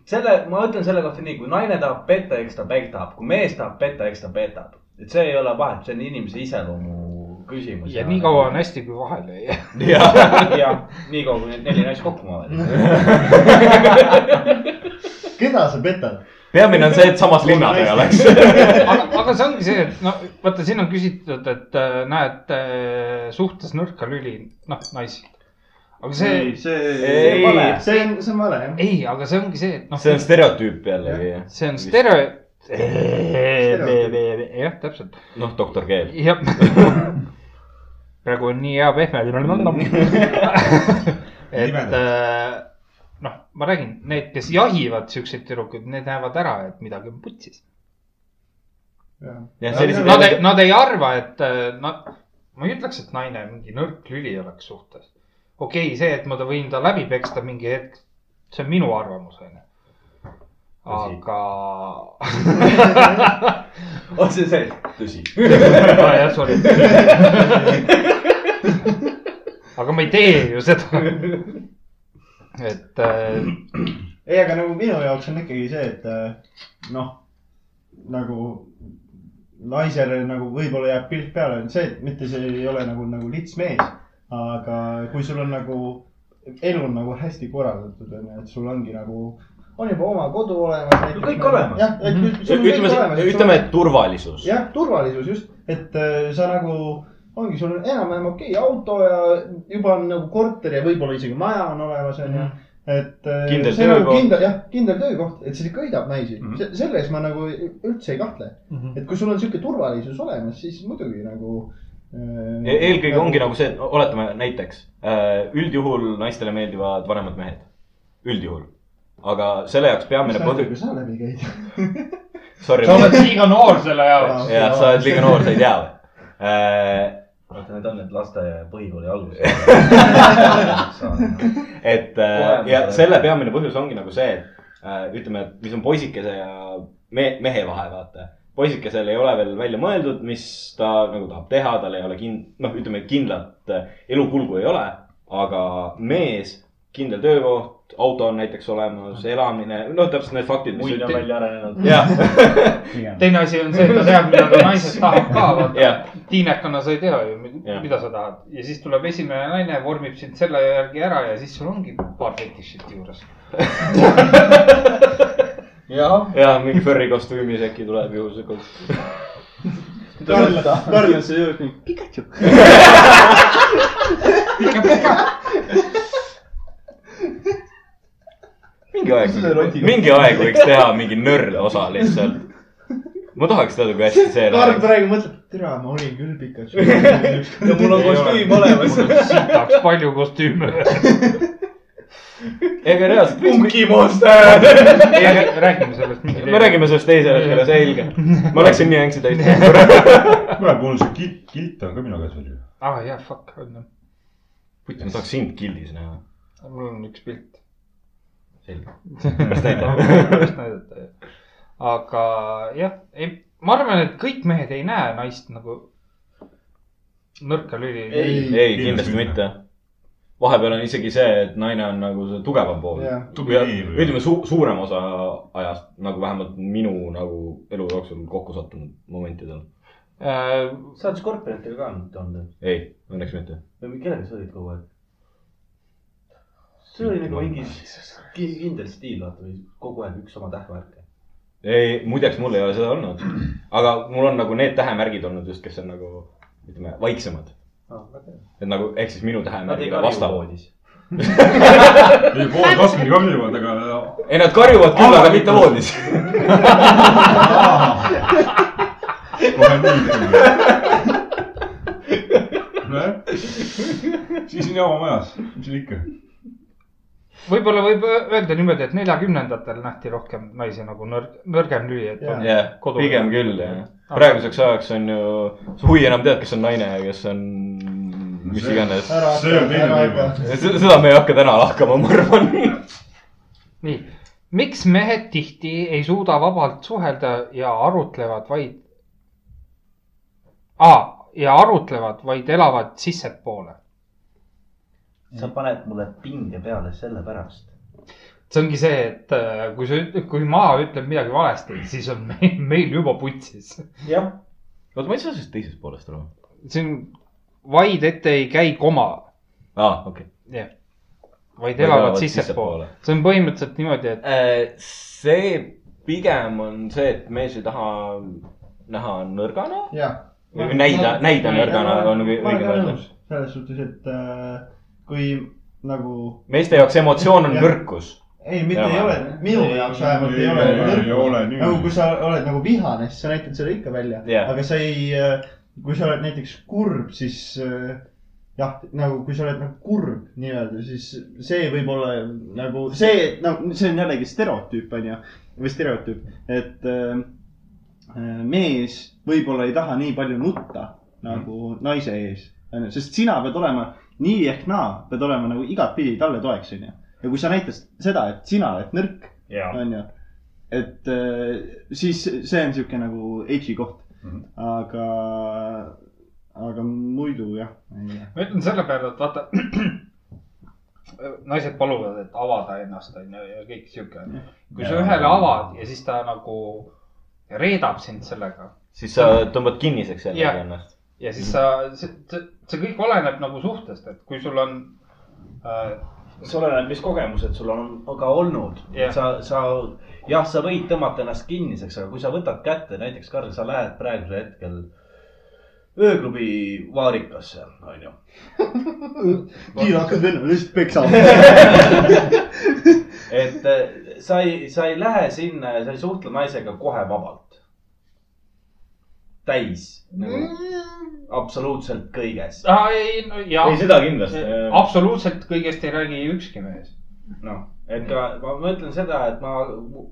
selle , ma ütlen selle kohta nii , kui naine tahab petta , eks ta petab , kui mees tahab petta , eks ta petab . et see ei ole vahet , see on inimese iseloomu küsimus .
ja nii kaua on . hästi , kui vahele ei jää .
jah , nii kaua , kui need neli naist kokku maavad .
keda sa petad ?
peamine on see , et samas linnas ei oleks .
aga , aga see ongi see , et noh , vaata , siin on küsitud , et äh, näed äh, suhtes nõrka lüli , noh , naisi . aga see ,
ei , see ,
Ei.
see on vale , see on , see on vale jah .
ei , aga see ongi see , et noh ,
see on stereotüüp jällegi .
see on stereo . jah , täpselt .
noh , doktor Keel .
jah . praegu on nii hea pehme . et äh, noh , ma räägin , need , kes jahivad siukseid tüdrukuid , need näevad ära , et midagi on putsis .
jah , sellised
Nad , nad ei arva , et äh, nad , ma ei ütleks , et naine mingi nõrk lüli oleks suhtes . okei okay, , see , et ma ta võin ta läbi peksta mingi hetk , see on minu arvamus , onju . aga .
on Oh, see see ?
tõsi .
ah, . jah , sorry . aga ma ei tee ju seda . et äh,
ei , aga nagu minu jaoks on ikkagi see , et äh, noh , nagu naisele nagu võib-olla jääb pilt peale , on see , et mitte see ei ole nagu , nagu lits mees , aga kui sul on nagu , elu on nagu hästi korraldatud , on ju , et sul ongi nagu , on juba oma kodu olemas .
kõik olemas.
jah , et sul- sul on kõik
Mhm. ütleme ,
olemas .
ütleme , et turvalisus .
jah , turvalisus just , et äh, sa nagu , ongi , sul on enam-vähem okei auto ja juba on nagu korter ja võib-olla isegi maja on olemas , onju . et äh,
Mhm. Kindel
see nagu
töökoht.
kindel , jah , kindel töökoht , et see köidab naisi mm
Mhm.
-hmm. , selles ma nagu üldse ei kahtle mm .
Mhm.
-hmm. et kui sul on sihuke turvalisus olemas , siis muidugi nagu äh,
E- eelkõige ongi nagu see , oletame näiteks , üldjuhul naistele meeldivad vanemad mehed , üldjuhul . aga selle jaoks peamine
sa oled
põhjus ,
ju seal läbi käinud .
sorry ,
sa oled liiga noor selle jaoks .
jah , sa oled liiga noor , sa ei tea või ?
Äh, oota , need on need lasteaia ja põhikooli algused .
et äh, ja selle peamine põhjus ongi nagu see , et äh, ütleme , et mis on poisikese ja me mehe vahe , vaata . poisikesel ei ole veel välja mõeldud , mis ta nagu tahab teha , tal ei ole kind- , noh , ütleme kindlat äh, elukulgu ei ole , aga mees , kindel töökoht , auto on näiteks olemas , elamine , no täpselt need faktid , mis
muid on välja arenenud .
jah ,
teine asi on see , et ta teab , mida ta naisest tahab ka , vaata
Jah. .
tiinekana sa ei tea ju ,
Jah.
mida sa tahad ja siis tuleb esimene naine , vormib sind selle järgi ära ja siis sul ongi paar fetišit juures .
jah ,
ja mingi furry kostüümis äkki tuleb juhuslikult .
Karl , Karl ,
see juurde nii .
mingi aeg , mingi aeg võiks teha mingi nörd osa lihtsalt . ma tahaks teada , kui hästi see
Karl
läheb .
praegu mõtleb , türa , ma olin küll Pikachu .
ja mul on kostüüm olemas .
siit tahaks palju kostüüme .
ega reaalselt võiks .
Monster .
räägime sellest mingi
me . räägime sellest teise hetkel , selge . ma läksin nii ängsi täis .
kuule , mul see kilt , kilt on ka minu käes veel ju .
aa jaa , Ah, fuck , on ju .
ma tahaks sind gildis näha .
mul on üks pilt .
pärast näitan .
pärast näidata , jah . aga jah , ei , ma arvan , et kõik mehed ei näe naist nagu nõrka lüli .
ei , kindlasti mitte . vahepeal on isegi see , et naine on nagu see tugevam pool
Jah. .
Tugev.
ütleme su- , suurem osa ajast nagu vähemalt minu nagu elu jooksul kokku sattunud momentidel .
Äh,
sa oled skorpionitega ka nüüd olnud ?
ei , õnneks mitte .
või kellega sa olid kogu aeg ? see oli nagu mingi ki- kindel stiil , vaata , kogu aeg üks oma tähvärk .
ei , muideks mul ei ole seda olnud . aga mul on nagu need tähemärgid olnud just , kes on nagu ütleme , vaiksemad .
Ah,
et nagu ehk siis minu tähemärgile vastavad .
ei , pool kaskil karjuvad , aga
ei , nad karjuvad küll , aga mitte voodis .
kohe nii . nojah , siis on jama majas , mis siin ikka .
võib-olla võib öelda niimoodi , et neljakümnendatel nähti rohkem naisi nagu nõrg , nõrgem lüli , et on
jah ,
Kodu-
pigem küll jah . praeguseks ajaks on ju , sa huvi enam tead , kes on naine ja kes on mis iganes .
ära
See on teine
ära
teema.
hakka.
seda me ei hakka täna lahkama , ma arvan .
nii . miks mehed tihti ei suuda vabalt suhelda ja arutlevad vaid ah, , ja arutlevad , vaid elavad sissepoole ?
sa paned mulle pinge peale sellepärast .
see ongi see , et äh, kui sa , kui maa ütleb midagi valesti , siis on meil, meil juba putsis .
jah ,
oota , ma ei saa sellest teisest poolest aru .
see on , vaid ette ei käi koma ,
aa , okei .
vaid elavad sissepoole . see on põhimõtteliselt niimoodi , et
Äh, see pigem on see , et mees ei taha näha nõrgana
jah .
või näida , näida nõrgana on õige õige öelda ..
selles suhtes , et äh, kui nagu ,
meeste jaoks emotsioon on
Jah.
nõrkus .
ei , mitte
Jaa.
ei ole , minu jaoks vähemalt ei ole nagu nõrkus .
ei ole
nagu kui
nii .
sa oled nagu vihane , siis sa näitad selle ikka välja
Jah.
aga sa ei , kui sa oled näiteks kurb , siis äh, jah , nagu kui sa oled nagu kurb nii-öelda , siis see võib olla nagu see , nagu see on jällegi stereotüüp on ju , või stereotüüp , et äh, mees võib-olla ei taha nii palju nutta nagu naise ees , onju , sest sina pead olema nii ehk naa , pead olema nagu igatpidi talle toeks , onju . ja kui sa näitad seda , et sina oled nõrk , onju , et äh, siis see on sihuke nagu edgy koht
Mhm. .
aga , aga muidu jah , ei jah .
ma ütlen selle peale , et vaata naised paluvad , et avada ennast onju ja kõik siuke . kui sa ühele avad ja siis ta nagu reedab sind sellega
siis sa tõmbad kinniseks
Jah.
jällegi ennast .
ja siis sa , see, see- see kõik oleneb nagu suhtest , et kui sul on äh,
see oleneb , mis kogemused sul on ka olnud
Jah.
sa , sa jah , sa võid tõmmata ennast kinniseks , aga kui sa võtad kätte , näiteks Karl , sa lähed praegusel hetkel ööklubi vaarikasse , onju .
kiirakas vennad lihtsalt peksavad .
et eh, sa ei , sa ei lähe sinna ja sa ei suhtle naisega kohe vabalt . täis nagu, , absoluutselt kõiges .
aa, ah, ei no ja
ei , seda kindlasti .
absoluutselt kõigest ei räägi ükski mees .
noh , et ka ma ma ütlen seda , et ma ,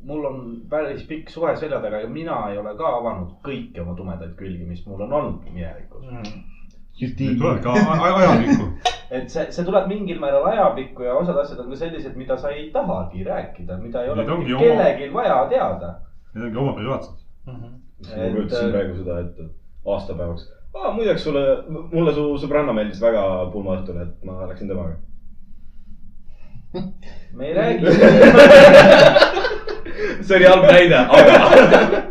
mul on päris pikk suhe selja taga ja mina ei ole ka avanud kõiki oma tumedaid külgi , mis mul on olnud minevikus .
Mhm.
tuled ka a- a- ajalikku .
et see , see tuleb mingil määral ajapikku ja osad asjad on ka sellised , mida sa ei tahagi rääkida , mida ei ole
Need ongi oma-
kellelgi vaja teada .
Need ongi oma privaatsed .
ma
äh,
kujutasin praegu seda , et aastapäevaks . aa , muideks sulle , mulle su sõbranna meeldis väga pulmaõhtul , et ma läksin temaga .
me ei räägi ,
see oli halb näide , aga .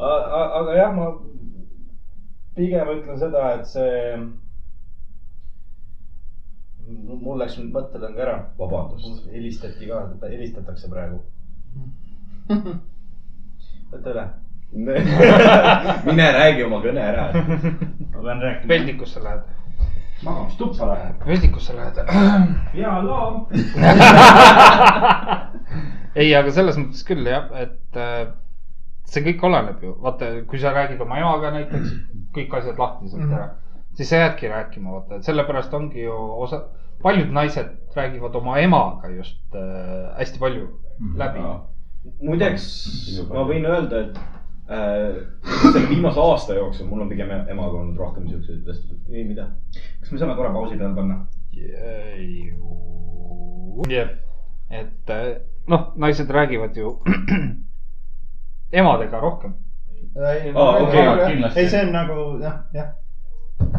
aga jah , ma pigem ütlen seda , et see . mul läks nüüd mõttelõng ära ,
vabandust .
helistati ka , helistatakse praegu . võta üle .
mine räägi oma kõne ära .
ma pean rääkima .
veldikusse lähed ,
magamistuppa läheb .
veldikusse lähed .
hea loo .
ei , aga selles mõttes küll jah , et äh, see kõik oleneb ju , vaata , kui sa räägid oma emaga näiteks , kõik asjad lahtiselt ära , siis sa jäädki rääkima , vaata , et sellepärast ongi ju osa , paljud naised räägivad oma emaga just äh, hästi palju läbi .
muideks ma võin öelda , et äh, selle viimase aasta jooksul mul on pigem emaga olnud rohkem siukseid vestlusi . ei , mida ?
kas me saame korra pausi peale panna ?
jah , et äh, noh , naised räägivad ju emadega rohkem .
Aa, okei,
kindlasti.
ei , see on nagu jah , jah .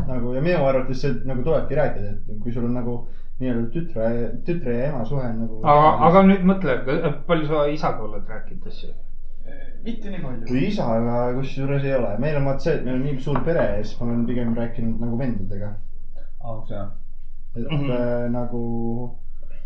nagu ja minu arvates see nagu tulebki rääkida , et kui sul on nagu nii-öelda tütre , tütre ja ema suhe on nagu .
aga , aga nüüd mõtle , palju sa isaga oled rääkinud asju ?
mitte nii palju .
isaga kusjuures ei ole , meil on vaata see , et meil on nii suur pere ja siis ma olen pigem rääkinud nagu vendadega ,
aus jah .
et mm -hmm. äh, nagu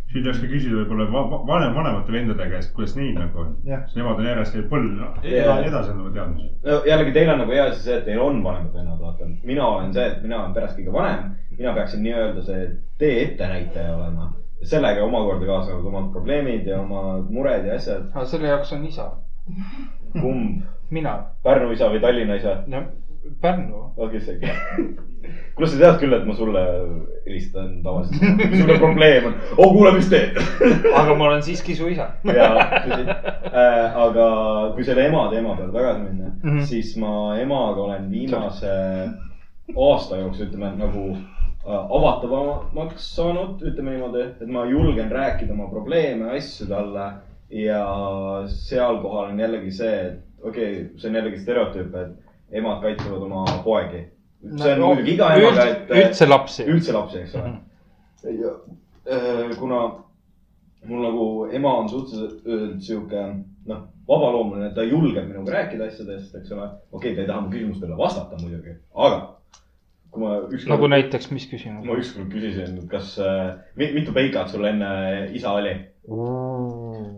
siin tuleks ka küsida võib-olla va- va- vanem , vanemate vendade käest , kuidas neil nagu on .
Jah.
sest nemad on järjest neil põld , noh ,
Jaa.
edasi annavad teadmisi .
no jällegi teil on nagu hea asi see , et teil on vanemad vennad , vaata . mina olen see , et mina olen peres kõige vanem , mina peaksin nii-öelda see tee ettenäitaja olema . sellega omakorda kaasnevad omad probleemid ja omad mured ja asjad .
aga selle jaoks on isa ,
kumb ,
mina ,
Pärnu isa või Tallinna isa ?
jah , Pärnu .
olge isegi . kuule , sa tead küll , et ma sulle helistan tavaliselt , kui sul probleem on .
Oh,
oo , kuule , mis teed ?
aga ma olen siiski su isa .
jaa , tõsi äh, . aga kui selle ema teema peale tagasi minna mm ,
Mhm.
-hmm. siis ma emaga olen viimase aasta jooksul , ütleme nagu äh, avatavamaks saanud , ütleme niimoodi , et ma julgen rääkida oma probleeme , asju talle . ja seal kohal on jällegi see , et okei okay, , see on jällegi stereotüüp , et emad kaitsevad oma poegi . see on muidugi iga emaga , et .
Nagu üldse lapsi .
üldse lapsi , eks
Mhm.
ole . ja äh, kuna mul nagu ema on suhteliselt äh, sihuke noh , vabaloomuline , ta julgeb minuga rääkida asjadest , eks ole . okei okay, , ta ei taha mu küsimustele vastata muidugi , aga kui ma ükskord
nagu näiteks , mis küsimus
ma ? ükskord küsisin , kas äh, , mitu peikat sul enne äh, isa oli ?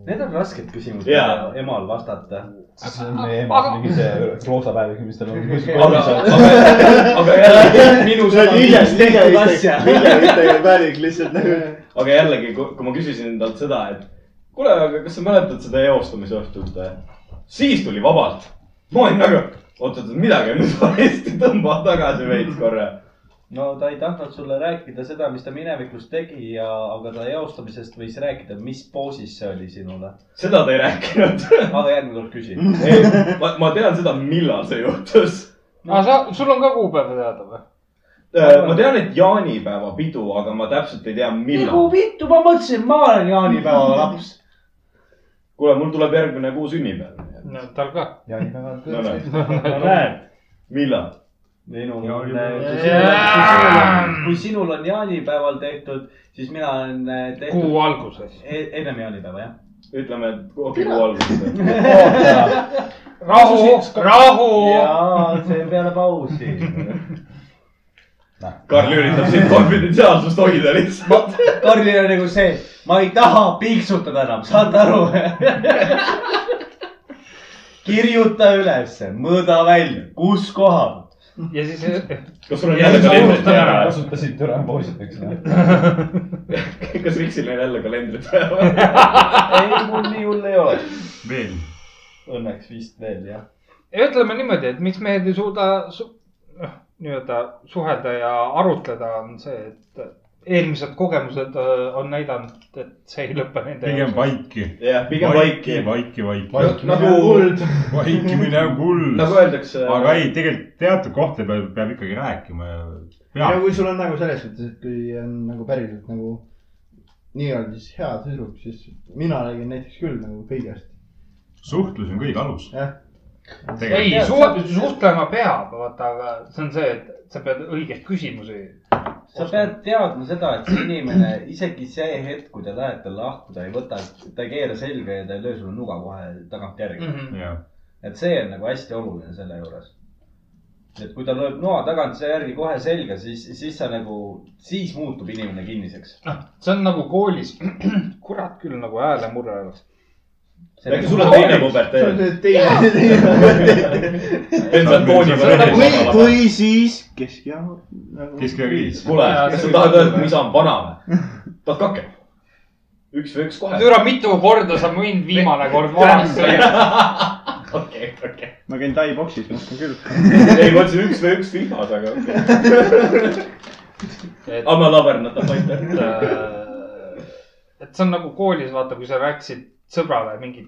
Need on rasked küsimused
Jaa.
emal vastata .
see on meie ema
Aga-
mingi see roosa päev , mis tal on .
aga , aga , aga jällegi ,
minu sõna on
Millest
tehtud asja . miljonitega päring lihtsalt nagu .
aga jällegi , kui ma küsisin talt seda , et kuule , aga kas sa mäletad seda eostumise õhtut ? siis tuli vabalt . ma olin nagu , oot-oot , midagi on nüüd valesti , tõmba tagasi veits korra .
no ta ei tahtnud sulle rääkida seda , mis ta minevikus tegi ja , aga ta eostamisest võis rääkida , mis poosis see oli sinule .
seda ta ei rääkinud .
aga järgmine kord küsi .
ma , ma tean seda , millal see juhtus .
aga Ah, sa , sul on ka kuupäev teada või ?
ma tean , et jaanipäeva pidu , aga ma täpselt ei tea ,
nagu
millal .
vittu , ma mõtlesin , ma olen jaanipäeva laps .
kuule , mul tuleb järgmine kuu sünnipäev .
no tal ka .
no näed . millal ?
minul on
Jaanipäeval. ,
kui sinul on jaanipäeval tehtud , siis mina olen eh, tehtud
kuu alguses .
e ennem jaanipäeva , jah .
ütleme , et okei , kuu alguses .
rahu , rahu .
jaa , see on peale pausi .
Karl üritab siin konfidentsiaalsust hoida lihtsalt .
Karlil on nagu see , ma ei taha piiksutada enam , saad aru ? kirjuta ülesse , mõõda välja , kus kohal .
ja siis ,
kas sul on
Ja
jälle
siis
kalendrit
unustad ära.
ära ?
kasutasid türa poosid , eks ole .
kas Riksil on jälle kalendrit ära ?
ei , mul nii hull ei ole .
veel .
Õnneks vist veel jah .
ütleme niimoodi , et miks mehed ei suuda su, noh, nii-öelda suhelda ja arutleda , on see , et eelmised kogemused öö, on näidanud , et see ei lõpe nende
pigem . vaiki .
jah , pigem vaiki .
vaiki , vaiki .
vaikimine
Nagu-
on kuld .
vaikimine on kuld .
nagu öeldakse .
äh,
aga ei , tegelikult teatud kohtade peal peab ikkagi rääkima ja
ja
peab .
kui sul on nagu selles mõttes , et kui on nagu päriselt nagu nii-öelda siis hea tüdruk , siis mina räägin näiteks küll nagu kõigest .
suhtlus on kõige alus .
Jah.
ei
tegelikult ,
suhtlema peab , vaata , aga see on see , et sa pead õigeid küsimusi .
sa pead teadma seda , et see inimene isegi see hetk , kui te lähete lahku , ta ei võta , ta ei keera selga ja ta ei löö sulle nuga kohe tagantjärgi mm .
Mhm.
jah .
-hmm. et see on nagu hästi oluline selle juures . et kui ta lööb noa tagantjärgi kohe selga , siis , siis sa nagu , siis muutub inimene kinniseks .
see on nagu koolis , kurat küll nagu häälemurre oleks .
äkki sul on teine puber
nagu see on
teel ?
see teine , teine .
pensiotooni
või ,
peal .
või siis keskjaama nagu... .
keskmine kriis .
kuule , kas sa tahad öelda , et mu isa on vana või ? tahad kake ? üks või üks kohe ?
türa , mitu korda sa mind viimane kord vanaks tegid ?
okei , okei .
ma käin Tai boksis , ma oskan küll .
ei , ma ütlesin üks või üks vihmas , aga okei . I m a lover , not a
et
fighter .
äh, et see on nagu koolis , vaata , kui sa rääkisid sõbrale mingit ,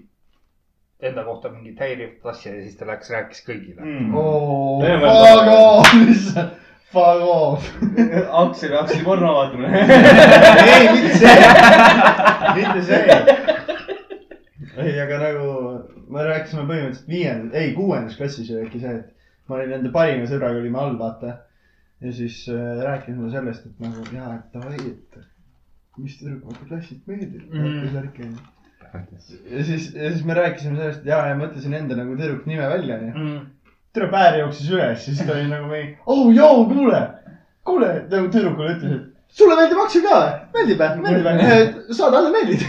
enda kohta mingit häirivat asja ja siis ta läks , rääkis kõigile .
Mm.
Mm.
Teeme
Fuck
taga.
off , fuck off .
aktsiaga hakkasin porno vaatama .
ei , mitte see , mitte see . ei , aga nagu me rääkisime põhimõtteliselt viiendas , ei kuuendas klassis oli äkki see , et ma olin nende parima sõbraga olime all , vaata . ja siis äh, rääkisime sellest , et nagu jaa , et davai , et mis tüdrukule klassis meeldib
Mm.
mm. , värk on ju . ja siis , ja siis me rääkisime sellest ja , ja ma ütlesin enda nagu tüdruku nime välja ,
Mm.
onju . tüdruk päär jooksis üles , siis ta oli nagu mingi , oh joo , kuule , kuule , nagu tüdrukule ütles , et sulle meeldib aktsia ka või ? meeldib või ? meeldib või ? sa talle meeldid .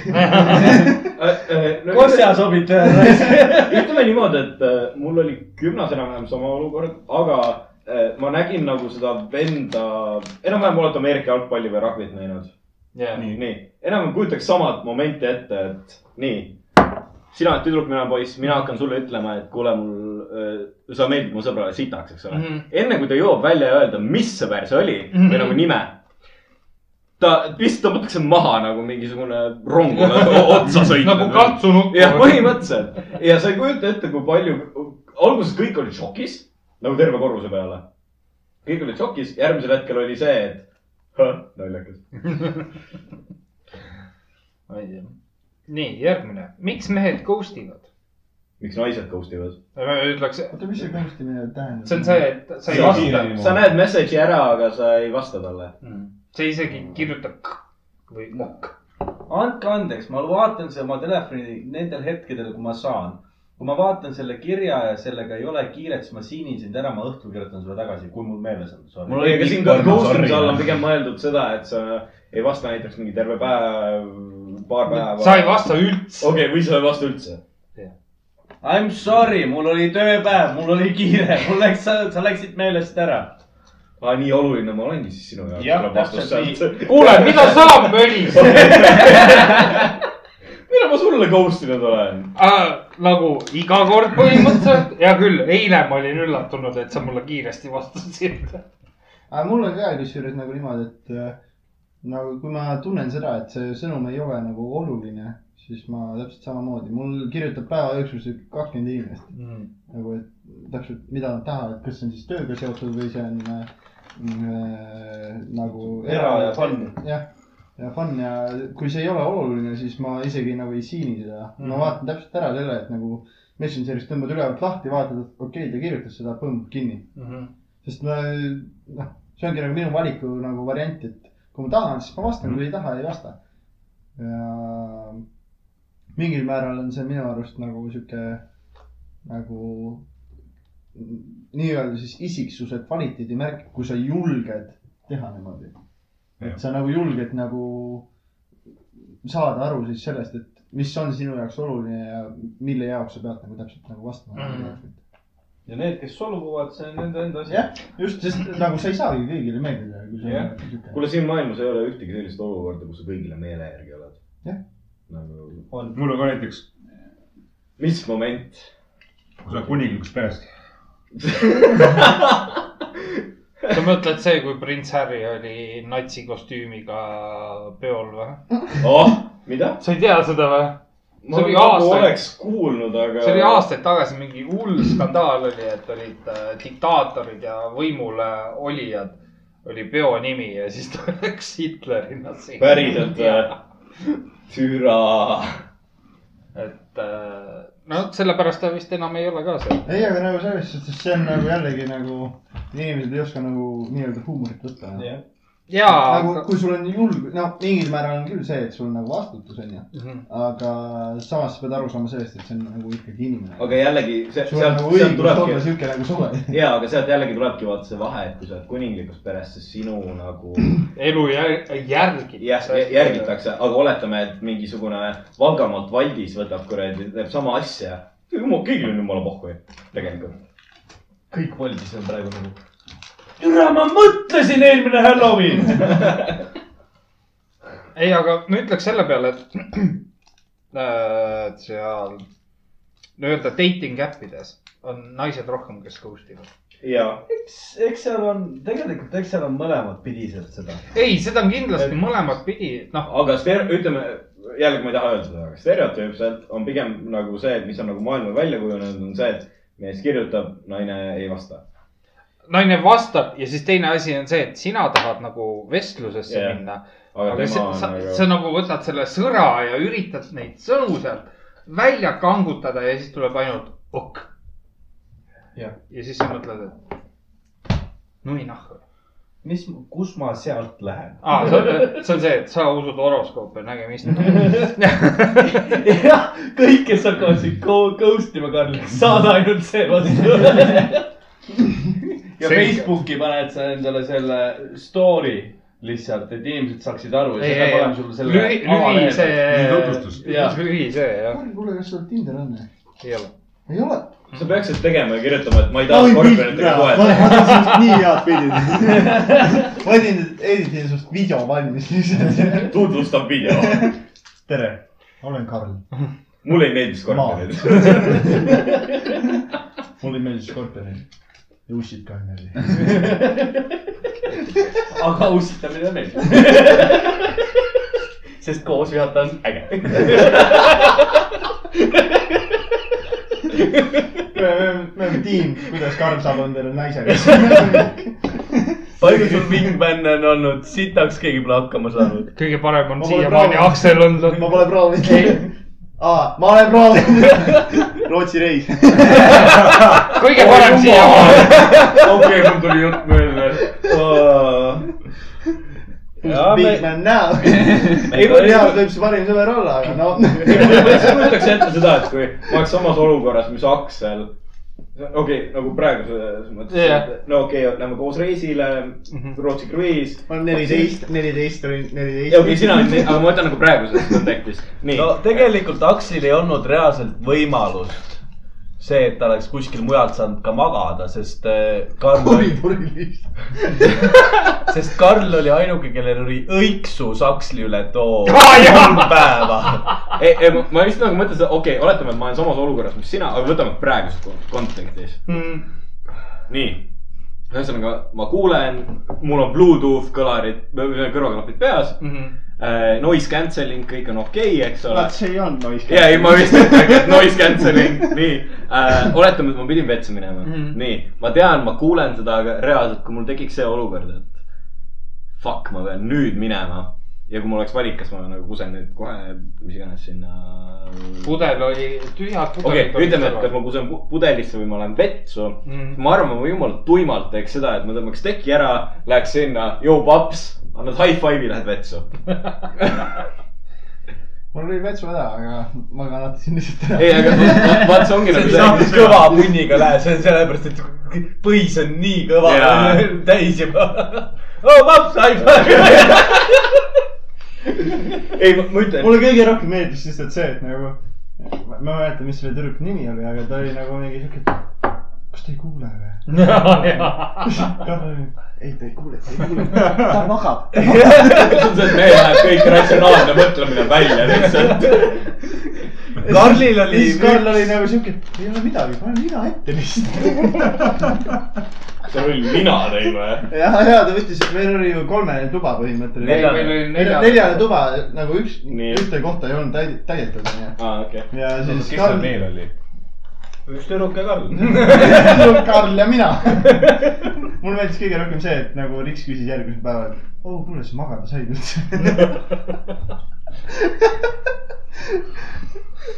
Äh, no, .
sobid teha .
ütleme niimoodi , et äh, mul oli gümnas enam-vähem sama olukord , aga äh, ma nägin nagu seda venda , enam-vähem olete Ameerika jalgpalli või rugby't näinud ? nii, nii. , enam-vähem kujutaks samat momenti ette , et nii . sina oled tüdruk , mina poiss , mina hakkan sulle ütlema , et kuule , mul äh, , sa meeldid mu sõbrale sitaks , eks ole mm .
Mhm.
-hmm. enne kui ta jõuab välja öelda , mis see pärs oli mm -hmm.
Mhm.
või nagu nime , ta lihtsalt tõmmatakse maha nagu mingisugune rong nagu otsa sõitnud .
nagu katsunud .
jah , põhimõtteliselt ja sa ei kujuta ette , kui palju , alguses kõik olid šokis , nagu terve korruse peale . kõik olid šokis , järgmisel hetkel oli see , et "Hõ, naljakas .
nii , järgmine . miks mehed ghost ivad ?
miks naised ghost ivad ?
ma ütleks ,
oota , mis see kunstimine tähendab ?
see on see , et sa ei
Sa-
vasta .
sa näed message'i ära , aga sa ei vasta talle .
sa Mm. isegi kirjutad k- või mokk .
andke andeks , ma vaatan seda oma telefoni nendel hetkedel , kui ma saan . kui ma vaatan selle kirja ja sellega ei ole kiiret , siis ma siinin sind ära , ma õhtul kirjutan sulle tagasi , kui mul meeles on .
ei , aga siin ghost imise all on pigem mõeldud seda , et sa ei vasta näiteks mingi terve päev , paar päeva .
sa ei . vasta üldse .
okei , või sa ei vasta üldse .
I m sorry , mul oli tööpäev , mul oli kiire , mul läks , sa läksid meelest ära .
aa , nii oluline ma olengi siis sinu jaoks .
Jah, täpselt
nii .
kuule , mida sa mölised ?
millal ma sulle ghost inud olen ?
nagu iga kord põhimõtteliselt , hea küll , eile ma olin üllatunud , et sa mulle kiiresti vastasid .
aga mul on ka kusjuures nagu niimoodi , et äh, nagu kui ma tunnen seda , et see sõnum ei ole nagu oluline , siis ma täpselt samamoodi , mul kirjutab päeva jooksul sihuke kakskümmend inimest mm. . nagu , et täpselt , mida nad tahavad , kas see on siis tööga seotud või see on äh, nagu .
Era- ja fun. .
jah , ja fun ja kui see ei ole oluline , siis ma isegi nagu ei siini seda mm. . ma vaatan täpselt ära selle , et nagu Messengeris tõmbad ülevalt lahti , vaatad , et okei okay, , ta kirjutas seda , põmm , kinni sest ma , noh , see ongi nagu minu valiku nagu variant , et kui ma tahan , siis ma vastan , kui ei taha , ei vasta . ja mingil määral on see minu arust nagu sihuke nagu nii-öelda siis isiksuse kvaliteedi märk , kui sa julged teha niimoodi . et sa nagu julged nagu saada aru siis sellest , et mis on sinu jaoks oluline ja mille jaoks sa pead nagu täpselt nagu vastama
Mhm.
mm. .
ja need , kes solvuvad , see on nende enda asi
jah , just , sest nagu sa ei saagi kõigile meeldida , kui sa
Jah.
oled sihuke .
kuule , siin maailmas ei ole ühtegi sellist olukorda , kus sa kõigile meele järgi oled .
Jah.
nagu ,
mul on ka näiteks ,
mis moment ?
kui sa oled kuninglikus peres ,
sa mõtled see , kui prints Harry oli natsikostüümiga peol või ?
oh , mida ?
sa ei tea seda või ?
ma
oli
nagu
aastaid-
oleks kuulnud , aga .
see oli aastaid tagasi mingi hull skandaal oli , et olid äh, diktaatorid ja võimule olijad , oli peo nimi ja siis ta läks Hitlerina .
päriselt või ? türa .
et äh, no sellepärast ta vist enam ei ole ka seal .
ei , aga nagu selles suhtes , see on nagu jällegi nagu , inimesed ei oska nagu nii-öelda huumorit võtta .
ja
nagu , kui sul on julg- , noh , mingil määral on küll see , et sul nagu vastutus on ju ,
Mhm.
aga samas sa pead aru saama sellest , et see on nagu ikkagi inimene .
aga jällegi , sealt ,
sul on
sealt
nagu õigus olla
tulebki ,
sihuke nagu sa oled .
ja , aga sealt jällegi tulebki vaata see vahe , et kui sa oled kuninglikus peres , siis sinu nagu
elu jär-
jah ,
järgitakse .
järgitakse , aga oletame , et mingisugune Valgamaalt Valdis võtab kuradi , teeb sama asja . jumal , kõigil on jumala pohhui tegelikult .
kõik voldis on praegu nagu . türa , ma mõtlesin eelmine Halloween .
ei , aga ma ütleks selle peale , et äh, et seal nii-öelda dating äppides on naised rohkem , kes ghost ivad .
ja ,
eks , eks seal on , tegelikult , eks seal on mõlemat pidiselt seda .
ei , seda on kindlasti mõlemat pidi , noh ,
aga ster- , ütleme jällegi ma ei taha öelda seda , aga stereotüüpselt on pigem nagu see , et mis on nagu maailma välja kujunenud , on see , et mees kirjutab , naine ei vasta .
naine vastab ja siis teine asi on see , et sina tahad nagu vestlusesse
Jah.
yeah. minna .
aga
aga
tema
sa,
on
sa, sa
nagu ,
nagu võtad selle sõra ja üritad neid sõnu sealt välja kangutada ja siis tuleb ainult ok .
Jah.
ja siis sa mõtled , et nui nahku .
mis , kus ma sealt lähen ?
aa , see on see , et sa usud horoskoope , nägemist .
jah , kõik , kes hakkavad sind go- ghost ima , Karl , saada ainult see vastu .
ja
Selge.
Facebooki paned sa endale selle story lihtsalt , et inimesed saaksid aru ja
Ei,
siis peab
ei,
olema sul selle .
lühi , lühi
Nii
see
tutvustus. ,
Jah.
lühi see jah ,
kuule , kas sul Tinder on ?
ei ole .
ei ole .
sa peaksid tegema ja kirjutama , et ma ei taha
oi ,
korvpallitega
ma
suhelda .
ma teen sinust nii head pildid . ma teen , editin sinust video valmis lihtsalt .
tutvustan video .
tere , olen Karl .
mulle ei meeldi skorpionid .
mulle meeldis Scorpionid ja ussid ka onju .
aga ussitamine meeldib . sest koos vihata on äge .
me oleme , me oleme tiim , kuidas Karl saab endale naise käest .
palju sul wingman'e on olnud , sitaks keegi pole hakkama saanud .
kõige parem on
Ma pole
siiamaani
proovinud.
Aksel olnud .
ma pole proovinud . aa , ma olen proovinud . Rootsi reis .
kõige parem siiamaani .
okei , mul tuli jutt meelde .
Oh. Big man now . ei , mul heas võib see parim sõber olla , aga noh .
ma lihtsalt kujutaks ette seda , et kui ma oleks samas olukorras , mis Aksel . okei okay, , nagu praeguses mõttes
Jah.
yeah. , no okei okay, , lähme koos reisile , Rootsi kruiis .
ma olen neliteist , neliteist olin , neliteist .
ja okei okay, , sina olid , aga ma ütlen nagu praeguses kontekstis . nii
no
no. ,
tegelikult Aksil ei olnud reaalselt võimalust see , et ta oleks kuskil mujalt saanud ka magada , sest äh, Karl oli ,
koridoris .
sest Karl oli ainuke , kellel oli õiksus Aksli üle too
Aa, jaa!
kolm päeva .
ei , ei , ma lihtsalt nagu mõtlesin , okei okay, , oletame , et ma olen samas olukorras , mis sina , aga võtame praeguses kon- kontekstis .
Mhm. Mm,
nii , ühesõnaga ma kuulen , mul on Bluetooth kõlarid , kõrvaklapid peas . Noise cancelling , kõik on okei okay, , eks ole
vaat . see ei olnud noise .
ja ei , ma vist ütlengi , et noise cancelling , nii äh, . oletame , et ma pidin vetsu minema mm. , nii . ma tean , ma kuulen seda , aga reaalselt , kui mul tekiks see olukord , et fuck , ma pean nüüd minema . ja kui mul oleks valik , kas ma nagu kusen nüüd kohe , mis iganes sinna .
pudel oli , tühjad
okei
pudelid .
okay, , ütleme , et kas ma kusen pu- pudelisse või ma lähen vetsu
Mhm.
ma arvan , ma jumal tuimalt teeks seda , et ma tõmbaks teki ära , läheks sinna , joo paps , annad high five'i , lähed vetsu .
mul oli vetsu häda , aga ma kannatasin lihtsalt ära .
ei , aga va- va- vaat see ongi
see
nagu
on saanud kõva punniga lähe , see on sellepärast , et põis on nii kõva
Jaa.
täis juba . oo , paps , aitäh .
ei , ma ma ütlen .
mulle kõige rohkem meeldis lihtsalt see , et nagu , ma ma ei mäleta , mis selle tüdruku nimi oli , aga ta oli nagu mingi siuke , kas te ei kuule või ? ei , ta ei kuule , ta ei kuule , ta magab .
see on see , et meil läheb kõik ratsionaalne mõtlemine välja lihtsalt .
Karlil
ja
oli
siis Karl oli nagu siuke , ei ole midagi , pane nina ette lihtsalt .
see oli mina teil või ?
ja , ja ta võttis , meil oli ju kolmene tuba põhimõtteliselt .
meil oli neljas .
neljane tuba nagu üks ,
Nii.
ühte kohta ei olnud täid- täidetud onju .
aa , okei .
ja siis
kes seal
Karl ,
veel oli ?
üks tüdruk ja Karl .
Karl ja mina . mulle meeldis kõige rohkem see , et nagu Riks küsis järgmisel päeval , et oo , kuule , sa magada said üldse .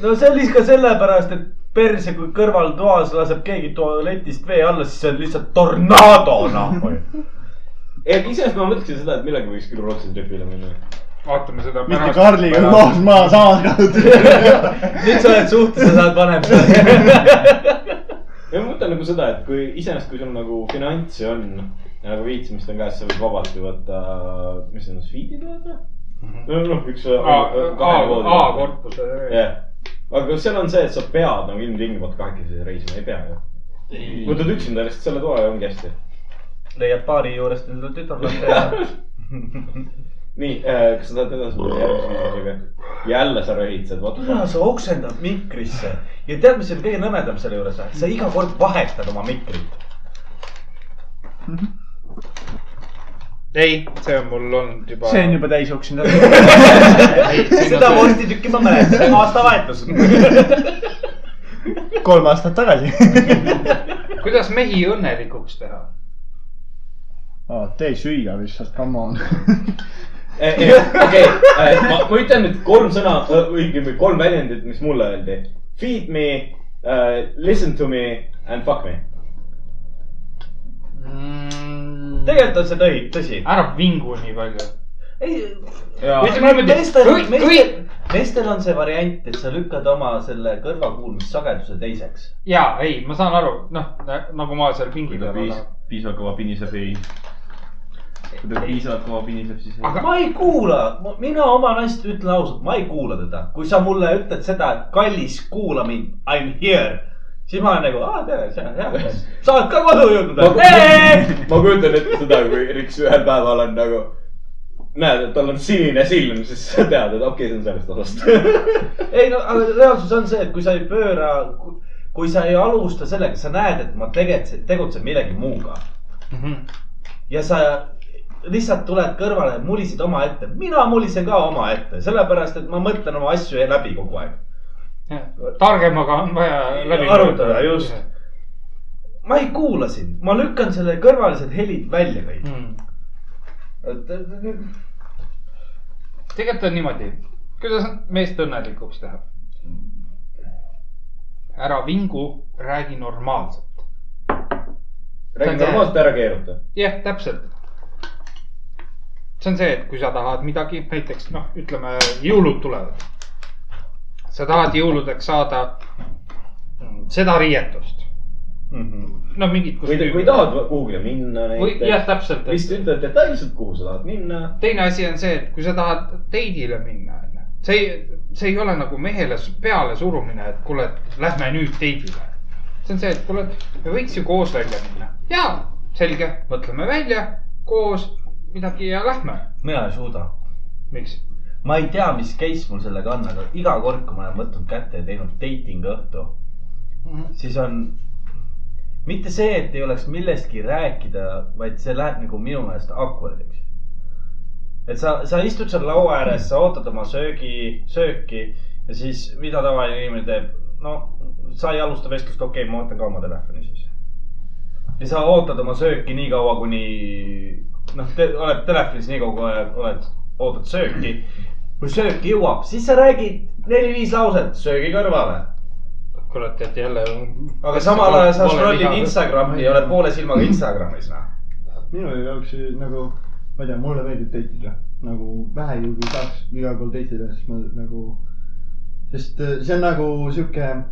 no see oli ka sellepärast , et perse , kui kõrvaltoas laseb keegi tualetist vee alla , siis see on lihtsalt tornaado , noh .
ei , iseenesest ma mõtleksin seda , et millega võiks küll Rootsi tripile minna .
vaatame seda
mitte Karliga , noh , ma samas kasutan .
nüüd sa oled suhtes ja saad vanem .
ei , ma mõtlen nagu seda , et kui iseenesest , kui sul nagu finantsi on ja nagu viitsimist on käes , sa võid vabalt ju võtta , mis need on , sviidid või ?
Mhm.
no , noh , üks .
A-korpuse .
jah , aga kas seal on see , et sa pead nagu ilmtingimata kahekesi reisima , ei pea ju ? võtad üksinda lihtsalt selle toa ja ongi hästi .
leiad baari juurest endale tütarlapse ja .
nii , kas sa tahad edasi minna järgmise küsimusega ? jälle sa röhitsed ,
kuna
vaata .
sa oksendad mikrisse ja tead , mis on kõige nõmedam selle juures , sa iga kord vahetad oma mikrit .
ei , see on mul olnud juba .
see on juba täis oksjoni .
seda vorstitükki ma mäletan , aastavahetus .
kolm aastat tagasi .
kuidas mehi õnnelikuks teha ?
tee süüa lihtsalt , come on .
Eh, okei , ma ma ütlen nüüd kolm sõna , õigemini kolm väljendit , mis mulle öeldi . Feed me , äh, listen to me and fuck me . tegelikult on see tõi- tõsi .
Mm, ära vingu nii palju .
ei ,
ütleme
meestel ,
niimoodi , kõik
meestel ,, meestel on see variant , et sa lükkad oma selle kõrvakuulmissageduse teiseks .
jaa , ei , ma saan aru , noh , nagu ma seal pingi peal olen .
piisavalt kõva piniseb , ei . kui ta piisavalt kõva piniseb , siis ei .
Aga-
ma ei kuula , mina oma naist ütlen ausalt , ma ei kuula teda . kui sa mulle ütled seda , et kallis , kuula mind , I m here , siis ma olen nagu , aa , tere , see on hea . sa oled ka kodu jõudnud või ?
ma kujutan ette seda , kui Riks ühel päeval on nagu , näed , et tal on sinine silm , siis sa tead , et okei okay, , see on sellest osast .
ei no , aga reaalsus on see , et kui sa ei pööra , kui sa ei alusta sellega , sa näed , et ma tegutsen , tegutsen millegi muuga
Mhm.
ja sa lihtsalt tuled kõrvale ja mulisid omaette . mina mulisen ka omaette , sellepärast et ma mõtlen oma asju läbi kogu aeg .
targemaga on vaja läbi .
arutada , just . ma ei kuula sind , ma lükkan selle kõrvalised helid välja kõik .
Mm. tegelikult on niimoodi , kuidas meest õnnelikuks teha ? ära vingu , räägi normaalselt .
räägi normaalselt , ära keeruta .
jah , täpselt . see on see , et kui sa tahad midagi , näiteks noh , ütleme jõulud tulevad . sa tahad jõuludeks saada mm, seda riietust ,
Mhm.
no mingit
kui , kui
kostüümi .
tahad kuhugile minna
või jah ,
näiteks ,
täpselt .
vist ütled detailselt , kuhu sa tahad minna .
teine asi on see , et kui sa tahad teidile minna , onju , see , see ei ole nagu mehele s- pealesurumine , et kuule , et lähme nüüd teidile . see on see , et kuule , et me võiks ju koos välja minna ja selge , mõtleme välja koos midagi ja lähme .
mina ei suuda .
miks ?
ma ei tea , mis case mul sellega on , aga iga kord , kui ma olen võtnud kätte ja teinud dating õhtu , siis on mitte see , et ei oleks millestki rääkida , vaid see läheb nagu minu meelest awkward'iks . et sa , sa istud seal laua ääres , sa ootad oma söögi , sööki ja siis mida tavaline inimene teeb ? no sa ei alusta vestlust , okei okay, , ma ootan ka oma telefoni siis . ja sa ootad oma sööki nii kaua , kuni noh te, , oled telefonis nii kaua , kui oled , ootad sööki . kui söök jõuab , siis sa räägid neli-viis lauset söögi kõrvale
kurat , et jälle .
aga samal ajal sa scroll'id . Instagrami ja oled poole silmaga Instagramis , noh .
minu jaoks nagu , ma ei tea , mulle meeldib teitida nagu vähegi , kui saaks igal pool teitida , siis ma nagu , sest äh, see on nagu sihuke äh, .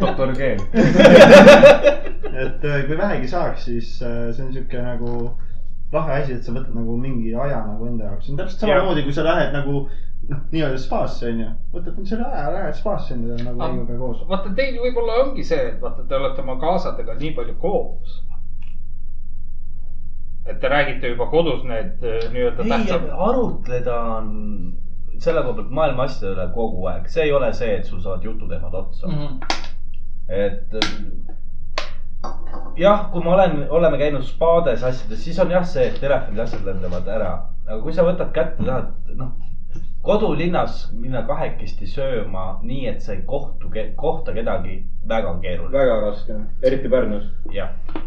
doktor G .
et äh, kui vähegi saaks , siis äh, see on sihuke nagu lahe asi , et sa võtad nagu mingi aja nagu enda jaoks , see on täpselt samamoodi , kui sa lähed nagu noh , nii-öelda spaasse onju , võtad nüüd selle aja , lähed spaasse enda nagu
Ah.
meiega koos .
vaata , teil võib-olla ongi see , et vaata , te olete oma kaasadega nii palju koos . et te räägite juba kodus need eh, nii-öelda
ei ,
tähtsamad .
arutleda on selle koha pealt maailma asjade üle kogu aeg , see ei ole see , et sul saavad jututeemad otsa mm . -hmm. et äh, jah , kui ma olen , oleme käinud spaades asjades , siis on jah see , et telefonid ja asjad lendavad ära , aga kui sa võtad kätte , tahad noh , kodulinnas minna kahekesti sööma , nii et sa ei kohtu , kohta kedagi , väga on keeruline .
väga raske , eriti Pärnus .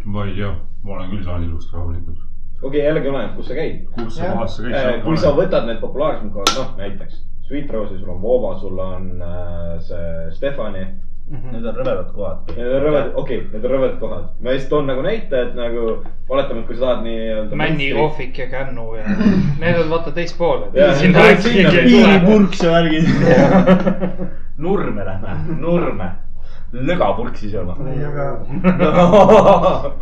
ma ei tea , ma olen küll saan ilust rahulikult .
okei okay, , jällegi oleneb , kus sa käid .
kus sa
Jah.
kohas sa käid .
kui sa . võtad need populaarsemad kohad , noh näiteks Sweet Rose'i , sul on Vova , sul on äh, see Stefani .
Mhm.
Need on rõvedad kohad .
Need on rõvedad , okei okay, , need on rõvedad kohad . ma just toon nagu näite , et nagu oletame , et kui sa tahad nii-öelda .
Männi ,. Ohvik ja Kännu ja need on vaata teistpoole .
Jaa, need on sinna
piiripurks ja värgid .
Nurme lähme , Nurme . lögapurksi sööma .
ei , aga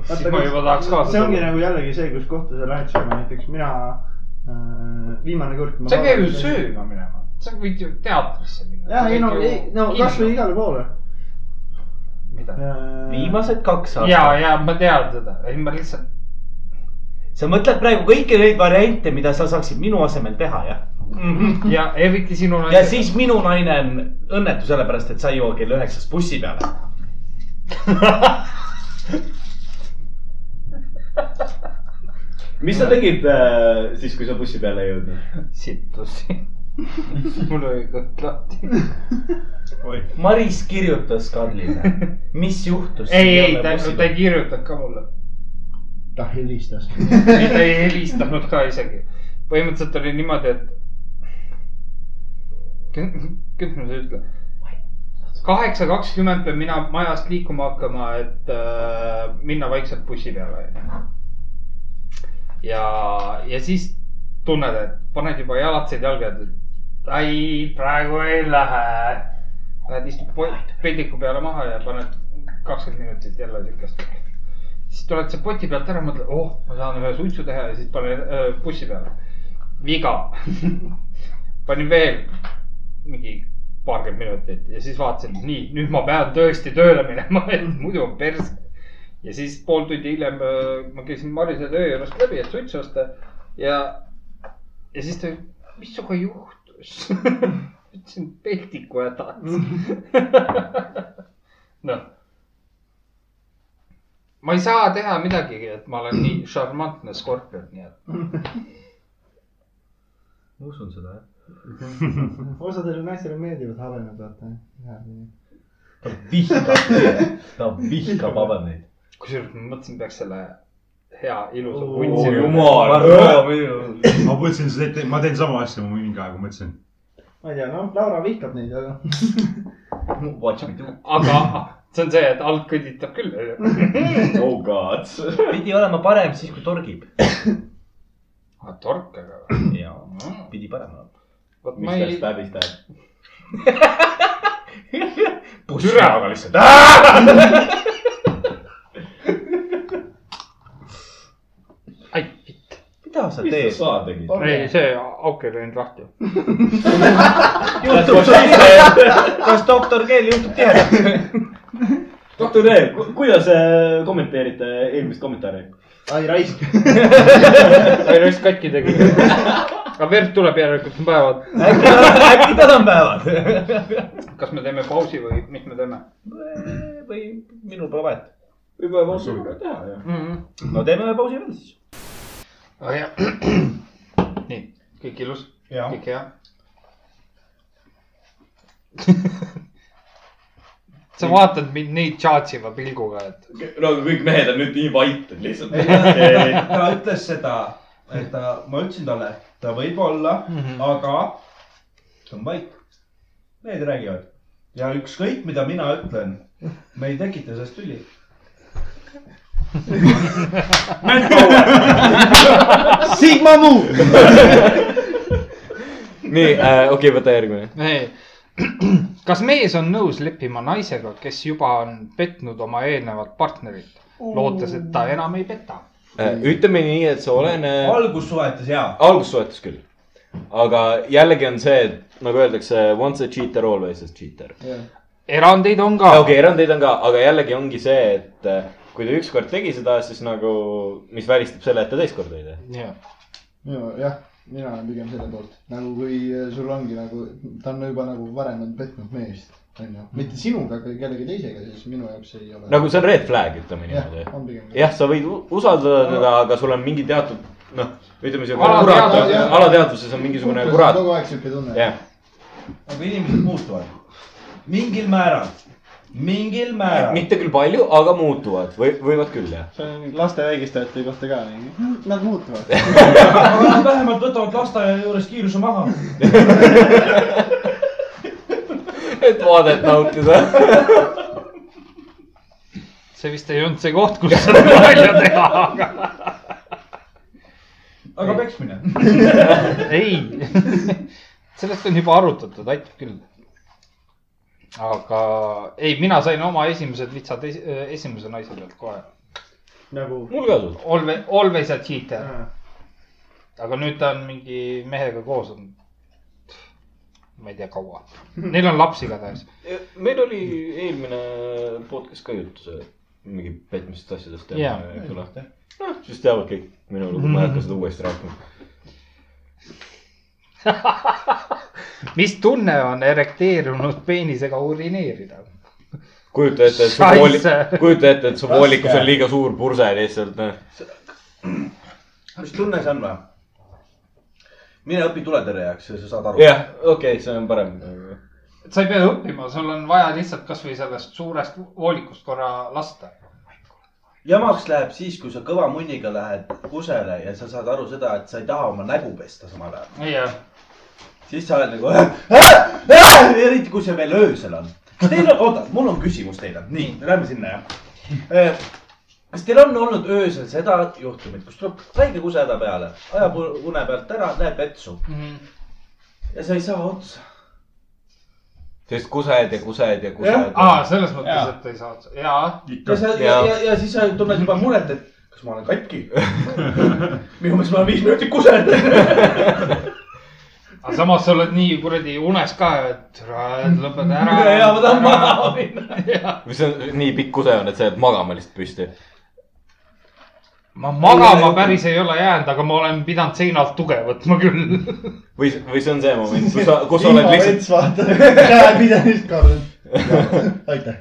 Siis ma juba tahaks kaasa
see ongi
tulla.
nagu jällegi see , kus kohta sa lähed sööma , näiteks mina äh, viimane kord .
sa ei pea ju . sööma minema , sa võid ju teatrisse minna .
ja ei no , ei no kasvõi . igale poole .
mida ?
viimased kaks
ja
aastat .,
ja ma tean seda , ei ma lihtsalt ,
sa mõtled praegu kõiki neid variante , mida sa saaksid minu asemel teha , jah ?
ja eriti sinu .
ja . siis minu naine on õnnetu sellepärast , et sa ei jõua kell üheksast bussi peale .
mis sa tegid äh, siis , kui sa bussi peale ei jõudnud ?
sittus . mul oli kõht lahti .
Maris kirjutas Karlile , mis juhtus .
ei , ei , ta , ta ei kirjutanud ka mulle .
ta Äh, helistas .
ta ei helistanud ka isegi . põhimõtteliselt oli niimoodi , et . kuidas ma seda ütlen ? kaheksa kakskümmend pean mina majast liikuma hakkama , et äh, minna vaikselt bussi peale , onju . ja , ja siis tunned , et paned juba jalatseid jalga , et ai , praegu ei lähe . Lähed istud po- peldiku peale maha ja paned kakskümmend minutit jälle siukest . siis tuled sa poti pealt ära , mõtled , oh , ma saan ühe suitsu teha ja siis panen äh, bussi peale . viga . panin veel mingi paarkümmend minutit ja siis vaatasin , nii , nüüd ma pean tõesti tööle minema , et muidu on pers . ja siis pool tundi hiljem öö, ma käisin Marise töö juurest läbi , et suitsu osta ja , ja siis ta , mis sinuga juhtus ? ütlesin , peltiku hädad . noh , ma ei saa teha midagigi , et ma olen nii šarmantne skorpion , nii et
ma usun seda jah .
osadele naistele meeldivad habemad , vaata .
ta vihkab , ta vihkab habemeid .
kusjuures ma mõtlesin , peaks selle hea ilusa
Oo,
vuntsi .
ma mõtlesin , ma teen sama asja , ma mingi aeg mõtlesin .
ma ei tea , noh , Laura vihkab neid , aga .
Watch me do .
aga see on see , et alt kõditab küll .
oh god .
pidi olema parem siis , kui torgib .
Ah, tork , aga .
ja , pidi parem olema .
vot ma
mis
ei
teist , läbis teeb ?
türa ,
lihtsalt .
ai , vitt .
mida sa
mis sa
teed ?
saa tegid ?
ei , see auk ei läinud lahti .
juhtub siis , kas doktor Keel juhtub tihedalt ?
doktor E , kuidas äh, kommenteerite eelmist kommentaari ?
ai , raisk .
ei , no just katki tegi . aga verd tuleb järelikult päevad .
äkki , äkki tänapäeval ?
kas me teeme pausi või mis me teeme
või minul pole vahet . Mm-hmm.
võib ühe pausi ka teha , jah .
mm ? -hmm.
no teeme ühe pausi veel siis .
aga jah . nii , kõik ilus , kõik hea . sa vaatad mind nii tšaatsiva pilguga , et
no aga kõik mehed on nüüd nii vait , et
ta
lihtsalt .
ta ütles seda , et ta , ma ütlesin talle , ta võib olla mm ,
Mhm.
Mm-hmm.
-hmm. aga ta on vait . mehed räägivad ja ükskõik , mida mina ütlen , me ei tekita sellest tüli .
Sigma muu .
nii , Äh, okei , võta järgmine .
ei , kas mees on nõus leppima naisega , kes juba on petnud oma eelnevat partnerit , lootes , et ta enam ei peta ?
Äh, ütleme nii , et äh, see oleneb .
algussuhetes ja .
algussuhetes küll . aga jällegi on see , et nagu öeldakse , once a cheater , always a cheater .
erandeid on ka
okei okay, , erandeid on ka , aga jällegi ongi see , et äh, kui ta ükskord tegi seda , siis nagu , mis välistab selle , et ta teist korda ei tee .
okay. .
minu , jah , mina olen pigem selle poolt , nagu kui sul ongi nagu , ta on juba nagu varem on petnud meest , onju . mitte sinuga , aga kellegi teisega , siis minu jaoks ei ole .
nagu see on red flag , ütleme
jah
niimoodi .,
on pigem .
jah , sa võid u- usaldada teda , aga sul on mingi teatud , noh , ütleme siuke
Alateadvus-
kurat , alateadvuses on mingisugune kurat .
kogu aeg siuke tunne .
jah ,
aga inimesed muutuvad mingil määral , mingil määral .
mitte küll palju , aga muutuvad või võivad küll jah .
see on laste vägistajate kohta ka nii . Nad muutuvad .
aga nad vähemalt võtavad lasteaia juures kiiruse maha .
et vaadet nautida
see vist ei olnud see koht , kus seda nalja teha , aga
aga peksmine .
ei . sellest on juba arutatud , aitab küll . aga ei , mina sain oma esimesed vitsad esi, äh, esimese naise pealt kohe .
nagu .
mul ka tundub .
Always , always a cheater . aga nüüd ta on mingi mehega koos on , ma ei tea , kaua . Neil on laps igatahes .
meil oli eelmine podcast ka juttu see , mingi petmisest asjadest
Jaa.
teeme yeah. küla . noh , siis teavad kõik minu lugu , ma ei hakka seda uuesti rääkima .
mis tunne on erekteerunud peenisega urineerida ?
kujuta ette , et su
Scheisse.
vooli , kujuta ette , et su voolikus on liiga suur purse lihtsalt , noh .
mis tunne see on või ? mine õpi tuletõrjejaks ja sa saad aru .
jah , okei okay, , see on parem .
sa ei pea õppima , sul on vaja lihtsalt kasvõi sellest suurest voolikust korra lasta .
jamaks läheb siis , kui sa kõva munniga lähed kusele ja sa saad aru seda , et sa ei taha oma nägu pesta samal ajal .
jah ,
siis sa oled nagu äh, . Äh, äh, eriti kui see veel öösel on .
Teil on , oota , mul on küsimus teile , nii , lähme sinna jah . kas teil on olnud öösel seda juhtumit , kus tuleb väike kuseda peale , ajab une pealt ära , näeb vetsu
Mhm.
ja sa ei saa otsa ?
sest kused ja kused ja kused .
aa , selles mõttes , et ei saa otsa , jaa .
ja sa ja, ja , ja siis sa tunned juba muret , et kas ma olen katki . minu meelest ma olen viis minutit kusenud .
aga samas sa oled nii kuradi unes ka , et ära, lõpeta ära .
ja ma tahan maha . minna .
mis on nii pikk kuse on , et sa jääd magama lihtsalt püsti .
ma magama päris ei ole jäänud , aga ma olen pidanud seinalt tuge võtma küll .
või , või see on see moment , kus sa , kus sa oled lihtsalt ,
vaata , näed mida nüüd kardad . aitäh .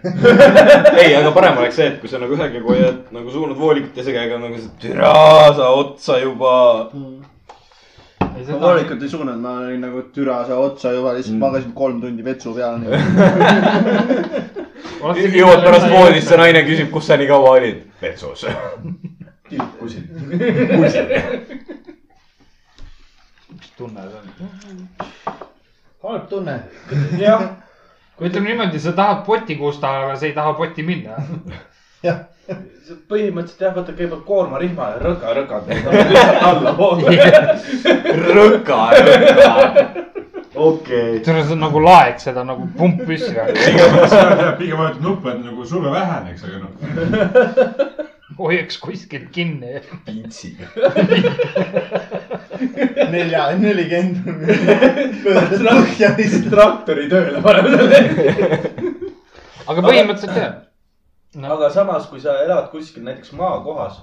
ei , aga parem oleks see , et kui sa nagu ühe käega hoiad nagu suunad voolikut ja see käega on nagu see , türa sa otsa juba .
Seda...
ma valikult ei suunanud , ma olin nagu türa sa otsa juba lihtsalt mm. magasin kolm tundi vetsu peal .
jõuad pärast voodisse , naine küsib , kus sa nii kaua olid . vetsus .
halb tunne .
jah ,
ütleme niimoodi , sa tahad poti kusta , aga sa ei taha potti minna .
põhimõtteliselt jah , vaata kõigepealt koormarihma ja rõka-rõka . allapoole .
rõka , rõka . okei .
see on nagu laeg , seda nagu pump püssi .
pigem , pigem vajutad nuppu , et nagu surve väheneks , aga noh ,
hoiaks kuskilt kinni .
nelja , nelikümmend . pöörad põhja lihtsalt .
traktori tööle paneme selle .
aga põhimõtteliselt jah .
aga samas , kui sa elad kuskil näiteks maakohas ,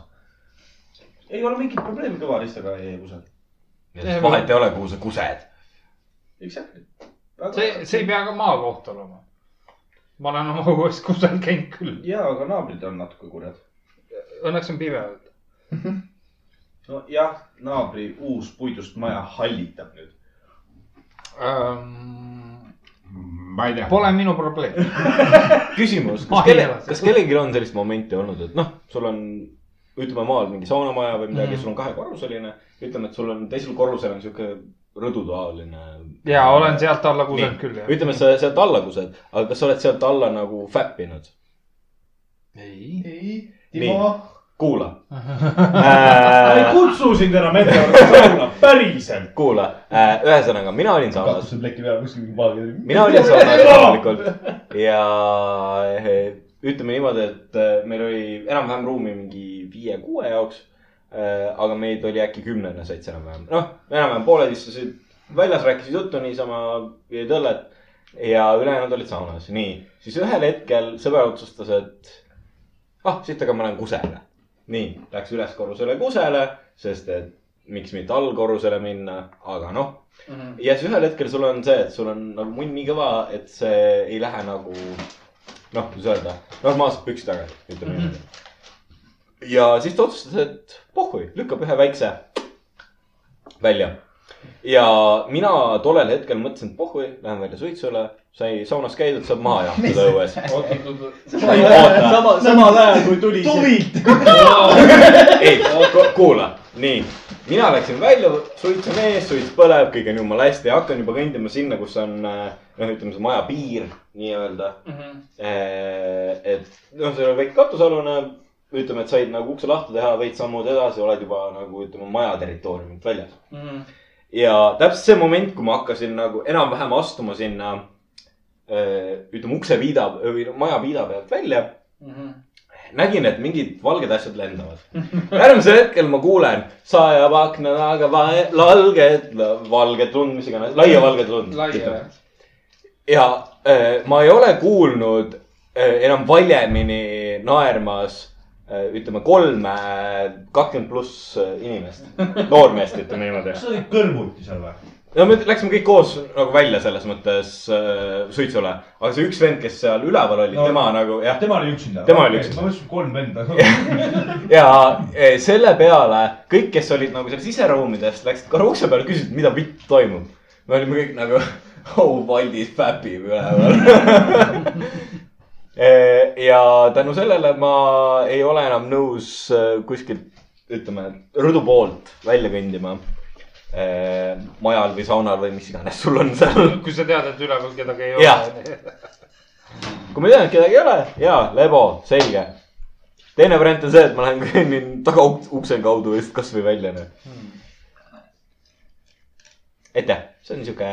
ei ole mingit probleemi kõvaristega e-kusagil .
vahet ei ole , kuhu sa kused .
Exactly .
see , see ei pea ka maakoht olema . ma olen oma õues kusagil käinud küll .
ja , aga naabrid on natuke kurjad .
Õnneks on pime .
nojah , naabri uus puidust maja hallitab nüüd .
ma ei tea .
Ehm, Pole minu probleem .
küsimus ,
Ma
kas
ei
kelle
ela , seal.
kas kellelgi on sellist momenti olnud , et noh , sul on , ütleme maal mingi saunamaja või midagi mm. , sul on kahekorruseline , ütleme , et sul on teisel korrusel on sihuke rõdutoaline .
ja olen . sealt alla kusagilt küll jah .
ütleme , sa sealt alla kused , aga kas sa oled sealt alla nagu fäppinud ?
ei .
ei ,
Nii.
Timo .
kuula
ma ei
äh, ,
kutsu sind enam meteori sauna , päriselt .
kuula äh, , ühesõnaga , mina olin saunas ,
pleki peal kuskil mingi paagi .
mina olin saunas loomulikult ja eh, ütleme niimoodi , et eh, meil oli enam-vähem ruumi mingi viie-kuue jaoks . aga meid oli äkki kümnena said enam-vähem , noh , enam-vähem pooled istusid väljas , rääkisid juttu niisama , jõid õllet ja ülejäänud olid saunas , nii . siis ühel hetkel sõber otsustas , et ah , siit aga ma lähen kusele . nii , läks üles korrusele kusele , sest et miks mitte allkorrusele minna , aga noh . ja siis ühel hetkel sul on see , et sul on nagu munn nii kõva , et see ei lähe nagu noh , kuidas öelda , normaalselt püksi tagasi , ütleme niimoodi . ja siis ta otsustas , et pohhui , lükkab ühe väikse välja . ja mina tollel hetkel mõtlesin , et pohhui , lähen välja suitsule , sai saunas käidud , saab maha jahutada õues . oota ,
sama , samal ajal kui tuli see .
tuvid .
ei , kuula , nii , mina läksin välja , suits on ees , suits põleb , kõik on jumala hästi , hakkan juba kõndima sinna , kus on äh, noh , ütleme see maja piir nii-öelda . et noh , seal on väike katusealune , ütleme , et said nagu ukse lahti teha , veits sammud edasi , oled juba nagu ütleme maja territooriumilt väljas . ja täpselt see moment , kui ma hakkasin nagu enam-vähem astuma sinna äh, ütleme ukse viida või maja viida pealt välja nägin , et mingid valged asjad lendavad . järgmisel hetkel ma kuulen , sajab akna taga vae- valged , valget lund , mis iganes , laia valget lund .
laia .
ja äh, ma ei ole kuulnud äh, enam valjemini naermas äh, ütleme kolme kakskümmend pluss äh, inimest , noormeest ütleme niimoodi .
kas sa olid kõrvuti seal või ?
no me läksime kõik koos nagu välja selles mõttes äh, suitsule , aga see üks vend , kes seal üleval oli
No.
no. , tema nagu jah ,
tema oli üksinda .
Tema oli üksinda.
ma mõtlesin , kolm venda .
ja eh, selle peale kõik , kes olid nagu seal siseruumides , läksid korra ukse peale , küsisid , mida vitt toimub . me olime kõik nagu , oh , Valdis päpib üleval . ja tänu sellele ma ei ole enam nõus eh, kuskilt , ütleme , rõdu poolt välja kõndima . eh, majal või saunal või mis iganes sul on seal .
kui sa tead , et üleval kedagi ei
Jah.
ole .
kui ma tean , et kedagi ei ole , jaa , lebo , selge . teine variant on see , et ma lähen kõnnin tagaukse kaudu just kasvõi välja , noh .
Hmm.
aitäh , see on sihuke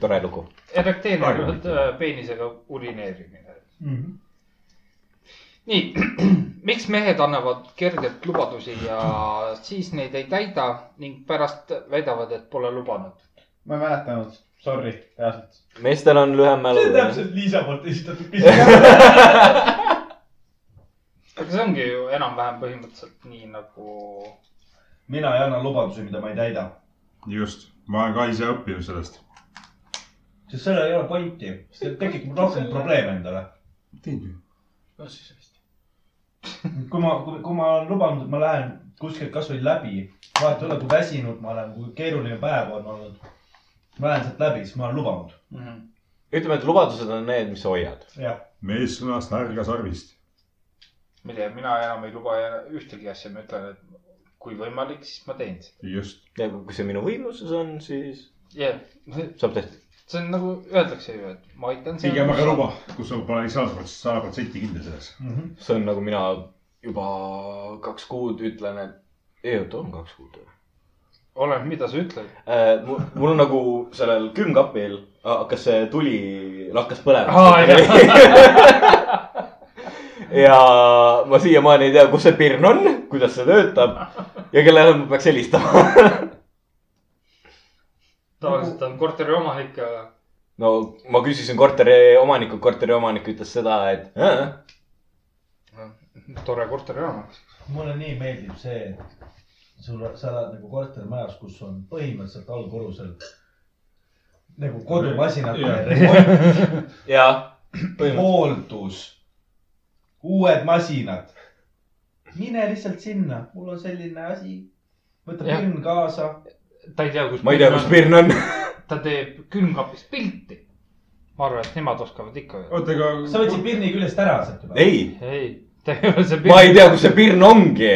tore lugu .
erekteeritud äh, peenisega urineerimine .
Mhm.
nii , miks mehed annavad kergelt lubadusi ja siis neid ei täida ning pärast väidavad , et pole lubanud ?
ma ei mäletanud , sorry , reaalselt .
meestel on lühem mälu
see . on täpselt Liisa poolt esitatud küsimus .
aga see ongi ju enam-vähem põhimõtteliselt nii nagu .
mina ei anna lubadusi , mida ma ei täida ,
just , ma olen ka ise õppinud sellest .
sest sellel ei ole pointi , see tekitab rohkem probleeme endale . kui ma , kui ma olen lubanud , et ma lähen kuskilt kasvõi läbi , vahet ei ole , kui väsinud ma olen , kui keeruline päev on olnud . ma lähen sealt läbi , siis ma olen lubanud .
ütleme , et lubadused on need , mis sa hoiad .
jah ,
mees sõnast härga sarvist .
ma ei tea , mina enam ei luba ühtegi asja , ma ütlen , et kui võimalik , siis ma teen seda .
just ,
ja kui see minu võimuses on , siis
jah ,
saab tehtud .
see on nagu öeldakse ju , et ma aitan .
pigem aga . luba , kus sa pole sada sada protsenti kindel selles .
see on nagu mina juba kaks kuud ütlen , et ei oota , on kaks kuud või ?
oleneb , mida sa ütled .
mul on nagu sellel külmkapil hakkas see tuli , hakkas
Aa,
põlema . ja ma siiamaani ei tea , kus see pirn on , kuidas see töötab ja kellele ma peaks helistama .
tavaliselt on korteri omanik ja
no ma küsisin korteri omanikult , korteri omanik ütles seda , et äh,
noh, tore korteri omanik .
mulle nii meeldib see , et sul , sa elad nagu kortermajas , kus on põhimõtteliselt allkorrusel nagu kodumasinad ,
ja
hooldus , uued masinad . mine lihtsalt sinna , mul on selline asi , võta
Jah.
film kaasa .
ta ei tea , kus .
ma ei tea , kus . pirn on .
ta teeb külmkapist pilti . ma arvan , et nemad oskavad ikka .
oota , aga
sa võtsid pirni küljest ära sealt juba .
ei
ei , ta ei ole see
ma ei tea , kus see pirn ongi .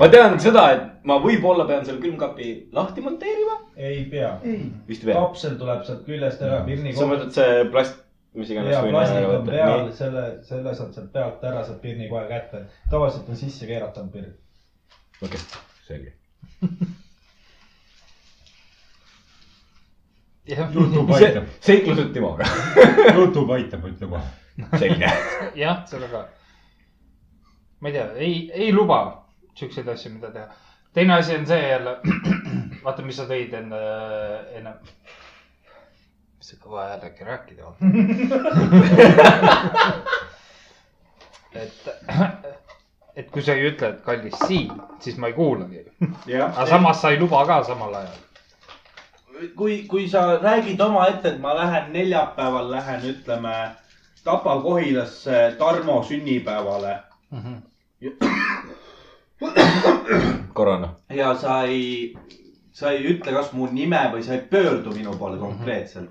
ma tean seda , et ma võib-olla pean selle külmkapi lahti monteerima .
ei pea ,
vist ei pea .
kapsel tuleb sealt küljest ära , pirni
sa
koht
mõtled see plast , mis iganes
ja plastik on peal
Nii. ,
selle , selle saad sealt pealt ära , saad pirni kohe kätte . tavaliselt on sisse keeratud pirn .
okei , selge .
Youtube
see
aitab ,
seiklused Timoga .
Youtube aitab , ütle kohe .
selge .
jah , sellega . ma ei tea , ei , ei luba siukseid asju , mida teha . teine asi on see jälle , vaata , mis sa tõid enne , enne . mis see kõva hääl äkki rääkida on ? et , et kui sa ei ütle , et kallis siin , siis ma ei kuulagi . aga samas sa ei luba ka samal ajal .
kui , kui sa räägid omaette , et ma lähen neljapäeval , lähen ütleme Tapa-Kohilasse Tarmo sünnipäevale
Mhm. koroona .
ja sa ei , sa ei ütle , kas mu nime või sa ei pöördu minu poole konkreetselt ,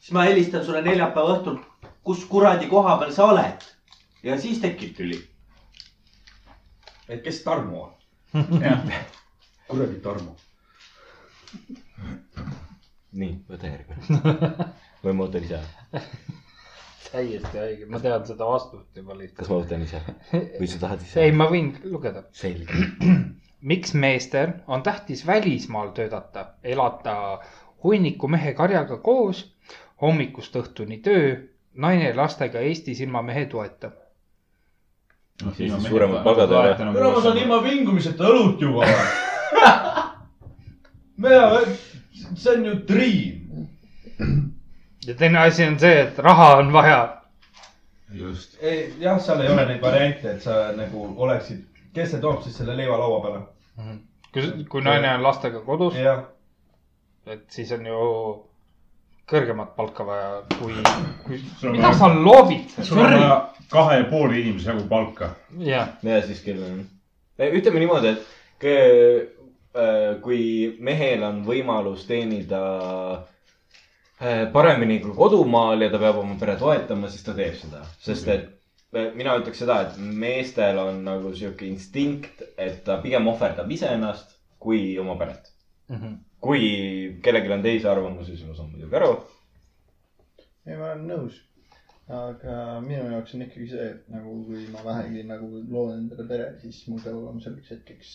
siis ma helistan sulle neljapäeva õhtul , kus kuradi koha peal sa oled ja siis tekib tüli . et kes Tarmo on ? kuradi Tarmo .
nii , võta järgmine . või ma võtan ise .
täiesti õige , ma tean seda vastust juba lihtsalt .
kas ma võtan ise või sa tahad ise
ei ,? ma võin lugeda .
selge .
miks meestel on tähtis välismaal töötada , elada hunniku mehe karjaga koos , hommikust õhtuni töö , naine lastega Eestis ilma mehe toeta .
siis suuremad palgad ei ole .
kuule , ma saan ilma vingumiseta õlut juua . mina , see on ju triin .
ja teine asi on see , et raha on vaja .
just ,
jah , seal ei ole neid variante , et sa nagu oleksid , kes see toob siis selle leiva laua peale ?
Mhm.
kui , kui naine on lastega kodus ,
jah ,
et siis on ju kõrgemat palka vaja , kui , kui ,
Sul on
mida
vaja-
sa loobid ?
sul on vaja kahe ja poole inimese jagu palka .
jah ,
ja siis kellel on . ütleme niimoodi , et kõ- äh, kui mehel on võimalus teenida äh, paremini kui kodumaal ja ta peab oma pere toetama , siis ta teeb seda , sest
Mhm.
et äh, mina ütleks seda , et meestel on nagu sihuke instinkt , et ta pigem ohverdab iseennast kui oma peret .
Mhm.
kui kellelgi on teisi arvamusi , siis ma saan muidugi aru .
ei , ma olen nõus . aga minu jaoks on ikkagi see , et nagu kui ma vähegi nagu loon endale pere , siis mul peab olema selleks hetkeks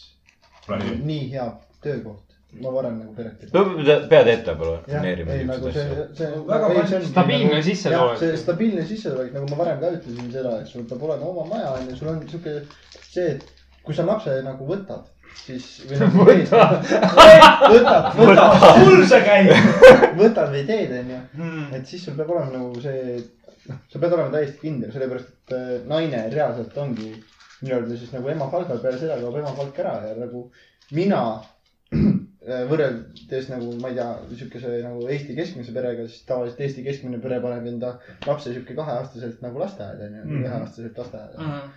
planeerida .
nii hea töökoht . ma varem nagu peret ei
pead ette palun
Jah,
planeerima
ei, nagu
niisuguseid
see
asju .,
see
Väga
ei, see on
stabiilne
nagu-
sissetulek.
jah, see stabiilne sissetulek , nagu ma varem ka ütlesin seda , et sul peab olema oma maja onju , sul on siuke see , et kui sa lapse nagu võtad , siis . võtad , võtad , võtad ,
mul see käib .
võtad või teed onju , et siis sul peab olema nagu see , sa pead olema täiesti kindel , sellepärast et äh, naine reaalselt ongi nii-öelda siis nagu ema palgal , peale seda kaob ema palk ära ja nagu mina äh, võrreldes nagu ma ei tea , niisuguse nagu Eesti keskmise perega , siis tavaliselt Eesti keskmine pere paneb enda lapse sihuke kaheaastaselt nagu lasteaeda onju , üheaastaselt lasteaeda mm .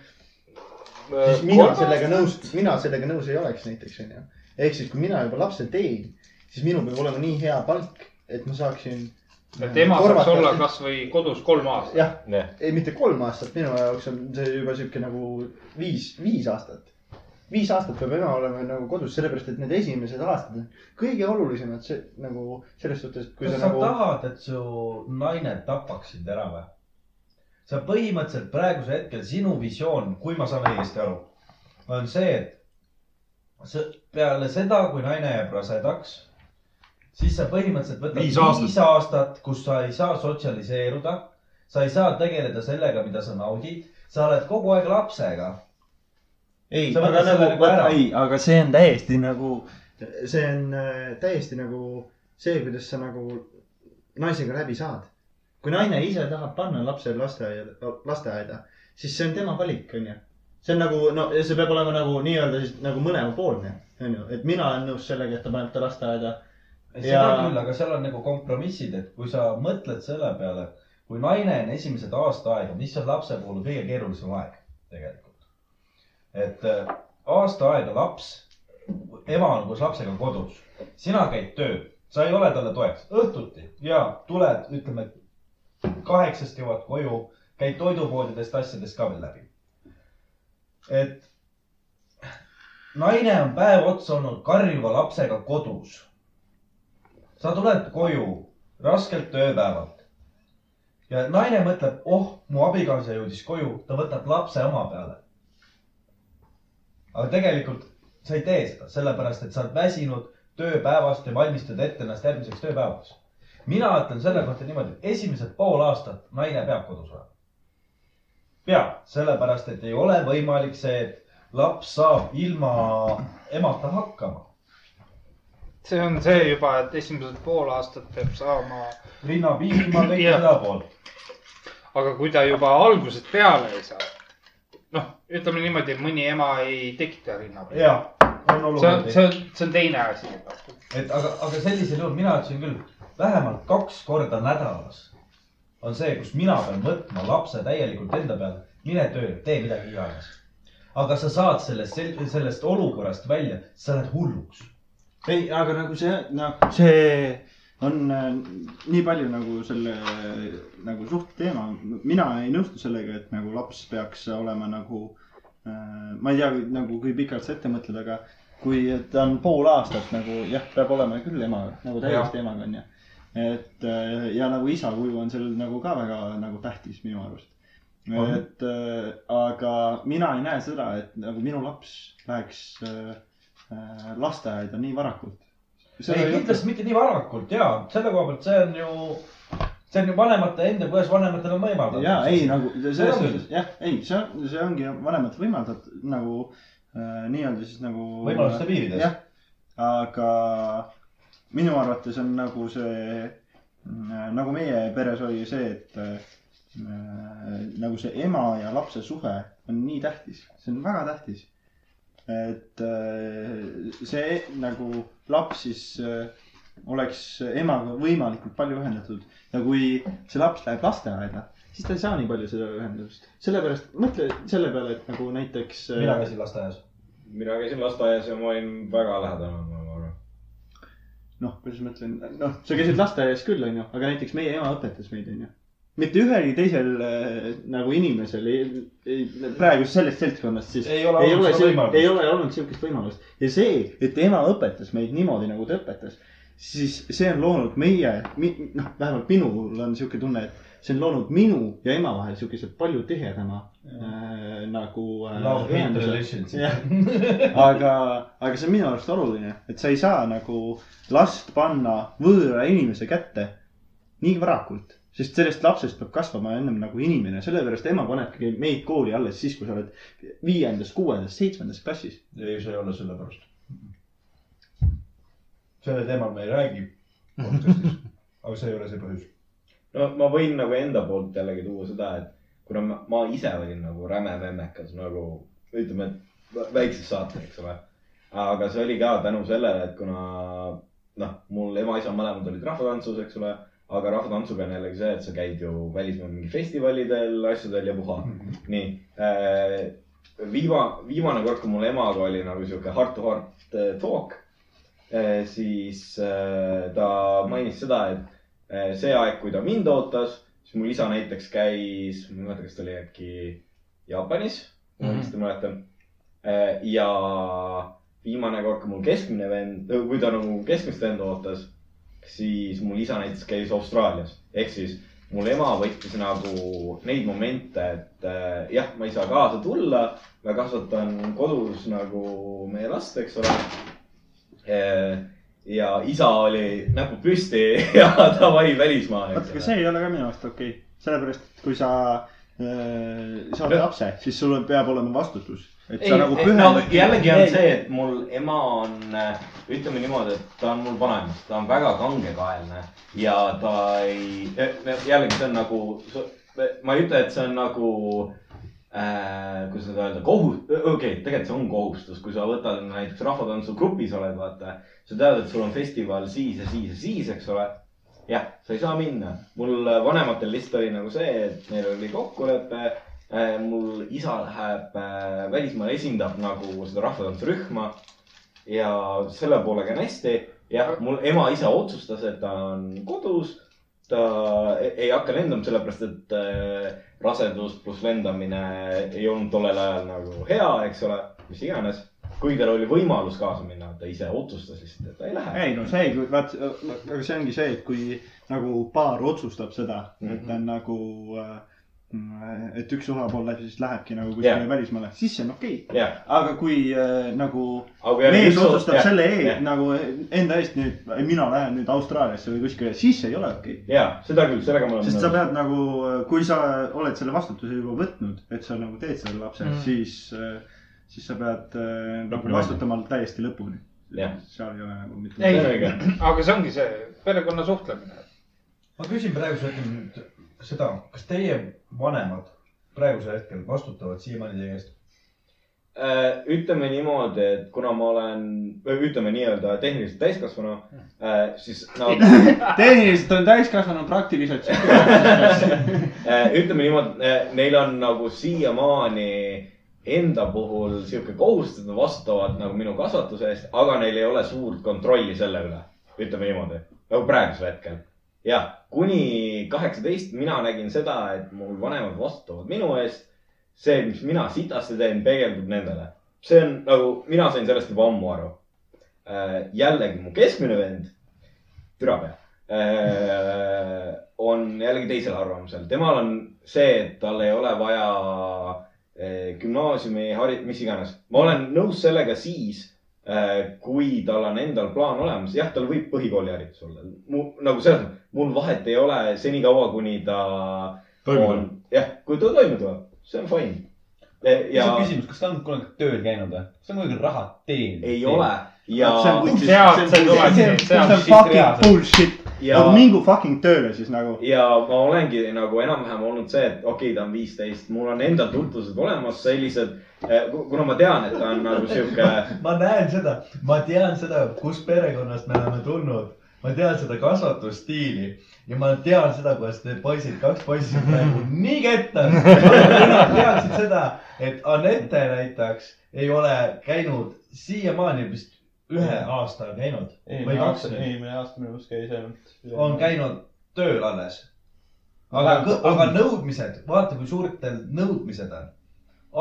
-hmm. siis mina sellega nõus , mina sellega nõus ei oleks näiteks onju . ehk siis , kui mina juba lapse teen , siis minul peab olema nii hea palk , et ma saaksin .
Mhm.
et ema saaks olla kasvõi kodus kolm aastat .
jah ,
jah ,
ei mitte kolm aastat , minu jaoks on see juba sihuke nagu viis , viis aastat . viis aastat peab ema olema nagu kodus , sellepärast et need esimesed aastad on kõige olulisemad , see nagu selles suhtes , et kui
kas
sa
sa
nagu .
tahad , et su naine tapaks sind ära või ? sa põhimõtteliselt praegusel hetkel , sinu visioon , kui ma saan õigesti aru , on see , et sa peale seda , kui naine jääb rasedaks , siis sa põhimõtteliselt võtad
Viis aastat.
viis aastat , kus sa ei saa sotsialiseeruda , sa ei saa tegeleda sellega , mida sa naudid , sa oled kogu aeg lapsega .
ei
sa võtad selle nagu ära .
ei , aga see on täiesti nagu ,
see on äh, täiesti nagu see , kuidas sa nagu naisega läbi saad . kui naine ise tahab panna lapse lasteaeda , lasteaeda , siis see on tema valik , onju . see on nagu , no see peab olema nagu nii-öelda siis nagu mõlemapoolne , onju , et mina olen nõus sellega , et ta paneb ta lasteaeda .
seda
Ja-
küll , aga seal on nagu kompromissid , et kui sa mõtled selle peale , kui naine on esimesed aasta aega , mis on lapse puhul kõige keerulisem aeg tegelikult . et äh, aasta aega laps , ema on koos lapsega kodus , sina käid tööl , sa ei ole talle toeks , õhtuti ja tuled , ütleme kaheksast jõuad koju , käid toidupoodidest , asjadest ka veel läbi . et naine on päev otsa olnud karjuva lapsega kodus sa tuled koju raskelt tööpäevalt ja naine mõtleb , oh , mu abikaasa jõudis koju , ta võtab lapse oma peale . aga tegelikult sa ei tee seda , sellepärast et sa oled väsinud tööpäevast ja valmistad ette ennast järgmiseks tööpäevaks . mina ütlen selle kohta niimoodi , esimesed pool aastat naine peab kodus olema . peab , sellepärast et ei ole võimalik see , et laps saab ilma emata hakkama .
see on see juba , et esimesed pool aastat peab saama ,
rinna piima , kõik
Jah.
seda poolt .
aga kui ta juba algusest peale ei saa , noh , ütleme niimoodi , mõni ema ei tekita rinna peale .
jah , on
see on ,
oluline ,
see on , see on teine asi .
et aga , aga sellisel juhul mina ütlesin küll , vähemalt kaks korda nädalas on see , kus mina pean võtma lapse täielikult enda peale , mine tööle , tee midagi iganes . aga sa saad sellest , sellest olukorrast välja , sa lähed hulluks .
ei , aga nagu see , noh , see on äh, nii palju nagu selle nagu suhteteema , mina ei nõustu sellega , et nagu laps peaks olema nagu äh, , ma ei tea , nagu kui pikalt sa ette mõtled , aga kui ta on pool aastat nagu jah , peab olema küll ema nagu täiesti emaga onju . et äh, ja nagu isa kuju on sellel nagu ka väga nagu tähtis minu arust . et äh, aga mina ei näe seda , et nagu minu laps läheks äh, äh, lasteaeda nii varakult .
ei , kindlasti mitte nii varakult ja selle koha pealt , see on ju , see on ju vanemate enda , kuidas vanematel on võimaldatud .
ja ei nagu selles
ongi.
suhtes jah , ei , see on , see ongi vanemate võimaldatud nagu äh, nii-öelda siis nagu .
Võimaluste piirides.
jah , aga minu arvates on nagu see , nagu meie peres oli see , et äh, nagu see ema ja lapse suhe on nii tähtis , see on väga tähtis . et äh, see nagu laps siis äh, oleks emaga võimalikult palju ühendatud ja kui see laps läheb lasteaeda , siis ta ei saa nii palju seda ühendust . sellepärast mõtle selle peale , et nagu näiteks .
mina käisin lasteaias .
mina käisin lasteaias ja ma olin väga lähedal oma emaga .
noh , kuidas ma ütlen , noh , sa käisid lasteaias küll , onju , aga näiteks meie ema õpetas meid , onju . mitte ühelgi teisel äh, nagu inimesel ei, ei , praegu sellest seltskonnast siis
Ei ole olnud seda
siu-
võimalust.
ei ole olnud sihukest võimalust ja see , et ema õpetas meid niimoodi , nagu ta õpetas , siis see on loonud meie , noh , vähemalt minul on sihuke tunne , et see on loonud minu ja ema vahel siukese palju tihedama äh, nagu
Love
äh,
hate
ühenduse .
relationship .
jah , aga , aga see on minu arust oluline , et sa ei saa nagu last panna võõra inimese kätte nii varakult , sest sellest lapsest peab kasvama ennem nagu inimene , sellepärast ema panebki meid kooli alles siis , kui sa oled viiendas , kuuendas , seitsmendas klassis .
ei , see ei ole sellepärast . sellel teemal me ei räägi . aga see ei ole see põhjus .
no ma võin nagu enda poolt jällegi tuua seda , et kuna ma, ma ise olin nagu räme memmekas nagu ütleme , et vä- väikses saates , eks ole . aga see oli ka tänu sellele , et kuna noh , mul ema-isa mõlemad olid rahvatantsus , eks ole , aga rahvatantsuga on jällegi see , et sa käid ju välismaal mingi festivalidel , asjadel ja puha . nii äh, , viima- , viimane kord , kui mul emaga oli nagu sihuke heart to heart äh, talk äh, , siis äh, ta mainis seda , et äh, see aeg , kui ta mind ootas , siis mul isa näiteks käis , ma ei mäleta , kas ta oli äkki Jaapanis , kui ma õigesti mäletan . Äh, ja viimane kord , kui mul keskmine vend , kui ta nagu keskmist venda ootas , siis mul isa näiteks käis Austraalias . ehk siis mul ema võttis nagu neid momente , et äh, jah , ma ei saa kaasa tulla , ma kasvatan kodus nagu meie last , eks ole ja isa oli näpu püsti ja davai välismaale .
vaata , aga see ei ole ka minu arust okei okay. , sellepärast , et kui sa äh, saad lapse , siis sul on- peab olema vastutus , et sa
ei ,
ei, nagu
no,
pühendad no, .
jällegi on see , et mul ema on , ütleme niimoodi , et ta on mul vanaema , ta on väga kangekaelne ja ta ei , jällegi see on nagu , ma ei ütle , et see on nagu äh, , kuidas seda öelda , kohus , okei okay, , tegelikult see on kohustus , kui sa võtad näiteks rahvatantsugrupis oled , vaata , sa tead , et sul on festival siis ja siis ja siis , eks ole jah , sa ei saa minna , mul äh, vanematel lihtsalt oli nagu see , et neil oli kokkulepe , Äh, mul isa läheb äh, välismaale , esindab nagu seda rahvatantsurühma ja selle poolega on hästi . jah , mul ema ise otsustas , et ta on kodus , ta e- ei hakka lendama , sellepärast et äh, rasedus pluss lendamine ei olnud tollel ajal nagu hea , eks ole , mis iganes . kui tal oli võimalus kaasa minna , ta ise otsustas lihtsalt , et ta ei lähe .
ei no see , vaat , aga see ongi see , et kui nagu paar otsustab seda , et
Mhm.
ta on nagu äh, et üks osapool läheb , siis lähebki nagu kuskile
Jah.
yeah. välismaale , siis see on okei okay. .
jah ,
aga kui äh, nagu
aga .
mees otsustab yeah. selle eest yeah. nagu enda eest nüüd , mina lähen nüüd Austraaliasse või kuskile , siis see ei ole okei okay. .
ja seda küll , sellega ma olen .
sest sa pead nagu , kui sa oled selle vastutuse juba võtnud , et sa nagu teed selle lapse
Mm.
mm. , siis , siis sa pead äh, nagu
Lõpuni
vastutama täiesti lõpuni .
Jah.
seal ei ole nagu mitte
Ei. .
Sellega.
aga see ongi see perekonna suhtlemine .
ma küsin praegusel hetkel nüüd seda , kas teie vanemad praegusel hetkel vastutavad siiamaani teie eest ?
Äh, ütleme niimoodi , et kuna ma olen , ütleme nii-öelda tehniliselt täiskasvanu , siis nad ,
tehniliselt on täiskasvanud praktiliselt .
Äh, ütleme niimoodi , neil on nagu siiamaani enda puhul sihuke kohustus , et nad vastutavad nagu minu kasvatuse eest , aga neil ei ole suurt kontrolli selle üle . ütleme niimoodi , nagu praegusel hetkel . jah , kuni kaheksateist mina nägin seda , et mul vanemad vastutavad minu eest . see , mis mina sitasti teen , peegeldub nendele . see on nagu , mina sain sellest juba ammu aru . jällegi mu keskmine vend , türa peal , Äh, on jällegi teisel arvamusel . temal on see , et tal ei ole vaja äh, gümnaasiumi , mis iganes . ma olen nõus sellega siis , kui tal on endal plaan olemas . jah , tal võib põhikooliharidus olla . mu , nagu selles mõttes , mul vahet ei ole senikaua , kuni ta
toimub .
on , jah , kui ta toime tuleb , see on fine .
ja .
ja
küsimus , kas ta on kunagi tööl käinud või ? kas ta on kunagi raha teeninud ?
ei ole ja ,
sealt see tuleb ,
see
sealt
on fucking bullshit .
ja
nagu , mingu fucking tööle siis nagu .
ja ma olengi nagu enam-vähem olnud see , et okei okay, , ta on viisteist , mul on endal tutvused olemas sellised , kuna ma tean , et ta on nagu sihuke ,
ma näen seda , ma tean seda , kust perekonnast me oleme tulnud , ma tean seda kasvatusstiili ja ma tean seda , kuidas need poisid , kaks poissi on praegu nii kettas . Nad teadsid seda , et Anette näiteks ei ole käinud siiamaani vist ühe aasta on käinud või
eelmine
kaks
aasta , eelmine aasta minu arust käis ainult .
on käinud tööl alles . aga , aga nõudmised , vaata , kui suurtel nõudmised on .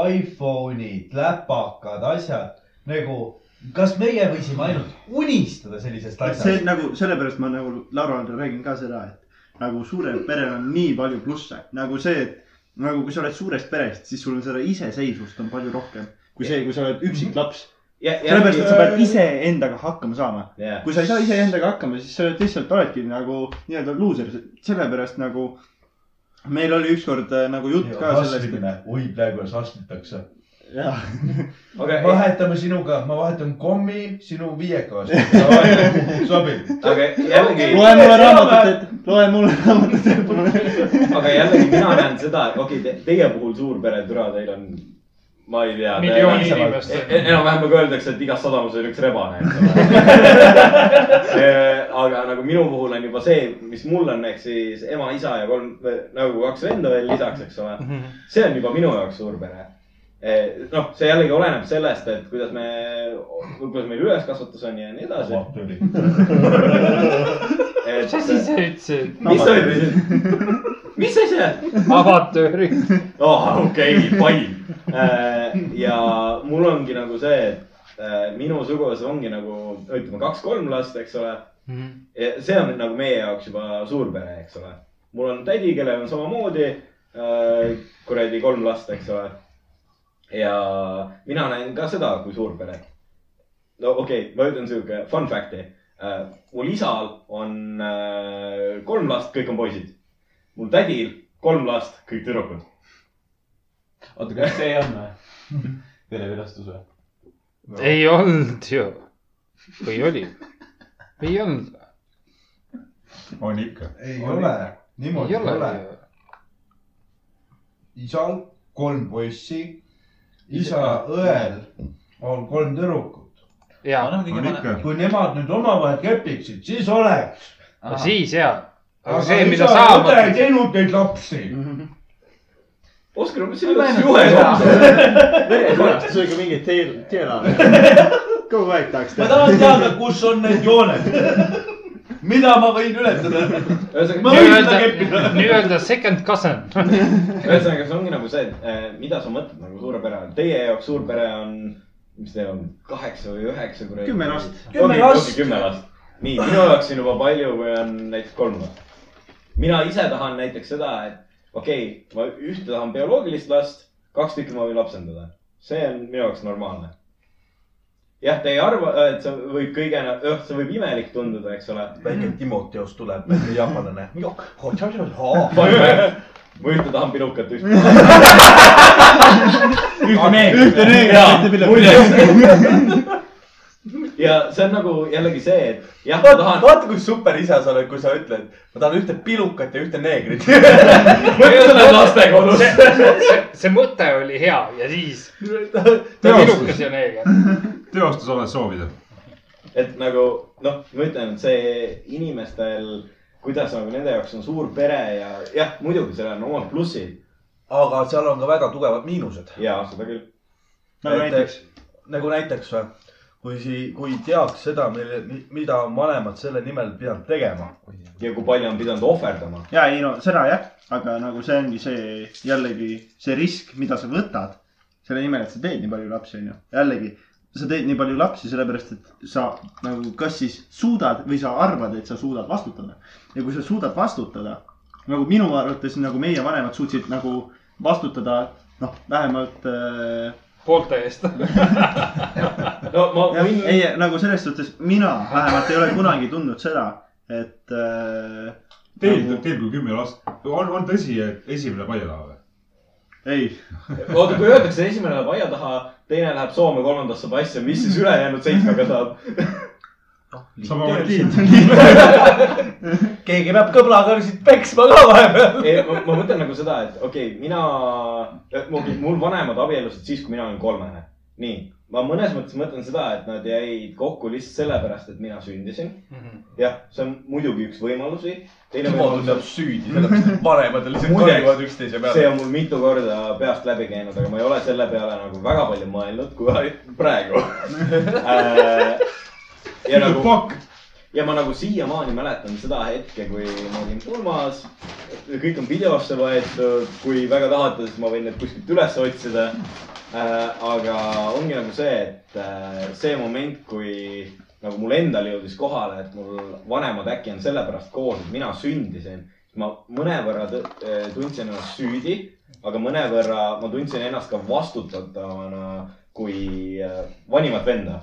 iPhone'id , läpakad , asjad nagu , kas meie võisime ainult unistada sellisest
see
asjast ?
nagu sellepärast ma nagu Laurale räägin ka seda , et nagu suurel perel on nii palju plusse, nagu see , et nagu kui sa oled suurest perest , siis sul on seda iseseisvust on palju rohkem kui see , kui sa oled üksik laps . sellepärast , et sa pead iseendaga hakkama saama .
Jah.
kui sa ei saa iseendaga hakkama , siis sa oled lihtsalt oledki nagu nii-öelda luuser , sellepärast nagu meil oli ükskord äh, nagu jutt ka sellest ,
rasvimine , oi praegu alles astmetakse .
et jah ,
eh,
Okay, vahetame sinuga , ma vahetan kommi sinu viieka vastu . sobib .
aga jällegi ,
loe mulle raamatut , et , loe mulle raamatut , et mulle .
aga jällegi mina näen seda , et okei okay, , teie puhul suurpere türa , teil on , ma ei tea .
miljoni inimest .
enam-vähem nagu öeldakse , et igas sadamas on üks rebane , eks ole . aga nagu minu puhul on juba see , mis mul on , ehk siis ema , isa ja kolm , nagu kaks venda veel lisaks , eks ole . see on juba minu jaoks suurpere . noh , see jällegi oleneb sellest , et kuidas me , kuidas meil üleskasvatus on ja nii edasi .
mis asi sa ütlesid ?
mis sa ütlesid ? mis asja ?
avatööri .
oh, . okei okay, , fine . ja mul ongi nagu see , et äh, minu sugulased ongi nagu , ütleme kaks-kolm last , eks ole . see on nagu meie jaoks juba suurpere , eks ole . mul on tädi , kellel on samamoodi äh, kuradi kolm last , eks ole . ja mina näen ka seda kui suurperet . no okei okay, , ma ütlen sihuke fun fact'i . mul isal on äh, kolm last , kõik on poisid . mul tädil kolm last , kõik tüdrukud .
oota , kas see on või ? televilastus või ?
ei olnud ju . või oli ? ei olnud .
on ikka .
ei ole , niimoodi
ei
ei ole
ole .
isal kolm poissi , isa õel on kolm tüdrukut .
ju . ja ,
on ikka .
kui nemad nüüd omavahel kepiksid , siis oleks .
siis ja . aga see , mida sa
õde ei
mõtled ,
teinud neid lapsi .
Oskar , mis sinu jaoks juhe on ?
see oli ka mingi teel , teela . kogu aeg tahaks
ma
teha .
tahan teada , kus on need jooned , mida ma võin ületada . ma võin seda keppida .
nii-öelda , nii-öelda second cousin .
ühesõnaga , see ongi nagu see , et eh, mida sa mõtled nagu suure pere all . Teie jaoks suur pere on , mis teil on , kaheksa või üheksa kuradi ?
Kümme last.
kümme last . kümme last . nii , minu jaoks on juba palju , kui on näiteks kolm last . mina ise tahan näiteks seda , et okei okay, , ma ühte tahan bioloogilist last , kaks tükki ma võin lapsendada . see on minu jaoks normaalne . jah , te ei arva , et see võib kõige , see võib imelik tunduda , eks ole .
väike Timoteos tuleb , väike jaapanlane .
Fun fact. ma ühte tahan pirukat , ühte .
ühte meelt .
ühte reeglit ,
ja see on nagu jällegi see , et jah , ma
vaata ,
tahan ,
vaata kui super isa sa oled , kui sa ütled , ma tahan ühte pilukat ja ühte neegrit .
ma ei ole lastekodus .
see mõte oli hea ja siis ta
Teostus.
pilukas ja neega .
teostus oled soovida .
et nagu noh , ma ütlen , et see inimestel , kuidas nagu nende jaoks on suur pere ja jah , muidugi seal on omad plussid
aga seal on ka väga tugevad miinused .
ja seda küll .
no näiteks .
nagu näiteks või , kui si- , kui teaks seda , mille , mida on vanemad selle nimel pidanud tegema .
ja kui palju on pidanud ohverdama .
ja ei no seda jah , aga nagu see ongi see jällegi see risk , mida sa võtad selle nimel , et sa teed nii palju lapsi , onju . jällegi sa teed nii palju lapsi sellepärast , et sa nagu kas siis suudad või sa arvad , et sa suudad vastutada . ja kui sa suudad vastutada , nagu minu arvates nagu meie vanemad suutsid nagu vastutada , noh , vähemalt äh,
poolte eest .
no ma
jah ,
võin ,
ei nagu selles suhtes mina vähemalt ei ole kunagi tundnud seda , et äh,
Teil
nagu- ,
teil kui kümme last , on , on tõsi , et esimene palja taha või ?
ei ,
oota , kui öeldakse , esimene läheb aia taha , teine läheb Soome , kolmandas saab asja , mis siis ülejäänud seitsmega saab ?
samamoodi .
keegi peab kõblakõrsid peksma ka vahepeal .
ei , ma, ma mõtlen nagu seda , et okei okay, , mina , mul vanemad abiellusid siis , kui mina olin kolmene . nii , ma mõnes mõttes mõtlen seda , et nad jäid kokku lihtsalt sellepärast , et mina sündisin .
Mhm.
jah , see on muidugi üks võimalusi . teine
tema tunneb
võimalus ,
süüdi , sellepärast et vanemad lihtsalt
Muideks,
karjuvad üksteise
see
peale .
on mul mitu korda peast läbi käinud , aga ma ei ole selle peale nagu väga palju mõelnud , kui praegu Äh, ja nagu
fuck ?
ja ma nagu siiamaani mäletan seda hetke , kui ma olin pulmas , kõik on videosse võetud , kui väga tahate , siis ma võin need kuskilt üles otsida äh, . aga ongi nagu see , et äh, see moment , kui nagu mul endal jõudis kohale , et mul vanemad äkki on sellepärast koos , et mina sündisin ma mõnevõrra tõ- eh, tundsin ennast süüdi , aga mõnevõrra ma tundsin ennast ka vastutatavana kui eh, vanimat venda .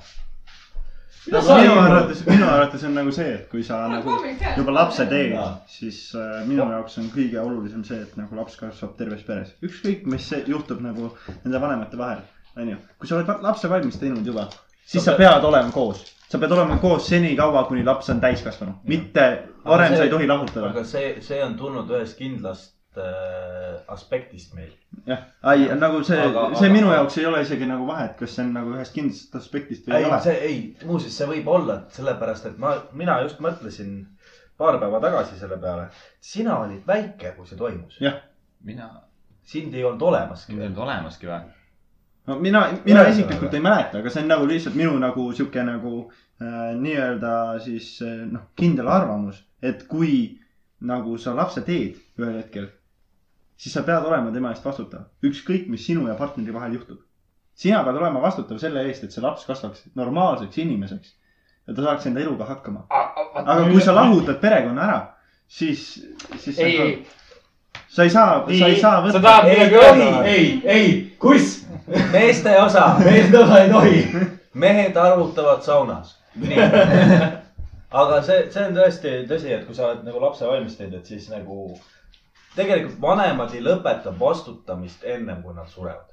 minu arvates , minu arvates on nagu see , et kui sa nagu juba lapse teed , siis äh, minu jaoks on kõige olulisem see , et nagu laps kasvab terves peres . ükskõik , mis see- juhtub nagu nende vanemate vahel , onju . kui sa oled va- lapse valmis teinud juba , siis sa pead olema koos . sa pead olema koos senikaua , kuni laps on täiskasvanu , mitte varem sa ei tohi lahutada .
aga see , see on tulnud ühest kindlast äh, aspektist meil .
jah , ei nagu see ,
Aga-
see
aga-
minu jaoks ei ole isegi nagu vahet , kas see on nagu ühest kindlast aspektist või
ei
ei , ole .
see ei , muuseas , see võib olla , sellepärast et ma , mina just mõtlesin paar päeva tagasi selle peale . sina olid väike , kui see toimus .
mina ,
sind ei olnud olemaski
mind ei
veel .
olnud olemaski või ?
no mina , mina
Ühesõnaga.
isiklikult ei mäleta , aga see on nagu lihtsalt minu nagu sihuke nagu äh, nii-öelda siis äh, noh , kindel arvamus , et kui nagu sa lapse teed ühel hetkel , siis sa pead olema tema eest vastutav , ükskõik mis sinu ja partneri vahel juhtub . sina pead olema vastutav selle eest , et see laps kasvaks normaalseks inimeseks ja ta saaks enda eluga hakkama . aga kui sa lahutad perekonna ära , siis , siis
ei , ei ,
sa ei saa , sa ei saa
sa
võtta .
tahad midagi öelda ?
ei , ei , kus ?
meeste osa ,
meeste osa ei tohi .
mehed arvutavad saunas . nii . aga see , see on tõesti tõsi , et kui sa oled nagu lapse valmis teinud , et siis nagu tegelikult vanemad ei lõpeta vastutamist ennem kui nad surevad .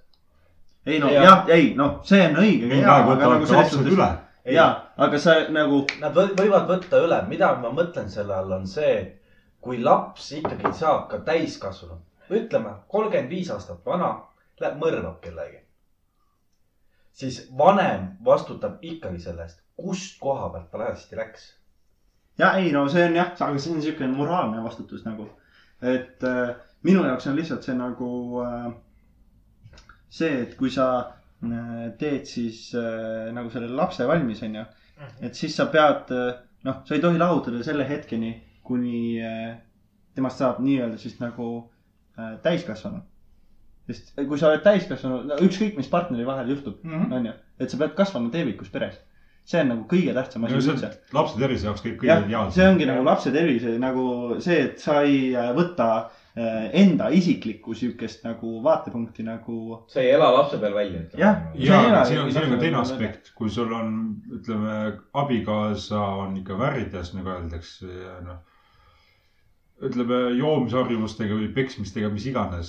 ei no
Ja-
jah , ei noh , see on õige .
mingi aeg
nagu
võtavad ka lapsed üle .
Ei.
ja , aga sa nagu
Nad võ- võivad võtta üle , mida ma mõtlen selle all , on see , kui laps ikkagi saab ka täiskasvanu , ütleme kolmkümmend viis aastat vana , läheb mõrvab kellegi . siis vanem vastutab ikkagi selle eest , kust koha pealt ta hästi läks .
ja ei no see on jah , aga see on niisugune moraalne vastutus nagu , et äh, minu jaoks on lihtsalt see nagu äh, see , et kui sa äh, teed siis äh, nagu selle lapse valmis , onju , et siis sa pead äh, noh , sa ei tohi lahutada selle hetkeni , kuni äh, temast saab nii-öelda siis nagu äh, täiskasvanu . sest kui sa oled täiskasvanu , no ükskõik , mis partneri vahel juhtub , onju , et sa pead kasvama teevikus peres . see on nagu kõige tähtsam asi üldse .
lapse tervise jaoks kõik kõige
jah , see
ideaalsem .
ongi nagu lapse tervise nagu see , et sa ei äh, võta äh, enda isiklikku siukest nagu vaatepunkti nagu .
sa ei ela lapse peal välja .
Jah.
ja
see ei ole-
siin on , siin on ka teine
lapse-
aspekt , kui sul on , ütleme , abikaasa on ikka värides , nagu öeldakse , ja noh . ütleme joomisharjumustega või peksmistega , mis iganes ,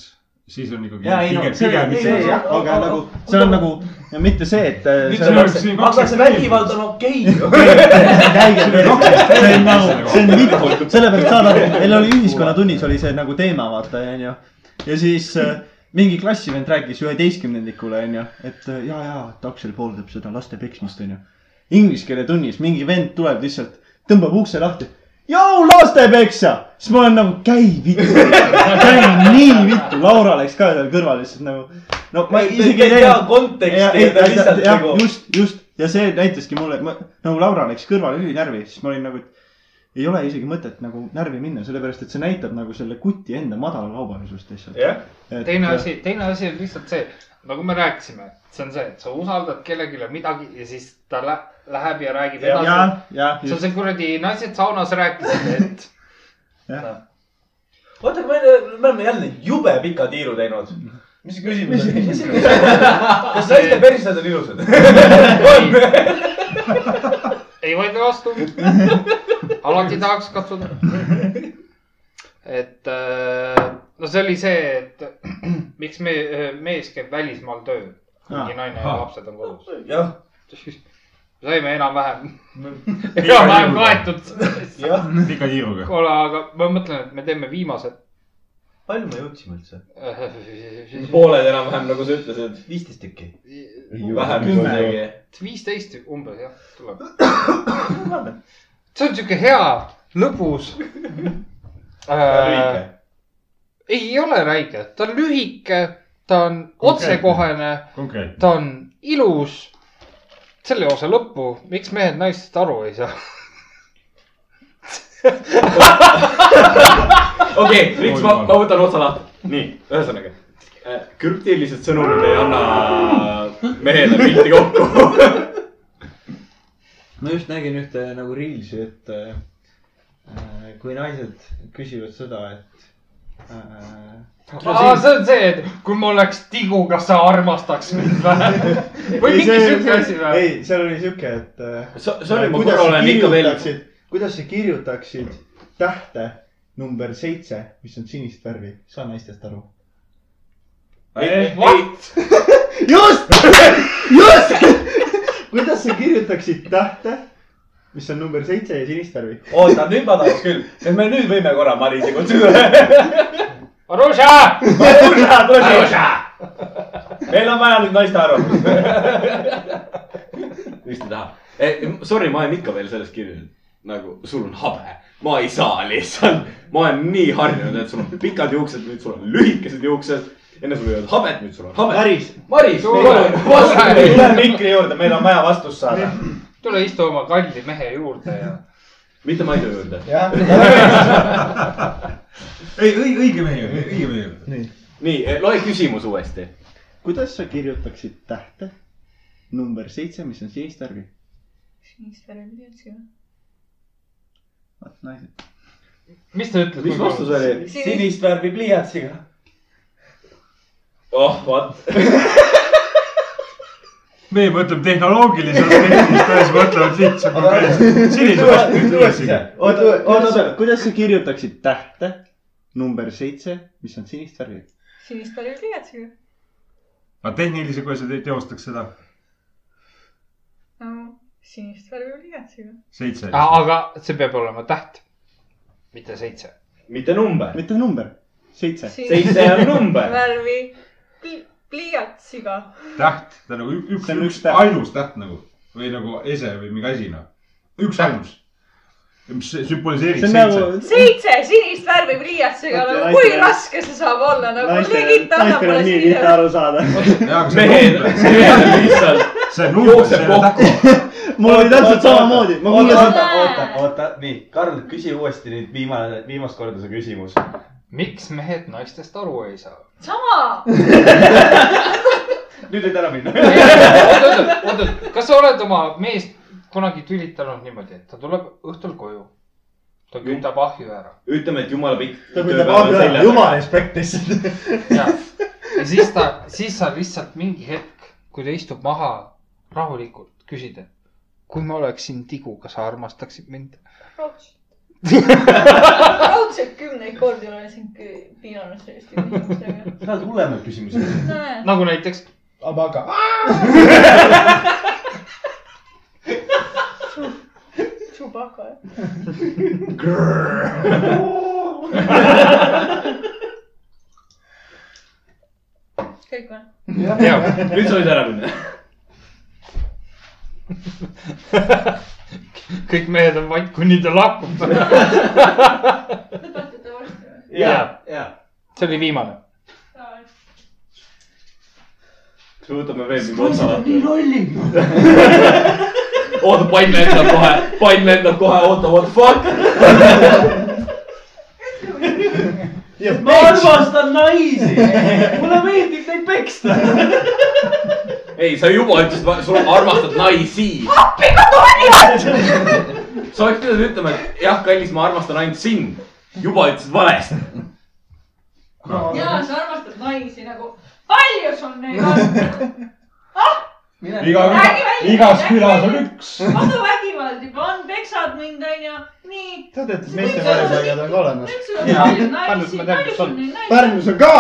siis on ikkagi .
ja ei no see , see
pigem .
jah , aga nagu see on nagu ja mitte see , et äh,
Nüüd
see
sul
on-
oleks siin
aga see
kaks
vägivald on okei ju .
käige veel rohkem , see on nagu , see on vipp , sellepärast saad aru , meil oli ühiskonnatunnis oli see nagu teema , vaata , onju . ja siis äh, mingi klassivend rääkis üheteistkümnendikule , onju , et äh, ja , ja , et Aksel pooldab seda laste peksmist , onju . Inglise keele tunnis mingi vend tuleb lihtsalt , tõmbab ukse lahti . Jou , lastepeksja , siis ma olen nagu , käi vittu , käi nii vittu , Laura läks ka seal kõrval lihtsalt nagu . no ma isegi
ei tea konteksti ja ta lihtsalt
jah,
nagu .
just , just ja see näitaski mulle , nagu Laura läks kõrvale ülinärvi , siis ma olin nagu , et ei ole isegi mõtet nagu närvi minna , sellepärast et see näitab nagu selle kuti enda madalakaubalisust lihtsalt .
jah ,
teine . asi , teine asi on lihtsalt see , nagu me rääkisime , see on see , et sa usaldad kellelegi midagi ja siis ta lä- läheb ja räägib
ja , ja
edasi ., see on
ja ,
see kuradi naised saunas rääkisid , et
oota , aga me , me oleme jälle jube pika tiiru teinud . mis see küsimus on ? kas naiste persed on ilusad ?
ei vaidle vastu . alati tahaks katsuda . et äh, no see oli see , et miks me , mees käib välismaal tööl , kuigi naine ja lapsed on kodus .
jah ,
saime enam-vähem , enam-vähem kaetud .
jah .
pika tiiruga .
kuule , aga ma mõtlen , et me teeme viimase .
palju me jõudsime üldse ?
pooled enam-vähem , nagu sa ütlesid .
viisteist tükki .
vähem
Kümme.
isegi .
viisteist umbes jah , tuleb .
normaalne .
see on sihuke hea , lõbus äh,
lühike. .
ei ole räige , ta on lühike , ta on otsekohene ,
konkreetne .
ta on ilus . selle osa lõppu , miks mehed naistest aru ei saa ?
okei , Riks , ma , ma võtan otsa lahti . nii , ühesõnaga . krüptilised sõnumid ei anna mehele pilti kokku .
ma just nägin ühte nagu reelsi , et äh, kui naised küsivad seda , et äh,
aa , see on see , et kui ma oleks tigu , kas sa armastaks mind või ? või
Ei,
mingi
see-
siuke
see-
asi või ?
ei , seal oli siuke , et äh,
So- sorry, ma
kuidas
korra
sa
olen ikka veel-
kirjutaksid- kuidas sa kirjutaksid tähte number seitse , mis on sinist värvi , saa naistest aru .
What ?
just , just . kuidas sa kirjutaksid tähte , mis on number seitse ja sinist värvi ?
oota , nüüd ma tahaks küll , kas me nüüd võime korra Marise kutsuda ?
Aruša ! Aruša !
meil on vaja nüüd naiste arvamust .
miks ta tahab eh, ? Sorry , ma olen ikka veel selles kirjas , et nagu sul on habe . ma ei saa lihtsalt , ma olen nii harjunud , et sul on pikad juuksed , nüüd sul on lühikesed juuksed . enne sul ei olnud habet , nüüd sul on habe .
Maris ,
Maris ,
tule mikri juurde , meil on vaja vastust saada .
tule istu oma kalli mehe juurde ja .
mitte Maidu juurde .
ei , õige , õige mehe juurde , õige mehe juurde .
nii , loe küsimus uuesti .
kuidas sa kirjutaksid tähte number seitse , mis on sinist värvi ?
sinist värvi pidi otsima .
vot naised .
mis ta ütles ?
mis vastus ? oli ?
sinist .
värvi pliiatsiga .
oh , vot .
meie mõtleme tehnoloogiliselt , tõesti mõtlevad lihtsalt konkreetselt . sinise vastu nüüd uuesti .
oota , oota , oota , kuidas sa kirjutaksid tähte number seitse , mis on sinist värvi ?
sinist värvi pliiatsiga .
aga tehniliselt , kuidas sa te- teostaks seda ?
no sinist värvi pliiatsiga .
seitse .
Ah, aga see peab olema täht , mitte seitse .
mitte number .
mitte number , seitse .
seitse on number .
värvi pli- pliiatsiga .
täht , ta nagu ük- üks ,
See on
üks
üks täht.
ainus täht nagu või nagu ese või mingi asi noh , üks ainus , mis sümboliseerib
see on
seitse
nagu .
seitse sinist värvi pliiatsiga ,
Vaata,
nagu
naistele-
kui raske see saab olla , nagu
naistel ,
legit annab
naistel
mulle
on nii lihtne
siia .
aru saada .
jaa , aga see on
mehel
number ,,
mehel lihtsalt
see on number , see
jookseb
ei ole täht .
kokku .
mul oli täpselt samamoodi , ma kuulasin .
oota,
oota , oota , nii , Karl , küsi uuesti nüüd viimane , viimast korda see küsimus .
miks mehed naistest aru ei saa ?
sama ,
nüüd võid ära minna .
oot-oot , kas sa oled oma meest kunagi tülitanud niimoodi , et ta tuleb õhtul koju , ta kütab ahju ära
ütleme , et jumala pikk .
ta võtab abi ära , jumala respekt lihtsalt .
ja, ja siis ta , siis sa lihtsalt mingi hetk , kui ta istub maha rahulikult , küsid , et kui ma oleksin tigu , kas sa armastaksid mind ?
raudselt . raudselt kümneid kordi olen sind kü- piinanud sellest küsimusega .
sa oled hullemaid küsimusi .
nojah ,
nagu näiteks
abaga .
Chewbacca . kõik või ?
ja,
nüüd sa võid ära minna .
kõik mehed on vait , kuni ta lahkub .
Te tahtsite varsti või ?
ja , ja see oli viimane .
kas me võtame veel mingi otsa lahti ? oota , pann lendab kohe , pann lendab kohe , oota , what the fuck .
ma armastan naisi . mulle meeldib neid peksta .
ei , sa juba ütlesid , sul armastad naisi . appi , ma tulen . sa oleks pidanud ütlema , et jah , kallis , ma armastan ainult sind . juba ütlesid valesti .
jaa , sa armastad naisi nagu , palju sul neid on ?
iga
Räägi välja, ,
igas
räägi
külas on
välja.
üks .
koduvägivald juba on , peksad mind onju , nii .
tead , et meeste varjupaigad on ka olemas .
nüüd sul on palju naisi ,
ma tean,
palju
kes
sul
on.
neid naisi on ?
Pärnus on ka .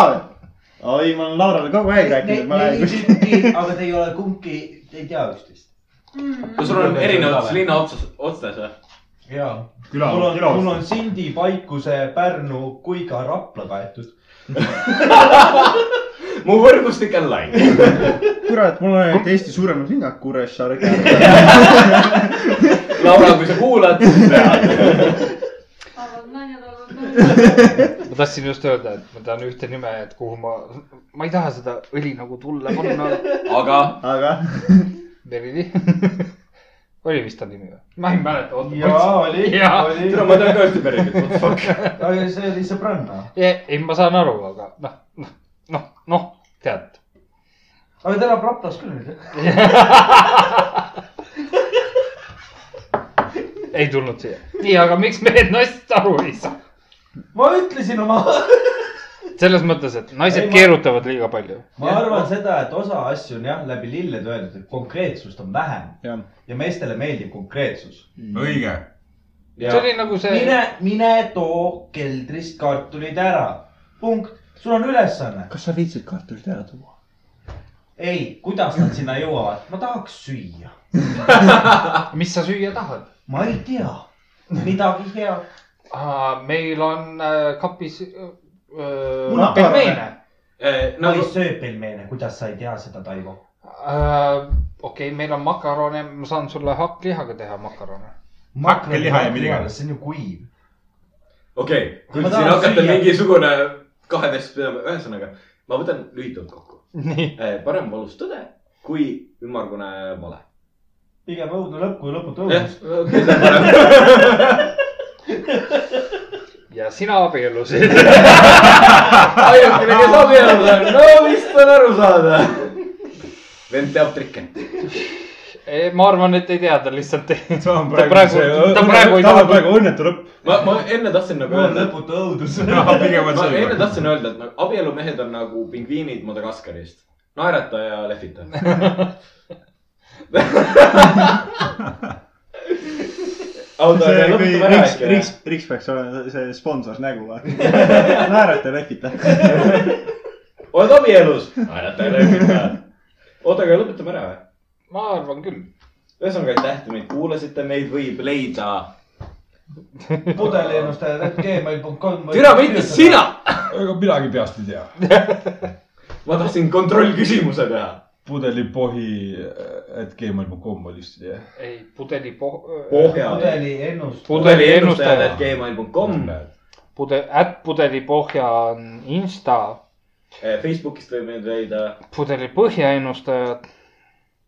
oi , ma olen Laurale kogu aeg rääkinud , et ma lähen kuskile .
aga te ei ole kumbki , te ei tea üksteist .
kas sul on erinevates linna otsas , otsas või ?
jaa
küla
mul , on , mul
küla
on . Sindi , Paikuse , Pärnu kui ka Rapla kaetud .
mu võrgustik on lai .
kurat , mul on ainult Eesti suuremad linnad , Kuressaare .
Laura , kui sa kuulad , siis tead .
arvad naljad , arvad naljad .
ma tahtsin just öelda , et ma tean ühte nime , et kuhu ma , ma ei taha seda õli nagu tulla panna .
aga
aga
Merili , oli vist ta nimi või ? ma ei mäleta , oota .
jaa , oli ,
Jaa.
oli .
tere , ma tean ka ühte pere , what the fuck .
aga see oli sõbranna .
ei , ma saan aru , aga noh , noh , noh , noh , tead .
aga ta elab Raplas küll nüüd .
ei tulnud siia . nii , aga miks mehed naisest aru ei saa ?
ma ütlesin oma ,
selles mõttes , et naised
Ei, ma-
keerutavad liiga palju .
ma arvan seda , et osa asju on jah , läbi lilled öeldud , et konkreetsust on vähem ja meestele meeldib konkreetsus .
õige .
see oli nagu see
mine , mine too keldrist kartulid ära , punkt , sul on ülesanne .
kas sa viitsid kartulid ära tuua ?
ei , kuidas nad sinna jõuavad , ma tahaks süüa ,
Ah, mis sa süüa tahad ?
ma ei tea , midagi head .
Ah, meil on äh, kapis äh,
Munakarve.
äh, pelmeene . Eh,
ma
nagu-
ei söö pelmeene , kuidas sa ei tea seda , Taivo ?
Äh, okei okay, , meil on makarone , ma saan sulle hakklihaga teha makarone .
Hakkeliha ja midagi.
see on ju kuiv .
okei , kui
Ma
te siin
tahan
hakkate
süüa.
mingisugune kahevest pidama , ühesõnaga ma võtan lühidalt kokku .
nii ,
parem valus tõde kui ümmargune vale .
pigem õudne lõpp kui lõputu
Eh,
jah
õudus .,
see on parem .
ja sina abiellusid .
ainukene , kes abielus on , no vist on aru saada . vend teab trikke .
ma arvan , et ei tea , ta lihtsalt ei .
see on
Ta praegu-
praegu see ,
ta praegu ei
ta
taha-
on praegu õnnetu lõpp .
ma , ma enne tahtsin nagu
mul on
öelda ,
lõputu õudus .
pigem on
ma
see
enne . tahtsin öelda , et nagu abielumehed on nagu pingviinid Madagaskarist . naerata ja lehvita . auto
see
ja
oli , kui
lõpetame ära
Riks ,
äkki .
Riks , Riks peaks olema see sponsor nägu , vaata . naerate , lehvite .
oled abielus ? naerata ja lehvita . oota , aga lõpetame ära või ?
ma arvan küll .
ühesõnaga , aitäh , et te meid kuulasite , meid võib leida .
pudeliennustajad gmail.com .
türa , mitte . sina .
ega midagi peast ei tea .
ma tahtsin kontrollküsimuse teha .
pudelipohi , et gmail.com oli vist jah .
ei , pudeli poh- . äh,
pohja .
pudeliennustajad .
pudeli ennustaja .
gmail.com .
pude- , äpp pudeli pohja on insta ,
Eh, Facebookist võib meid leida
pudeli põhja ennustajad .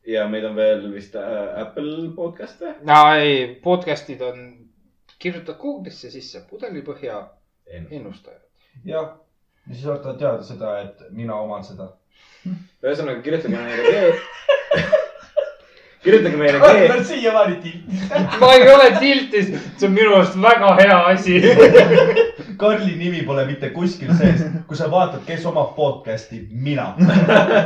ja meid on veel vist äh, Apple podcast või ?
aa ei , podcast'id on , kirjutad Google'isse sisse pudeli põhja ennustajad .
jah , ja siis ootavad teada seda , et mina oman seda .
ühesõnaga kirjutage meile G . kirjutage meile G .
siiamaani tiltis .
ma ei ole tiltis , see on minu arust väga hea asi .
Karli nimi pole mitte kuskil sees , kui sa vaatad , kes omab podcast'i , mina .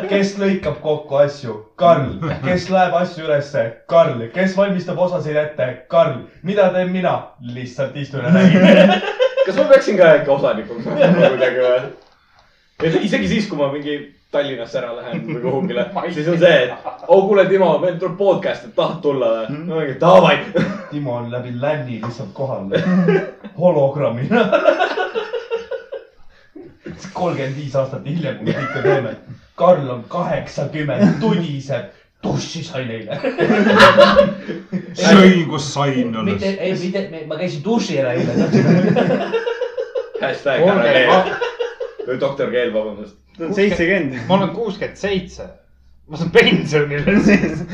kes lõikab kokku asju , Karl . kes läheb asju ülesse , Karl . kes valmistab osasid ette , Karl . mida teen mina ? lihtsalt istun ja räägin .
kas ma peaksin ka äkki osanikuks olema kuidagi või ? et isegi siis , kui ma mingi Tallinnasse ära lähen või kuhugile , siis on see , et oh kuule , Timo , meil tuleb podcast , et tahad tulla või ? ma mingi davai .
Timo on läbi länni lihtsalt kohal . hologrammina . kolmkümmend viis aastat hiljem , kui me ikka teeme . Karl on kaheksakümmend , tuniseb , duši sai neile .
sõin , kus sain alles
mitte ,. ei , mitte , ma käisin duši ära eile .
hashtag ära keel . või doktor keel , vabandust .
see on seitsekümmend .
ma olen kuuskümmend seitse . ma saan pensionile siis .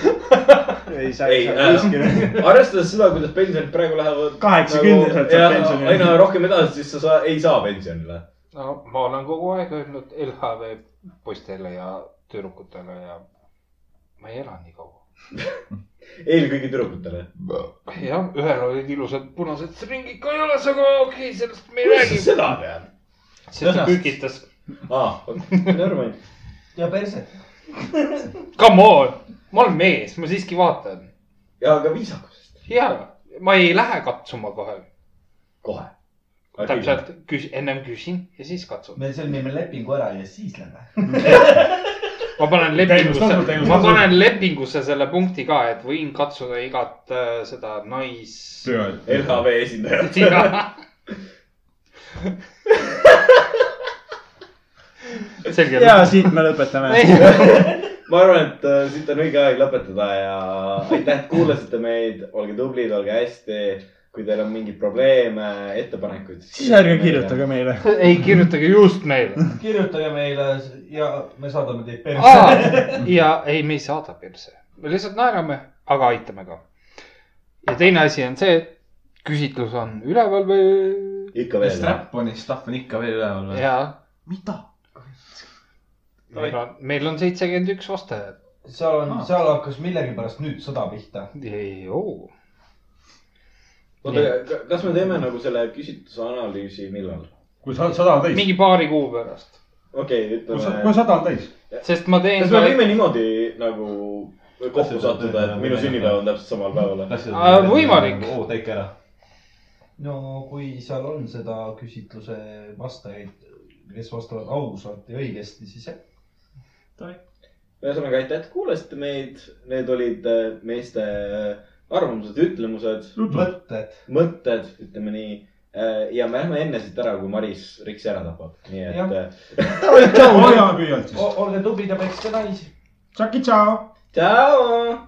ei ,
äh,
sa
ei
ei saa kuskile .
äh, , arvestades seda , kuidas pensionid praegu lähevad .
Kaheksakümneselt saad pensionile.
aina rohkem edasi , siis sa saa, ei saa pensionile .
no ma olen kogu aeg öelnud LHV poistele ja tüdrukutele ja ma ei ela nii kaua .
eelkõige tüdrukutele .
jah , ühel olid ilusad punased stringid ka jalas , aga okei okay, , sellest me ei
kuidas sa
räägi .
seda tead ?
siis ta kükitas .
aa , Norman .
ja perset .
Come on , ma olen mees , ma siiski vaatan .
ja aga viisakusest .
ja , ma ei lähe katsuma kohe .
kohe .
täpselt , küs- , ennem küsin ja siis katsun .
me sõlmime lepingu ära ja siis lähme .
ma panen
Täiendustasu,
lepingusse , ma
täiendustasu.
panen lepingusse selle punkti ka , et võin katsuda igat äh, seda nais- .
LHV esindaja .
selge .
ja siit me lõpetame .
ma arvan , et äh, siit on õige aeg lõpetada ja aitäh , et kuulasite meid . olge tublid , olge hästi . kui teil on mingeid probleeme , ettepanekuid .
siis ärge kirjutage meile .
ei kirjutage just meile .
kirjutage meile ja me saadame teid perset .
ja ei , me ei saada perse , me lihtsalt naerame , aga aitame ka . ja teine asi on see , küsitlus on üleval või
ikka
ja
veel .
Strap-on'i stuff on ikka veel üleval või ?
ja
mida ?
meil on , meil on seitsekümmend üks vastajat .
seal on , seal hakkas millegipärast nüüd sõda pihta .
ei oo ,
oota , kas me teeme nagu selle küsitluse analüüsi millal ?
kui sa- sada on täis ,
mingi paari kuu pärast ,
okei okay, ,
kui sa-
ütleme .
kui sada on täis ,
sest ma teen
kas me võime niimoodi nagu kokku sattuda , et minu sünnipäev on täpselt samal päeval või ?
Aa, Äh, võimalik.
oo , täike ära .
no kui seal on seda küsitluse vastajaid , kes vastavad ausalt ja õigesti , siis jah .
ühesõnaga , aitäh , et kuulasite meid . Need olid äh, meeste arvamused , ütlemused ,
mõtted .
mõtted , ütleme nii . ja me lähme enne siit ära , kui Maris Riksi ära tapab , nii
Jah.
et äh,
hoiame püüalt siis .
olge tublid ja pekske naisi .
tšaki tšau .
tšau .